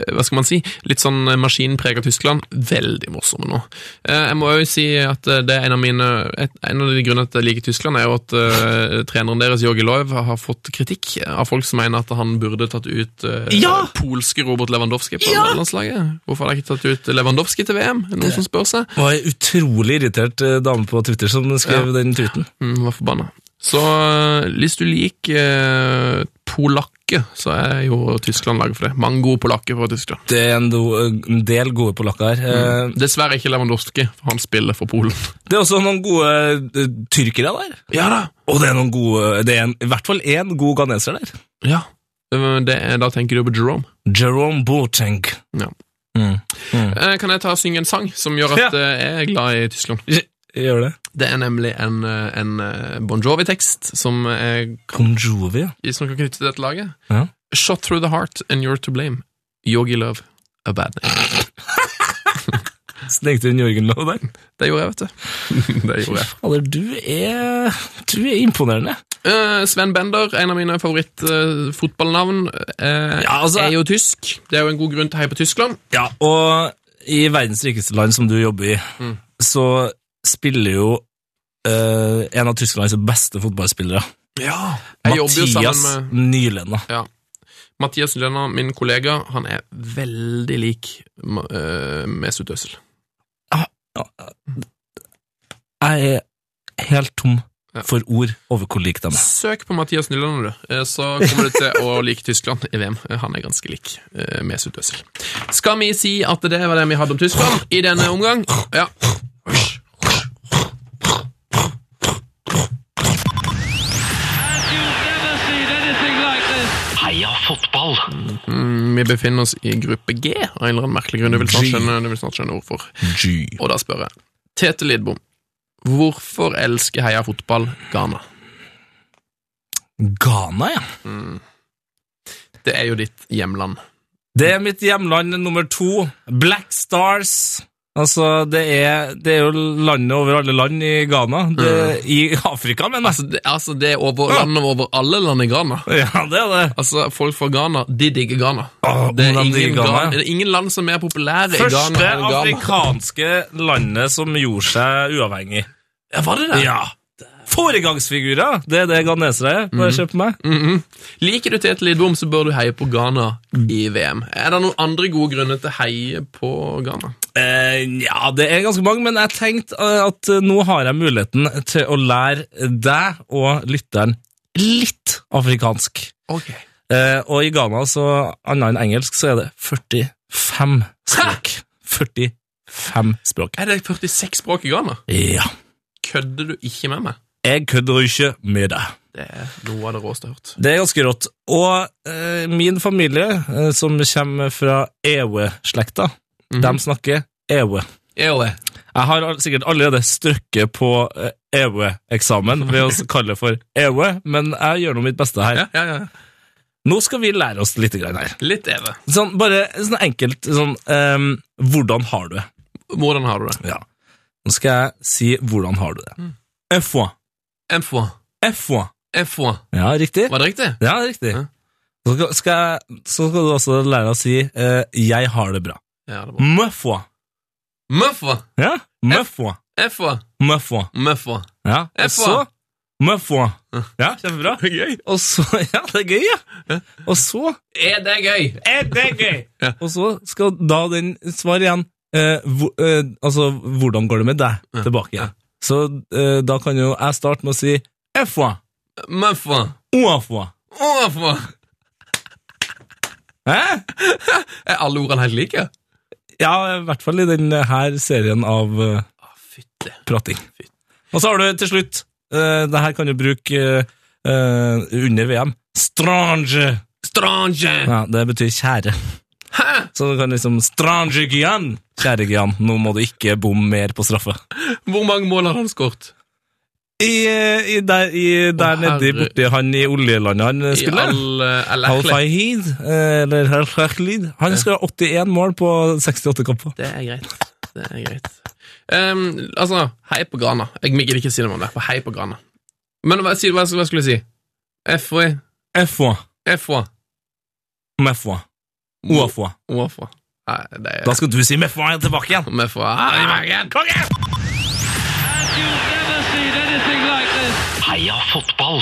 Speaker 1: eh, hva skal man si, litt sånn eh, maskinpreget Tyskland, veldig morsomme nå. Eh, Jeg må jo si at eh, det er en av mine et, En av de grunnene til at jeg liker Tyskland, er jo at eh, treneren deres, Jorgi Loiv, har fått kritikk av folk som mener at han burde tatt ut eh,
Speaker 2: Ja!
Speaker 1: polske Robert Lewandowski på landslaget. Hvorfor har de ikke tatt ut Lewandowski til VM? Er det Noen som spør seg.
Speaker 2: Det var ei utrolig irritert eh, dame på Twitter som skrev den tweeten.
Speaker 1: Mm, var forbanna. Så øh, hvis du liker øh, polakke, så er jo Tyskland laget for det. Mange gode polakker fra Tyskland.
Speaker 2: Det er en, do, en del gode polakker her.
Speaker 1: Mm.
Speaker 2: Eh,
Speaker 1: Dessverre ikke Lewandowski, for han spiller for
Speaker 2: (laughs)
Speaker 1: Polen.
Speaker 2: Det er også noen gode eh, tyrkere der.
Speaker 1: Ja da!
Speaker 2: Og det er, noen gode, det er en, i hvert fall én god ganeser der.
Speaker 1: Ja. Øh, Det, er- da tenker du på Jerome.
Speaker 2: Jerome Boateng.
Speaker 1: Ja.
Speaker 2: Mm.
Speaker 1: Eh, Kan jeg ta og synge en sang som gjør at
Speaker 2: Ja.
Speaker 1: øh, jeg er glad i Tyskland?
Speaker 2: Gjør det.
Speaker 1: Det er nemlig en, øh, en øh, Bon Jovi-tekst som, er-
Speaker 2: Bon Jovi, ja.
Speaker 1: som kan knytte til dette laget.
Speaker 2: Ja.
Speaker 1: Shot through the heart and you're to blame. Yogi Love, a bad name.
Speaker 2: Snek du inn Jørgen Loe der?
Speaker 1: Det gjorde jeg, vet du. (laughs) det gjorde jeg.
Speaker 2: Fader, du er, du er imponerende.
Speaker 1: Eh, Sven Bender, en av mine favorittfotballnavn, eh,
Speaker 2: Ja, altså-
Speaker 1: er jo tysk. Det er jo en god grunn til å heie på Tyskland.
Speaker 2: Ja, og i verdens rikeste land som du jobber i,
Speaker 1: Mm.
Speaker 2: så spiller jo eh, en av Tysklands beste fotballspillere,
Speaker 1: Jeg jobber jo
Speaker 2: Mathias
Speaker 1: sammen med
Speaker 2: Nylenda.
Speaker 1: Mathias Lønna, min kollega. Han er veldig lik Ma- eh, Mesut Özil.
Speaker 2: Jeg er helt tom
Speaker 1: Ja.
Speaker 2: for ord over hvor lik de er.
Speaker 1: Søk på Mathias Nyland, du, eh, så kommer du til å like Tyskland i VM. Eh, Han er ganske lik eh, Mesut Özil. Skal vi si at det var det vi hadde om Tyskland i denne omgang? Ja.
Speaker 3: You've never seen anything like this.
Speaker 4: Heia fotball!
Speaker 1: Mm, Vi befinner oss i gruppe G av en eller annen merkelig grunn. Du vil snart
Speaker 2: G.
Speaker 1: skjønne, du vil snart skjønne hvorfor. Og da spør jeg Tete Lidbom, hvorfor elsker Heia Fotball Ghana?
Speaker 2: Ghana, ja.
Speaker 1: Det er jo ditt hjemland.
Speaker 2: Det er mitt hjemland nummer to. Black Stars. Altså, det er, det er jo landet over alle land i Ghana. Det,
Speaker 1: Mm.
Speaker 2: I Afrika, men
Speaker 1: Altså,
Speaker 2: nesten.
Speaker 1: det, altså, det er over landet over alle land i Ghana.
Speaker 2: (laughs) Ja, det er det.
Speaker 1: Altså, Folk fra Ghana de digger Ghana.
Speaker 2: Åh,
Speaker 1: Det er,
Speaker 2: hvordan digger
Speaker 1: ingen
Speaker 2: Ghana,
Speaker 1: Ghana,
Speaker 2: ja.
Speaker 1: det er ingen land som er mer populære i
Speaker 2: Første
Speaker 1: Ghana enn Ghana.
Speaker 2: afrikanske landet som gjorde seg uavhengig.
Speaker 1: Ja, var det det?
Speaker 2: Ja. Foregangsfigurer! Det er det ghanesere er. Bare se på meg.
Speaker 1: Mhm. Liker du Tete Lidbom, så bør du heie på Ghana i VM. Er det noen andre gode grunner til å heie på Ghana?
Speaker 2: Eh, ja, det er ganske mange, men jeg tenkte eh, at eh, nå har jeg muligheten til å lære deg og lytteren litt afrikansk.
Speaker 1: Okay.
Speaker 2: Eh, og i Ghana, så annet enn engelsk, så er det 45 språk. 45 språk.
Speaker 1: Er det 46 språk i Ghana?
Speaker 2: Ja.
Speaker 1: Kødder du ikke med meg?
Speaker 2: Jeg kødder ikke med deg.
Speaker 1: Det er noe av det råeste jeg har hørt.
Speaker 2: Det er ganske rått. Og eh, min familie, eh, som kommer fra Ewe-slekta, de snakker Ewe.
Speaker 1: Eole.
Speaker 2: Jeg har all- sikkert allerede strøkket på eh, Ewe-eksamen ved å kalle det for Ewe, men jeg gjør nå mitt beste her.
Speaker 1: Ja, ja, ja.
Speaker 2: Nå skal vi lære oss litt grann her.
Speaker 1: Litt Eve.
Speaker 2: Sånn, bare sånn enkelt sånn ehm, Hvordan har du det?
Speaker 1: Hvordan har du det?
Speaker 2: Ja. Nå skal jeg si hvordan har du det. F1.
Speaker 1: En fois.
Speaker 2: F1.
Speaker 1: En fois.
Speaker 2: Ja, riktig.
Speaker 1: Var det riktig?
Speaker 2: Ja, det er riktig.
Speaker 1: Ja.
Speaker 2: Så, skal, skal jeg, så skal du også lære deg å si eh, 'jeg har det bra'.
Speaker 1: Ja, det var
Speaker 2: Møfwa.
Speaker 1: Møffa.
Speaker 2: Ja? Møfwa.
Speaker 1: En fois.
Speaker 2: Møfwa.
Speaker 1: Møffa.
Speaker 2: Ja.
Speaker 1: Jeg
Speaker 2: Og så
Speaker 1: får.
Speaker 2: Møfwa. Ja, kjempebra.
Speaker 1: Gøy.
Speaker 2: Og så (laughs) Ja, det er gøy, ja. Og så
Speaker 1: Er det gøy?
Speaker 2: Er det gøy?
Speaker 1: Ja.
Speaker 2: Og så skal da den svare igjen eh, hvor, eh, Altså, hvordan går det med deg? Tilbake igjen. Så eh, da kan jo jeg starte med å si F1.
Speaker 1: Møffa.
Speaker 2: Oafwa.
Speaker 1: Oaffa.
Speaker 2: Hæ?
Speaker 1: Er alle ordene helt like?
Speaker 2: Ja, i hvert fall i denne her serien av eh,
Speaker 1: Å, fytti.
Speaker 2: prating. Og så har du til slutt uh, Det her kan du bruke eh, eh, under VM. Strange!
Speaker 1: Strange.
Speaker 2: Ja, det betyr kjære.
Speaker 1: Hæ?
Speaker 2: Så du kan liksom Strange Gyan! Kjære Gyan, nå må du ikke bomme mer på straffe.
Speaker 1: Hvor mange mål har han skåret?
Speaker 2: I, eh, i der, i, der
Speaker 1: Å,
Speaker 2: nedi
Speaker 1: herre.
Speaker 2: borti han i oljelandet han eh,
Speaker 1: I
Speaker 2: spiller.
Speaker 1: all eh,
Speaker 2: Al
Speaker 1: Al-Ahli.
Speaker 2: Fahid, eh, eller Al Fahid Han skal ha 81 mål på 68 kamper.
Speaker 1: Det er greit. Det er greit. Ehm, altså, hei på Grana. Jeg gidder ikke si noe om det, for hei på Grana. Men hva, si, hva, hva skulle jeg si? FOI.
Speaker 2: F1.
Speaker 1: FOI.
Speaker 2: Med F1. Oafua.
Speaker 1: Hvorfor? Nei, det er
Speaker 2: Da skal du si med faen tilbake igjen.
Speaker 1: Vi får ha det i magen.
Speaker 3: You've never seen anything like this.
Speaker 4: Heia fotball!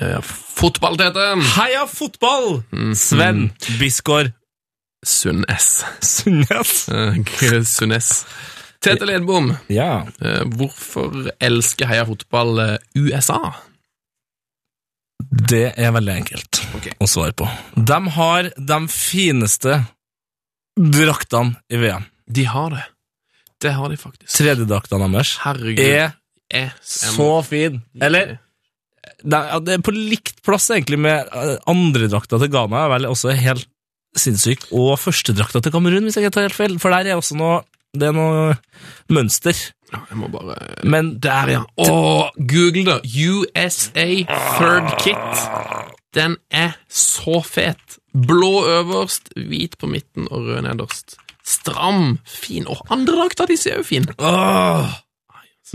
Speaker 1: Ja, Fotball, Tete.
Speaker 2: Heia fotball! Sven Bisgaard
Speaker 1: Sund-S.
Speaker 2: Sundnes.
Speaker 1: Sund-S. Eh, Tete Ledbom,
Speaker 2: Ja.
Speaker 1: eh, hvorfor elsker heia fotball eh, USA?
Speaker 2: Det er veldig enkelt å svare på. De har de fineste draktene i VM.
Speaker 1: De har det. Det har de faktisk.
Speaker 2: 3D-draktene deres
Speaker 1: Herregud.
Speaker 2: er
Speaker 1: Jeg
Speaker 2: så fin. Eller det er, ja, det er på likt plass egentlig med eh, andre drakta til Ghana. er vel også helt sinnssyk. Og førstedrakta til Kamerun, hvis jeg ikke tar helt feil. For der er også noe Det er noe mønster.
Speaker 1: Jeg må bare
Speaker 2: Men
Speaker 1: Der, ja. Og google det. USA Third Kit. Den er så fet. Blå øverst, hvit på midten og rød nederst. Stram, fin. Og andre drakter, de ser jo fin.
Speaker 2: Åh!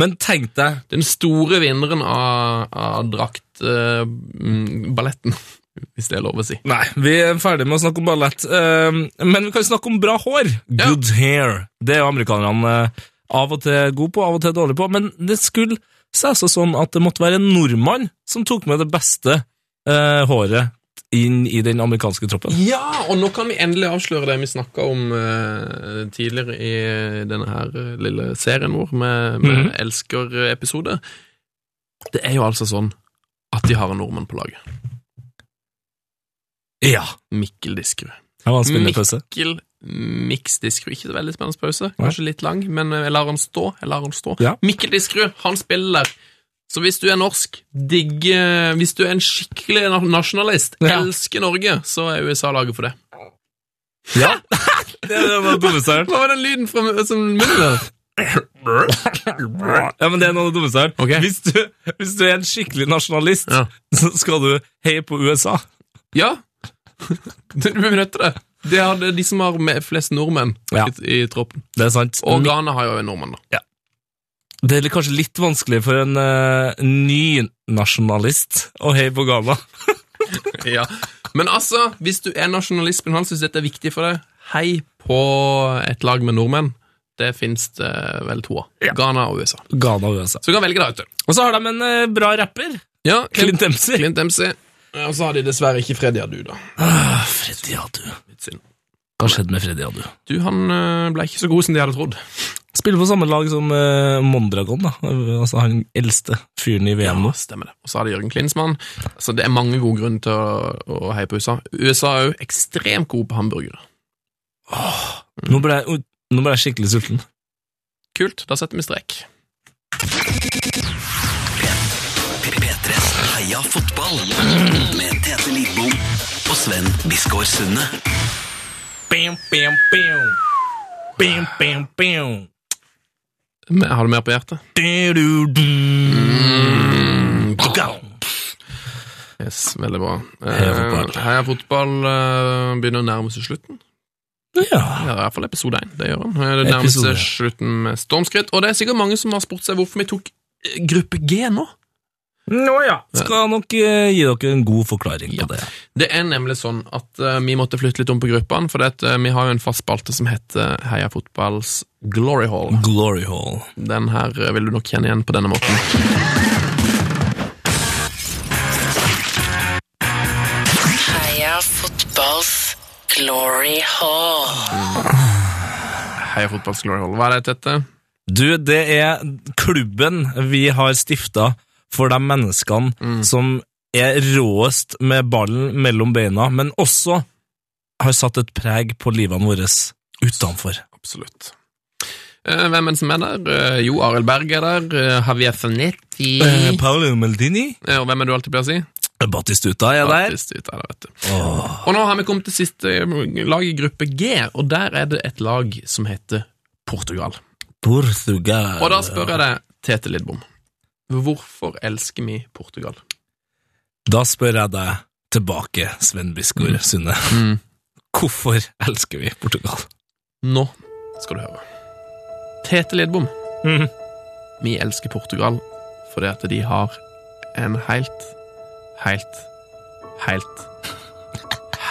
Speaker 2: Men tenk deg
Speaker 1: Den store vinneren av, av draktballetten, (laughs) hvis det er lov å si.
Speaker 2: Nei, vi er ferdig med å snakke om ballett. Eh, men vi kan snakke om bra hår.
Speaker 1: Ja.
Speaker 2: Good hair. Det er jo amerikanerne eh, av og til gode på, av og til dårlige på. Men det skulle seg så sånn at det måtte være en nordmann som tok med det beste eh, håret inn i den amerikanske troppen.
Speaker 1: Ja, og nå kan vi endelig avsløre det vi snakka om eh, tidligere i denne her eh, lille serien vår med, med
Speaker 2: Mhm.
Speaker 1: Elsker-episode. Det er jo altså sånn at de har en nordmann på laget.
Speaker 2: Ja.
Speaker 1: Mikkel Diskerud.
Speaker 2: Det var en spennende pause.
Speaker 1: Mikkel Mix Diskerud. Ikke så veldig spennende pause, kanskje litt lang, men eh, jeg lar han stå. Jeg lar han stå.
Speaker 2: Ja.
Speaker 1: Mikkel Diskerud, han spiller der. Så hvis du er norsk, digg eh, Hvis du er en skikkelig na- nasjonalist,
Speaker 2: Ja.
Speaker 1: elsker Norge, så er USA laget for det.
Speaker 2: Ja. (laughs) det var det dummeste jeg har hørt.
Speaker 1: Hva var den lyden fra mu- som munnen der?
Speaker 2: Ja, men det er noe av det dummeste jeg har hørt.
Speaker 1: Ok.
Speaker 2: Hvis, du- hvis du er en skikkelig nasjonalist,
Speaker 1: Ja.
Speaker 2: så skal du heie på USA.
Speaker 1: Ja, (laughs) du benytter det. Det er det- de som har me- flest nordmenn
Speaker 2: Ja.
Speaker 1: i, i troppen.
Speaker 2: Det er sant.
Speaker 1: Og Ghana har jo en nordmann, da.
Speaker 2: Det er kanskje litt vanskelig for en eh, ny nasjonalist å heie på Ghana.
Speaker 1: (laughs) Ja. Men altså, hvis du er nasjonalist, men han syns dette er viktig for deg, hei på et lag med nordmenn. Det fins det vel to av. Ghana og USA.
Speaker 2: Ghana og USA.
Speaker 1: Så du kan velge, da, vet du.
Speaker 2: Og så har de en eh, bra rapper.
Speaker 1: Ja, Clint,
Speaker 2: Clint Dempsey.
Speaker 1: Clint Dempsey. Og så har de dessverre ikke Freddy Adu, da.
Speaker 2: Freddy Adu.
Speaker 1: Litt synd.
Speaker 2: Hva skjedde med Freddy Adu?
Speaker 1: Du, han øh, ble ikke så god som de hadde trodd.
Speaker 2: Spiller på samme lag som eh, Mondragon, da. Altså han eldste fyren i VM nå.
Speaker 1: Stemmer det. Og så har de Jørgen Klinsmann. Så det er mange gode grunner til å, å heie på USA. USA er òg ekstremt gode på hamburgere.
Speaker 2: Nå ble jeg, nå ble jeg skikkelig sulten.
Speaker 1: Kult, da setter vi strek.
Speaker 4: P3s Heia fotball med Tete Lidbom og Sven Biskår Sunde.
Speaker 2: Bam, bam, bam. Bam, bam, bam.
Speaker 1: Men Har du mer på hjertet?
Speaker 2: Du, du, du.
Speaker 1: Yes, veldig bra.
Speaker 2: Heia fotball.
Speaker 1: Eh, Heia fotball eh, begynner å nærme seg slutten.
Speaker 2: Ja.
Speaker 1: Ja, I hvert fall episode én. Det gjør han. Eh, Det nærmer
Speaker 2: Episode.
Speaker 1: seg slutten med stormskritt. Og det er sikkert mange som har spurt seg hvorfor vi tok eh, gruppe G nå.
Speaker 2: Nå ja. Skal nok eh, gi dere en god forklaring på det.
Speaker 1: Det er nemlig sånn at eh, vi måtte flytte litt om på gruppene, for det at, eh, vi har jo en fast spalte som heter Heia fotballs glory hall.
Speaker 2: Glory Hall.
Speaker 1: Den her eh, vil du nok kjenne igjen på denne måten.
Speaker 8: Heia fotballs glory hall.
Speaker 1: Heia fotballs glory hall. Hva er det, Tette?
Speaker 2: Du, det er klubben vi har stifta for de menneskene
Speaker 1: Mm.
Speaker 2: som er råest med ballen mellom beina, men også har satt et preg på livene våre utenfor.
Speaker 1: Absolutt. Eh, Hvem er det som er der? Eh, Jo, Arild Berg er der. eh, Javier Zanetti.
Speaker 2: Eh, Paolo Maldini?
Speaker 1: Eh, Og hvem er du alltid pleier å si?
Speaker 2: Batistuta Eh, er der.
Speaker 1: Faktisk, det er det, vet du. Og nå har vi kommet til siste eh, lag i gruppe G, og der er det et lag som heter Portugal.
Speaker 2: Portugal.
Speaker 1: Og da spør jeg deg, Tete Lidbom, hvorfor elsker vi Portugal?
Speaker 2: Da spør jeg deg tilbake, Sven Biskår Sunde.
Speaker 1: Mm.
Speaker 2: Hvorfor elsker vi Portugal?
Speaker 1: Nå skal du høre. Tete Lidbom, vi elsker Portugal fordi at de har en helt, helt, helt,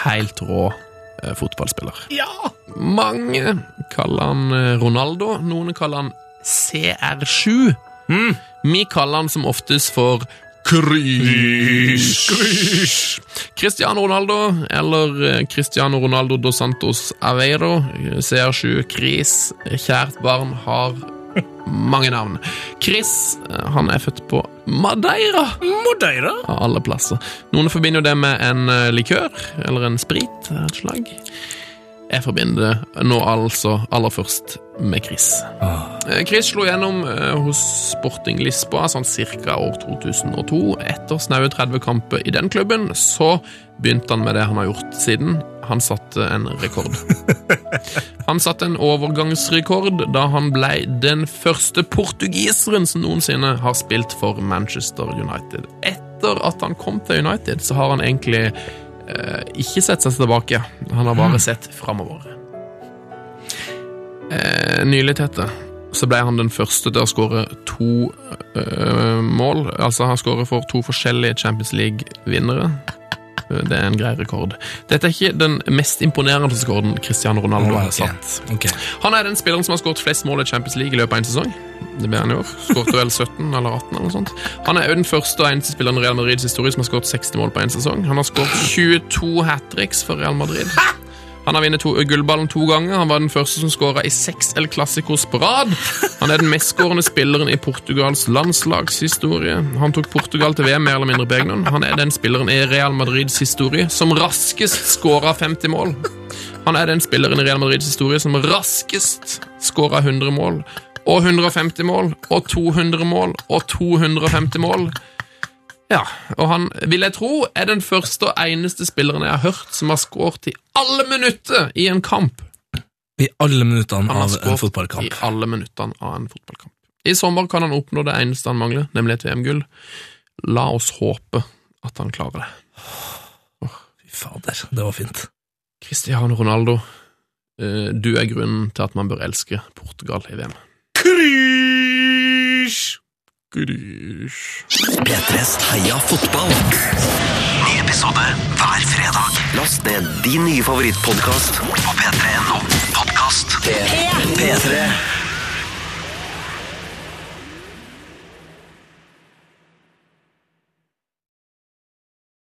Speaker 1: helt rå eh, fotballspiller. Ja! Mange kaller han eh, Ronaldo, noen kaller han CR7. Vi kaller han som oftest for Krysh. Krysh. Cristiano Ronaldo, eller eh, Cristiano Ronaldo dos Santos Aveiro, eh, CR7 Chris, kjært barn, har mange navn. Chris eh, han er født på Madeira
Speaker 2: Modeira?
Speaker 1: av alle plasser. Noen forbinder jo det med en eh, likør eller en sprit av et slag. Jeg forbinder det nå altså aller først med Chris. Eh, Chris slo gjennom eh, hos Sporting Lisboa sånn ca. år 2002. Etter snaue 30 kamper i den klubben, så begynte han med det han har gjort siden. Han satte en rekord. Han satte en overgangsrekord da han ble den første portugiseren som noensinne har spilt for Manchester United. Etter at han kom til United, så har han egentlig eh, ikke sett seg tilbake. Han har bare sett framover. Eh, nylig, Tete, så ble han den første til å skåre to eh, mål. Altså, han skårer for to forskjellige Champions League-vinnere. Eh, Det er en grei rekord. Dette er ikke den mest imponerende skåren Cristiano Ronaldo har
Speaker 2: Ok.
Speaker 1: satt.
Speaker 2: Ok.
Speaker 1: Han er den spilleren som har skåret flest mål i Champions League i løpet av en sesong. Det ble han i år. Skåret vel 17 eller 18 eller noe sånt. Han er også den første og eneste spilleren i Real Madrids historie som har skåret 60 mål på en sesong. Han har skåret 22 hat tricks for Real Madrid. Han har vunnet to- gullballen to ganger. Han var den første som skåra i seks El Clásicos på rad. Han er den mestskårende spilleren i Portugals landslagshistorie. Han tok Portugal til VM mer eller mindre på egen hånd. Han er den spilleren i Real Madrids historie som raskest skåra 50 mål. Han er den spilleren i Real Madrids historie som raskest skåra 100 mål. Og 150 mål, og 200 mål, og 250 mål. Ja, og han, vil jeg tro, er den første og eneste spilleren jeg har hørt som har skåret i alle minutter i en kamp.
Speaker 2: I alle minuttene
Speaker 1: Han har
Speaker 2: av en
Speaker 1: skåret i
Speaker 2: fotballkamp.
Speaker 1: alle minuttene av en fotballkamp. I sommer kan han oppnå det eneste han mangler, nemlig et VM-gull. La oss håpe at han klarer det.
Speaker 2: Fy fader, det var fint.
Speaker 1: Cristiano Ronaldo, eh, du er grunnen til at man bør elske Portugal i VM. Grysj.
Speaker 4: P3s Heia fotball. Ny episode hver fredag. Last ned din nye favorittpodkast på p3.no.